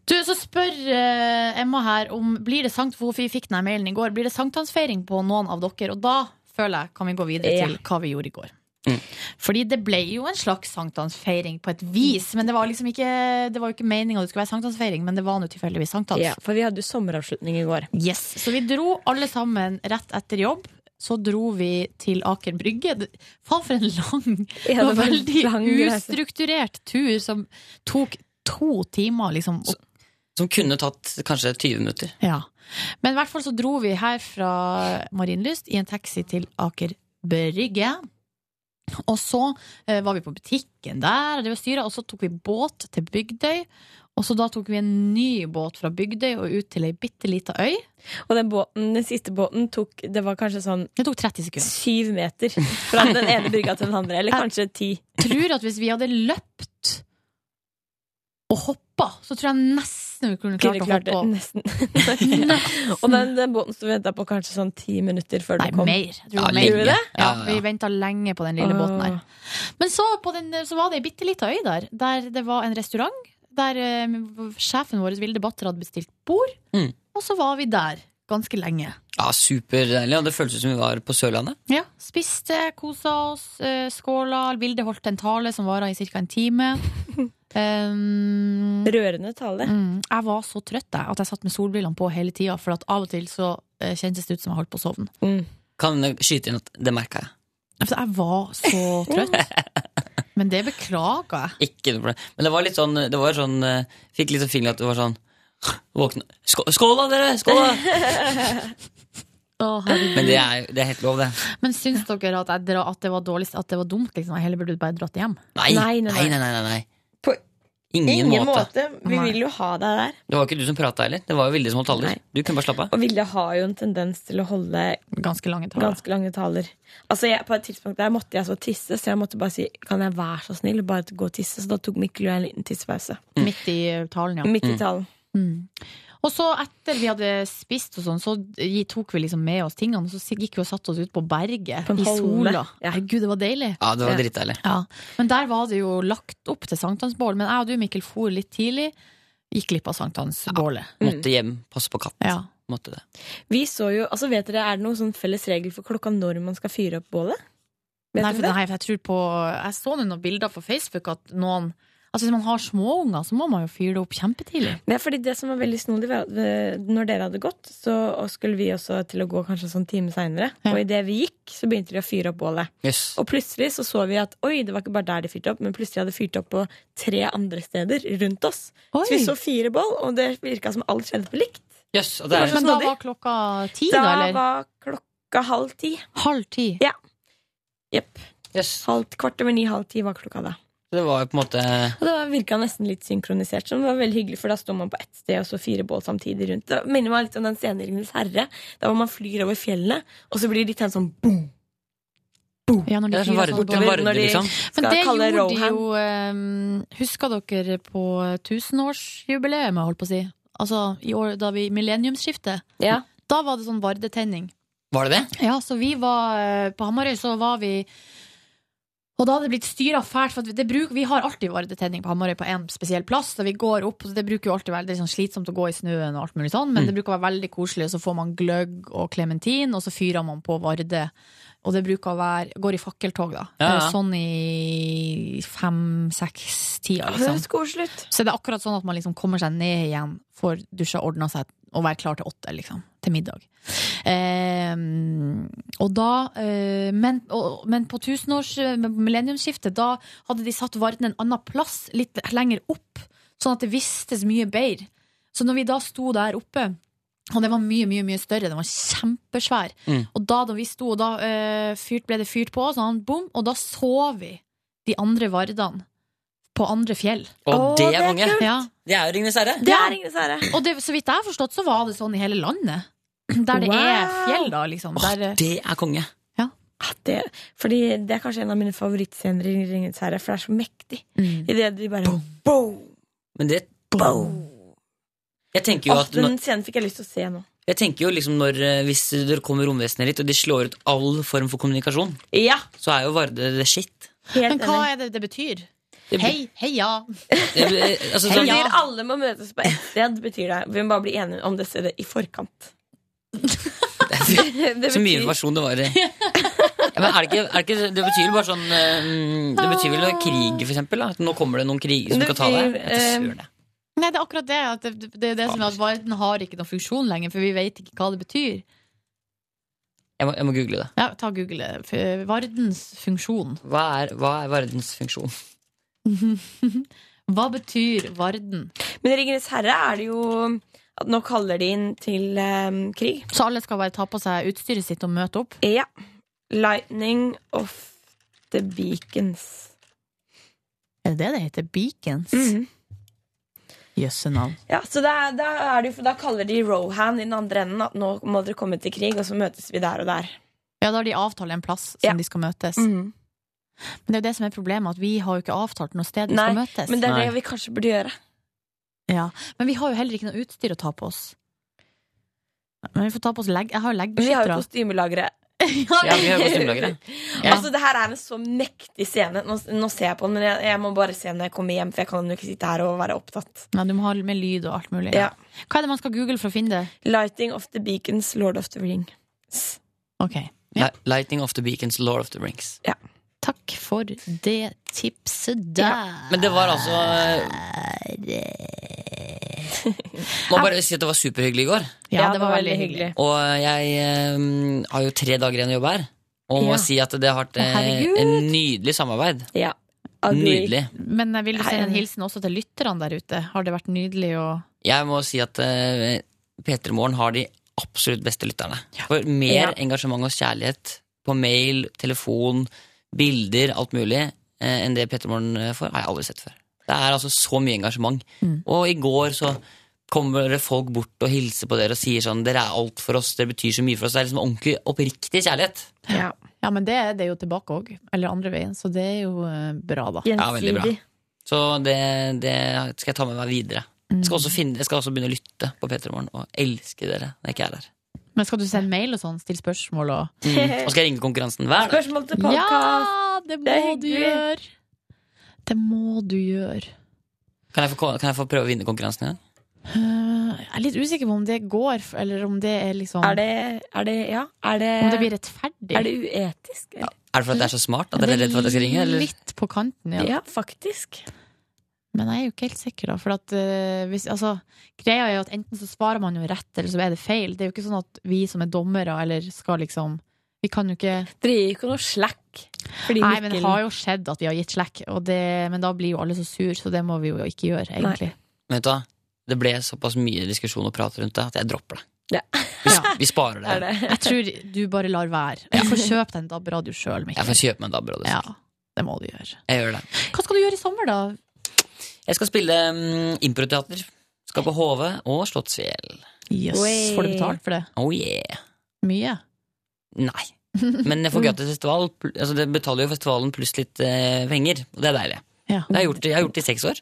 S2: Du, så spør eh, Emma her om blir det sankt, for vi fikk denne mailen i går, blir det sankthansfeiring på noen av dere? Og da føler jeg kan vi gå videre
S7: Ja.
S2: til hva vi gjorde i går.
S7: Mm.
S2: Fordi det ble jo en slags sankthansfeiring på et vis, men det var liksom ikke, det var jo ikke meninga det skulle være sankthansfeiring, men det var nå tilfeldigvis sankthans.
S13: Ja, for vi hadde jo sommeravslutning i går.
S2: Yes. Så vi dro alle sammen rett etter jobb. Så dro vi til Aker Brygge. Det- Faen, for en lang
S13: Ja,
S2: og
S13: det var en
S2: veldig
S13: lang reise.
S2: ustrukturert tur som tok to timer, liksom. å
S7: Som kunne tatt kanskje 20 minutter.
S2: ja. Men i hvert fall så dro vi her fra Marienlyst i en taxi til Aker Brygge. Og så eh, var vi på butikken der, og det var styret, og så tok vi båt til Bygdøy. Og så da tok vi en ny båt fra Bygdøy og ut til ei bitte lita øy.
S13: Og den, båten, den siste båten tok Det var kanskje sånn
S2: Det tok 30 sekunder.
S13: Syv meter fra den ene brygga til den andre. Eller kanskje ti.
S2: tror at hvis vi hadde løpt og hoppa, så tror jeg nesten vi kunne klart
S13: Kunne
S2: å
S13: klart det,
S2: hoppe opp.
S13: nesten. Og den, den båten sto og venta på kanskje sånn ti minutter før
S2: Nei,
S13: den kom.
S2: mer. Jeg tror det var mer.
S13: Gjorde vi det?
S2: Ja, Vi venta lenge på den lille båten her. Men så, på den, så var det ei bitte lita øy der, der det var en restaurant. Der eh, sjefen vår, Vilde Batter, hadde bestilt bord.
S7: Mm.
S2: Og så var vi der ganske lenge.
S7: Ja, Superdeilig. og Det føltes som vi var på Sørlandet.
S2: Ja, Spiste, kosa oss, eh, skåla. Vilde holdt en tale som vara i ca. en time. Um,
S13: Rørende tale.
S2: Mm, jeg var så trøtt jeg, at jeg satt med solbrillene på hele tida, for at av og til så eh, kjentes det ut som jeg holdt på å sovne.
S7: Kan jeg skyte inn at det merka jeg.
S2: For jeg var så trøtt. Men det beklager jeg.
S7: Ikke noe problem. Men det var litt sånn, det var sånn eh, Fikk litt sånn feeling at det var sånn Våkne Skå- Skål, da, dere! Skål! da!
S2: Å, herregud.
S7: Men det er, det er helt lov, det.
S2: Men syns dere at, jeg dra, at det var dårlig, at det var dumt? Liksom? Jeg heller burde bare dratt hjem.
S7: Nei, nei, nei. nei, nei, nei.
S13: På
S7: ingen,
S13: Ingen
S7: måte.
S13: måte. Vi vil jo ha deg der.
S7: Det var ikke du som prata heller. Det var jo Vilde som holdt taler. Du kunne bare slappe av.
S13: Og Vilde har jo en tendens til å holde
S2: ganske lange
S7: taler.
S13: Ganske lange taler. Altså jeg, på et tidspunkt der måtte jeg så tisse, så jeg måtte bare si Kan jeg være så snill bare gå og tisse? Så da tok Mikkel og jeg en liten tissepause.
S2: Midt i eh, talen, ja.
S13: Midt i talen.
S2: Og så etter vi hadde spist og sånn, så gi- tok vi liksom med oss tingene, og så gikk vi og satte oss ut på berget
S13: På en
S2: i
S13: holme.
S2: sola. Herregud, det var deilig.
S7: Ja, det var dritdeilig.
S2: Ja. Men der var det jo lagt opp til sankthansbål. Men jeg og du, Mikkel, for litt tidlig. Gikk glipp av sankthansbålet.
S13: Mm.
S7: Måtte hjem, passe på katt. Måtte det.
S13: Vi så jo Altså, vet dere, er det noen sånn felles regel for klokka når man skal fyre opp bålet? Vet
S2: Nei,
S13: dere
S2: for,
S13: det?
S2: nei, for jeg tror på Jeg så nå noen bilder på Facebook at noen Altså Hvis man har småunger, så må man jo fyre det opp kjempetidlig.
S13: Nei, fordi det som var veldig snodig var at eh, Når dere hadde gått, så skulle vi også til å gå kanskje en sånn time seinere.
S2: Ja.
S13: Og idet vi gikk, så begynte de å fyre opp bålet.
S7: Yes.
S13: Og plutselig så så vi at oi, det var ikke bare der de fyrte opp, men plutselig hadde de fyrt opp på tre andre steder rundt oss.
S2: Oi.
S13: Så vi så fire bål, og det virka som alt skjedde på likt.
S7: Yes, og det er,
S2: Men da var klokka ti, da? eller?
S13: var klokka halv ti.
S2: Halv ti?
S13: Ja. Jepp.
S7: Yes.
S13: Halvt kvart over ni, halv ti var klokka da.
S7: det var jo på en måte
S13: Og det var- virka nesten litt synkronisert, som var veldig hyggelig, for da står man på ett sted og så fire bål samtidig rundt. Det minner meg litt om den scenen i Ringenes herre, der hvor man flyr over fjellene, og så blir det litt en sånn boom.
S2: Ja, når de
S13: Det er sånn
S2: fyrer
S13: varde-
S2: sånn bål.
S13: det varder, Når de liksom.
S2: Men
S13: skal
S2: det
S13: kalle
S2: gjorde de ehm,
S13: Rohan.
S2: jo eh, Husker dere på tusenårsjubileet, holdt på å si? altså i år, da vi millenniumsskiftet, da var det sånn vardetenning.
S7: Var det det?
S2: Ja, så vi var eh, på Hamarøy, så var vi Og da hadde det blitt styra fælt, for at det bruk, vi har alltid vardetenning på Hamarøy på én spesiell plass. Så vi går opp, så det bruker jo alltid være det er sånn slitsomt å gå i snøen og alt mulig sånn, men
S9: Mm.
S2: det bruker å være veldig koselig, og så får man gløgg og klementin, og så fyrer man på varde. Og det bruker å være Går i fakkeltog, da.
S9: Ja, ja.
S2: Eh, Sånn i fem-seks-tida, liksom.
S9: Høres koselig ut.
S2: Så det er akkurat sånn at man liksom kommer seg ned igjen, får dusja, ordna seg og være klar til åtte, liksom. Til middag. Eh, og da eh, men, og, men på tusenårs eh, millenniumsskiftet, da hadde de satt varden en annen plass, litt lenger opp, sånn at det vistes mye bedre. Så når vi da sto der oppe og den var mye, mye mye større. Den var kjempesvær.
S9: Mm.
S2: Og da, da vi sto, da eh, fyrt, ble det fyrt på, så han bom, og da så vi de andre vardene på andre fjell.
S7: Og det er konge.
S2: Ja.
S7: Det er jo Ringenes herre.
S2: Og det, så vidt jeg har forstått, så var det sånn i hele landet. Der det er
S13: Wow.
S2: fjell, da, liksom. Der,
S7: Det er konge.
S13: At Ah, det, fordi det er kanskje en av mine favorittscener i Ringenes herre, for det er så mektig.
S2: Mm.
S13: I det de bare boom!
S7: Men det Jeg tenker jo
S13: Åh,
S7: at
S13: Ah, Den scenen fikk jeg lyst til å se nå.
S7: Jeg tenker jo liksom når, eh, Hvis det kommer romvesener hit, og de slår ut all form for kommunikasjon, så er jo Varde det shit.
S2: eh, men hva er det det betyr?
S7: Det be-
S2: Hei, heia.
S7: Det- det- altså, sånn-
S13: Heia. alle må møtes på ett sted, betyr det. Vi må bare bli enige om det stedet i forkant. det
S7: Så mye
S13: betyr-
S7: informasjon det var i. Ja, men er det, ikke, er det, ikke, det betyr vel bare sånn eh, Det betyr vel krig, for eksempel? Da. At nå kommer det noen kriger som
S2: Ah. Det
S7: skal ta deg?
S2: betyr, eh,
S7: Jeg vet ikke, søren, jeg.
S2: Nei, det er akkurat det. At det, det, det er det som er at verden har ikke noen funksjon lenger, for vi vet ikke hva det betyr.
S7: Jeg må, jeg må google det.
S2: Ja, ta og Google det. F- Vardens funksjon.
S7: Hva er, hva er verdens funksjon?
S2: Hva betyr Varden?
S13: Men i Ringenes herre er det jo at nå kaller de inn til eh, krig.
S2: Så alle skal bare ta på seg utstyret sitt og møte opp?
S13: Ja. Lightning of the beacons.
S2: Er det det det heter? Beacons? Jøsse navn.
S13: Ja, så da, da, er det, jo- da kaller de Rohan i den andre enden at nå må dere komme til krig, og så møtes vi der og der.
S2: Ja, da har de avtalt en plass som de skal møtes. Men det er jo det som er problemet, at vi har jo ikke avtalt noe sted vi
S13: Nei,
S2: skal møtes.
S13: men det er det vi kanskje burde gjøre.
S2: Ja, Men vi har jo heller ikke noe utstyr å ta på oss. Men vi får ta på oss legg... Jeg har jo
S13: Vi har jo
S2: leggbeskyttere.
S13: kostymelagre.
S2: Ja, vi har kostymelagre. Ja.
S13: Altså, det her er en så mektig scene. Nå, nå ser jeg på den, men jeg, jeg må bare se når jeg kommer hjem, for jeg kan jo ikke sitte her og være opptatt.
S2: Nei, du må ha med lyd og alt mulig.
S13: Ja.
S2: Hva er det man skal google for å finne det?
S13: Lighting of the beacons, Lord of the Ring.
S7: Li- Lightning of the Beacons, Lord of the Rings.
S2: Takk for det tipset der.
S7: Men det var altså Må bare si at det var superhyggelig i går.
S2: Ja, det var veldig hyggelig.
S7: Og jeg eh, har jo tre dager igjen å jobbe her. Og må
S2: Ja.
S7: si at det har vært eh,
S2: herregud.
S7: en nydelig samarbeid.
S13: Ja.
S7: Nydelig.
S2: Men jeg vil jo
S7: Jeg er
S2: sende en
S7: enig.
S2: hilsen også til lytterne der ute. Har det vært nydelig å
S7: Jeg må si at eh, P3 Morgen har de absolutt beste lytterne. For mer
S2: Ja.
S7: engasjement og kjærlighet på mail, telefon, bilder, alt mulig, eh, enn det P3 Morgen får, har jeg aldri sett før. Det er altså så mye engasjement.
S2: Mm.
S7: Og i går så kommer det folk bort og hilser på dere og sier sånn Dere er alt for oss, dere betyr så mye for oss. Det er liksom ordentlig, oppriktig kjærlighet.
S2: Ja, men det, er det jo tilbake òg. Eller andre veien, så det er jo eh, bra, da.
S7: Ja, veldig bra. Så det, det skal jeg ta med meg videre. Jeg
S2: Mm.
S7: skal også, finne, jeg skal også begynne å lytte på P3 Morgen og elske dere når jeg ikke er der.
S2: Men skal du sende mail og sånn? Stille spørsmål og
S7: Mm. Og skal jeg ringe konkurransen hver dag.
S13: Spørsmål til
S2: Ja,
S13: podcast.
S2: det må
S13: Det er
S2: du
S13: hyggelig.
S2: gjøre! Det må du gjøre.
S7: Kan jeg, få, kan jeg få prøve å vinne konkurransen igjen?
S2: Eh, jeg er litt usikker på om det går, eller om det er liksom
S13: Er det, er det Ja, er det
S2: Om det blir rettferdig.
S13: Er det uetisk? eller?
S7: Er det fordi jeg er så smart at dere er redd for at jeg skal ringe? Eller?
S2: Litt på kanten, ja.
S13: Ja, faktisk.
S2: Men jeg er jo ikke helt sikker, da. For at, eh, hvis, altså, greia er jo at enten så svarer man jo rett, eller så er det feil. Det er jo ikke sånn at vi som er dommere, eller skal liksom Vi kan jo ikke
S13: Dere gir jo ikke noe slack. fordi
S2: Nei, men det
S13: Mikkel-
S2: har jo skjedd at vi har gitt slekk, og det, men da blir jo alle så sur, så det må vi jo ikke gjøre, egentlig.
S7: Men Vet du hva? Det ble såpass mye diskusjon og prat rundt det at jeg dropper
S13: Ja.
S7: det. Vi, vi sparer det.
S2: Jeg tror du bare lar være. Du får kjøpe deg en DAB-radio sjøl,
S7: Jeg
S2: Mikkel.
S7: får kjøpe meg en DAB-radio.
S2: Ja, det må du gjøre.
S7: Jeg gjør det.
S2: Hva skal du gjøre i sommer, da?
S7: Jeg skal spille um, improteater. Skal på HV og Slottsfjell.
S2: Jøss,
S7: Oi.
S2: får du betalt for det?
S7: Oh yeah.
S2: Mye?
S7: Nei. Men jeg får gratis festival. pl- Altså, det betaler jo festivalen pluss litt eh, penger, og det er deilig.
S2: Ja.
S7: Det har jeg gjort, jeg har gjort det i seks år.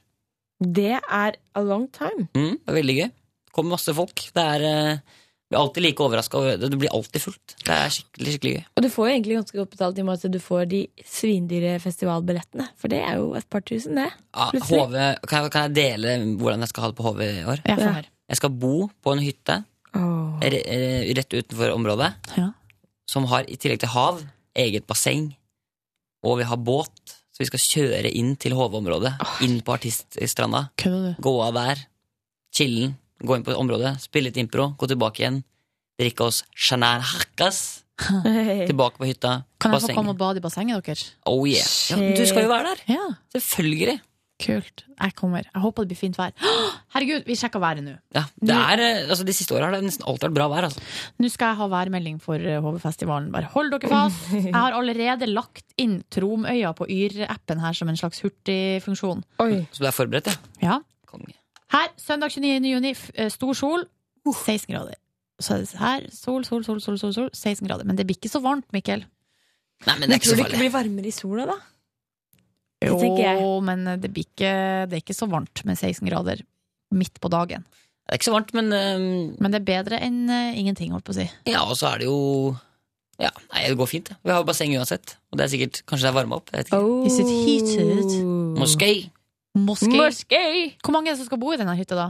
S13: Det er a long time.
S7: Mm, det var veldig gøy. kommer masse folk. Det er eh, du blir alltid like overraska. Du blir alltid fullt. Det er skikkelig skikkelig gøy.
S13: Og du får jo egentlig ganske godt betalt i og med at du får de svindyre festivalbillettene. For det er jo et par tusen, det.
S7: Ja,
S13: Plutselig.
S7: HV, Ah, kan, jeg, kan jeg dele hvordan jeg skal ha det på HV i år?
S13: Ja, få høre.
S7: Jeg skal bo på en hytte
S13: Åh.
S7: re- eh, rett utenfor området som har i tillegg til hav eget basseng. Og vi har båt, så vi skal kjøre inn til HV-området.
S2: Ah.
S7: Inn på artiststranda. Gå av der. Chillen. Gå inn på området, spille litt impro, gå tilbake igjen. Drikke oss shanarhakas. Tilbake på hytta.
S2: Kan jeg få
S7: basseng.
S2: komme og bade i bassenget deres?
S7: Oh yeah. Ja, du skal jo være der.
S2: Ja.
S7: Selvfølgelig.
S2: Kult. Jeg kommer. Jeg håper det blir fint vær. Herregud, vi sjekker været nå.
S7: Ja, det er, eh, altså, de siste åra har det nesten alltid vært bra vær. Altså.
S2: Nå skal jeg ha værmelding for eh, HV-festivalen. Bare hold dere fast. Jeg har allerede lagt inn Tromøya på Yr-appen her som en slags hurtigfunksjon.
S7: Så du er forberedt, ja?
S2: Ja. Her, søndag 29. juni, f- eh, stor sol, 16 grader. Så er det her, sol, sol, sol, sol, sol, sol 16 grader. Men det blir ikke så varmt, Mikkel.
S7: Nei,
S13: Men tror du ikke blir varmere i sola, da? Det tenker jeg.
S2: Jo, men eh, det, blir ikke, det er ikke så varmt med 16 grader midt på dagen.
S7: Det er ikke så varmt, men
S2: Men det er bedre enn eh, ingenting, holdt på å si.
S7: Ja, og så er det jo Ja, nei, det går fint. det. Vi har jo basseng uansett. Og det er sikkert Kanskje det er varma opp. Jeg vet ikke.
S13: Oh.
S2: Is it heated?
S7: Moskei.
S2: Moskei. Hvor mange er det som skal bo i denne hytta, da?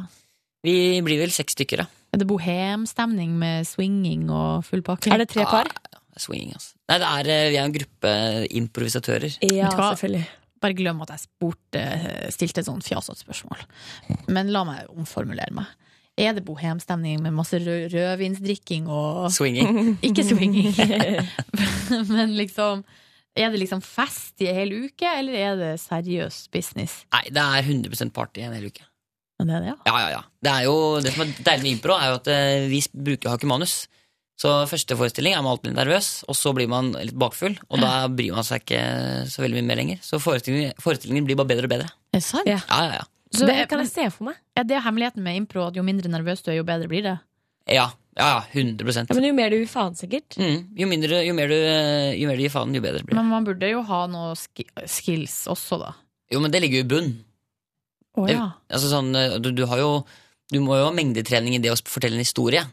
S7: Vi blir vel seks stykker, da.
S2: Er det bohemstemning med swinging og full pakke?
S7: Er det tre par? Swinging, altså. Nei, det er, eh, vi er en gruppe improvisatører.
S2: Vet du hva? Bare glem at jeg spurte, stilte et sånn fjasete spørsmål. Men la meg omformulere meg. Er det bohemstemning med masse rød, rødvinsdrikking og
S7: Swinging.
S2: Ikke swinging. Men liksom Er det liksom fest i en hel uke, eller er det seriøs business?
S7: Nei, det er 100 party en hel uke.
S2: Ja, Det er det, ja.
S7: Ja, ja, ja. Det, er jo, det som er deilig med impro, er jo at eh, vi bruker, har ikke manus. Så første forestilling er man alltid litt nervøs, og så blir man litt bakfull. Og da bryr man seg ikke så veldig mye mer lenger. Så forestillingen, forestillingen blir bare bedre og bedre.
S2: Er det sant?
S7: Ja, ja, ja.
S2: Så
S13: det
S2: er-
S13: kan jeg se for meg.
S2: Er det hemmeligheten med impro at jo mindre nervøs du er, jo bedre blir det?
S7: Ja, ja, ja 100
S13: Ja, men jo mer du gir faen, sikkert.
S7: mm, jo, mindre, jo, mer du, jo mer du gir faen, jo bedre blir det.
S2: Men man burde jo ha noe ski skills også, da.
S7: Jo, men det ligger jo i bunn.
S2: Å
S7: Det-
S2: ja.
S7: Altså sånn, eh, du, du har jo Du må jo ha mengdetrening i det å sp- fortelle en historie.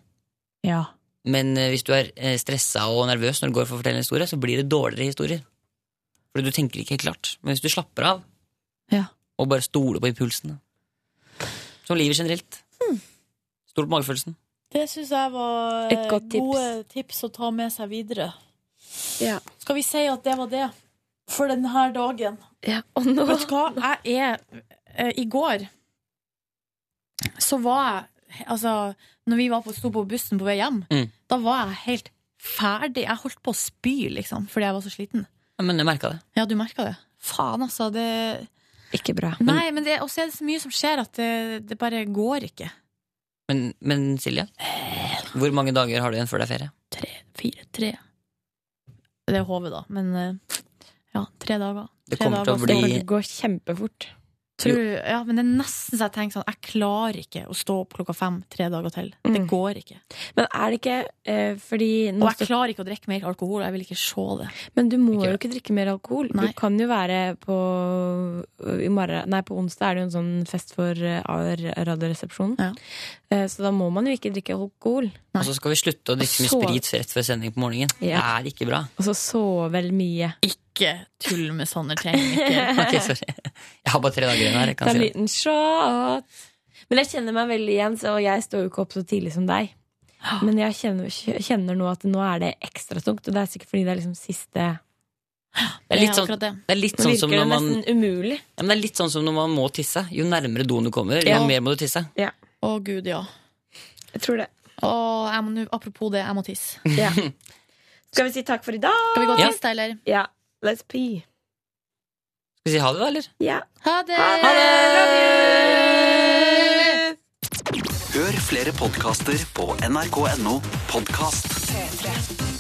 S2: ja.
S7: Men eh, hvis du er eh, stressa og nervøs når du går for å fortelle en historie, så blir det dårligere historier. Fordi du tenker ikke helt klart. Men hvis du slapper av,
S2: Ja.
S7: og bare stoler på impulsene Som livet generelt. Stol på magefølelsen.
S18: Det syns jeg var
S7: Et godt tips.
S18: gode tips å ta med seg videre.
S13: Ja.
S18: Skal vi si at det var det for denne dagen? Vet du hva? Jeg er eh, I går så var jeg Altså, når vi var på, sto på bussen på vei hjem,
S7: Mm.
S18: da var jeg helt ferdig. Jeg holdt på å spy, liksom, fordi jeg var så sliten.
S7: Ja, men jeg merka det.
S18: Ja, du merka det. Faen, altså. Det
S13: Ikke bra.
S18: Nei, men det, også er det så mye som skjer at det, det bare går ikke.
S7: Men, men Silje, hvor mange dager har du igjen før det er ferie?
S2: Fire, tre. Det er HV, da. Men eh, ja, tre dager.
S7: Det
S2: Tre
S7: kommer til å
S2: dager,
S7: bli-
S2: så-
S7: Det
S13: går kjempefort.
S2: Tror, ja, men det er nesten så jeg tenker sånn Jeg klarer ikke å stå opp klokka fem tre dager til. Det går ikke.
S13: Men er det ikke eh, fordi
S2: Og jeg klarer ikke å drikke mer alkohol. Jeg vil ikke se det.
S13: Men du må jo ikke drikke mer alkohol.
S2: Nei.
S13: Du kan jo være på i morgen, Nei, på onsdag er det jo en sånn fest for eh, AR Radioresepsjonen. Eh, Så da må man jo ikke drikke alkohol.
S7: Og så Altså, skal vi slutte å drikke mye
S13: Så-
S7: sprit rett før sending på morgenen. Det
S13: Ja.
S7: er ikke bra.
S13: Og så sove mye.
S2: Ikke tull med sånne ting.
S7: Ok, sorry. Jeg har bare tre dager igjen her. Jeg
S13: Ta
S7: kan
S13: en
S7: si det.
S13: liten shot. Men jeg kjenner meg veldig igjen, så jeg står jo ikke opp så tidlig som deg.
S7: Ah.
S13: Men jeg kjenner, kjenner nå at nå er det ekstra tungt, og det er sikkert fordi det er liksom siste
S7: Det er litt sånn, det er litt sånn som når man
S13: virker det nesten umulig.
S7: Ja, men det er litt sånn som når man må tisse. Jo nærmere doen du kommer, jo
S2: Ja.
S7: mer må du tisse.
S2: Å, gud, ja.
S13: Jeg tror det.
S2: Og jeg må, nå- apropos det, jeg må tisse.
S13: Skal vi si takk for i dag?
S2: Skal vi gå og
S7: Ja.
S2: tisse, da, eller?
S13: Ja. Let's pee.
S7: Skal vi si ha det, da, eller?
S13: Ja.
S2: Ha det!
S19: Hør flere podkaster på nrk.no podkast.
S10: 3-3.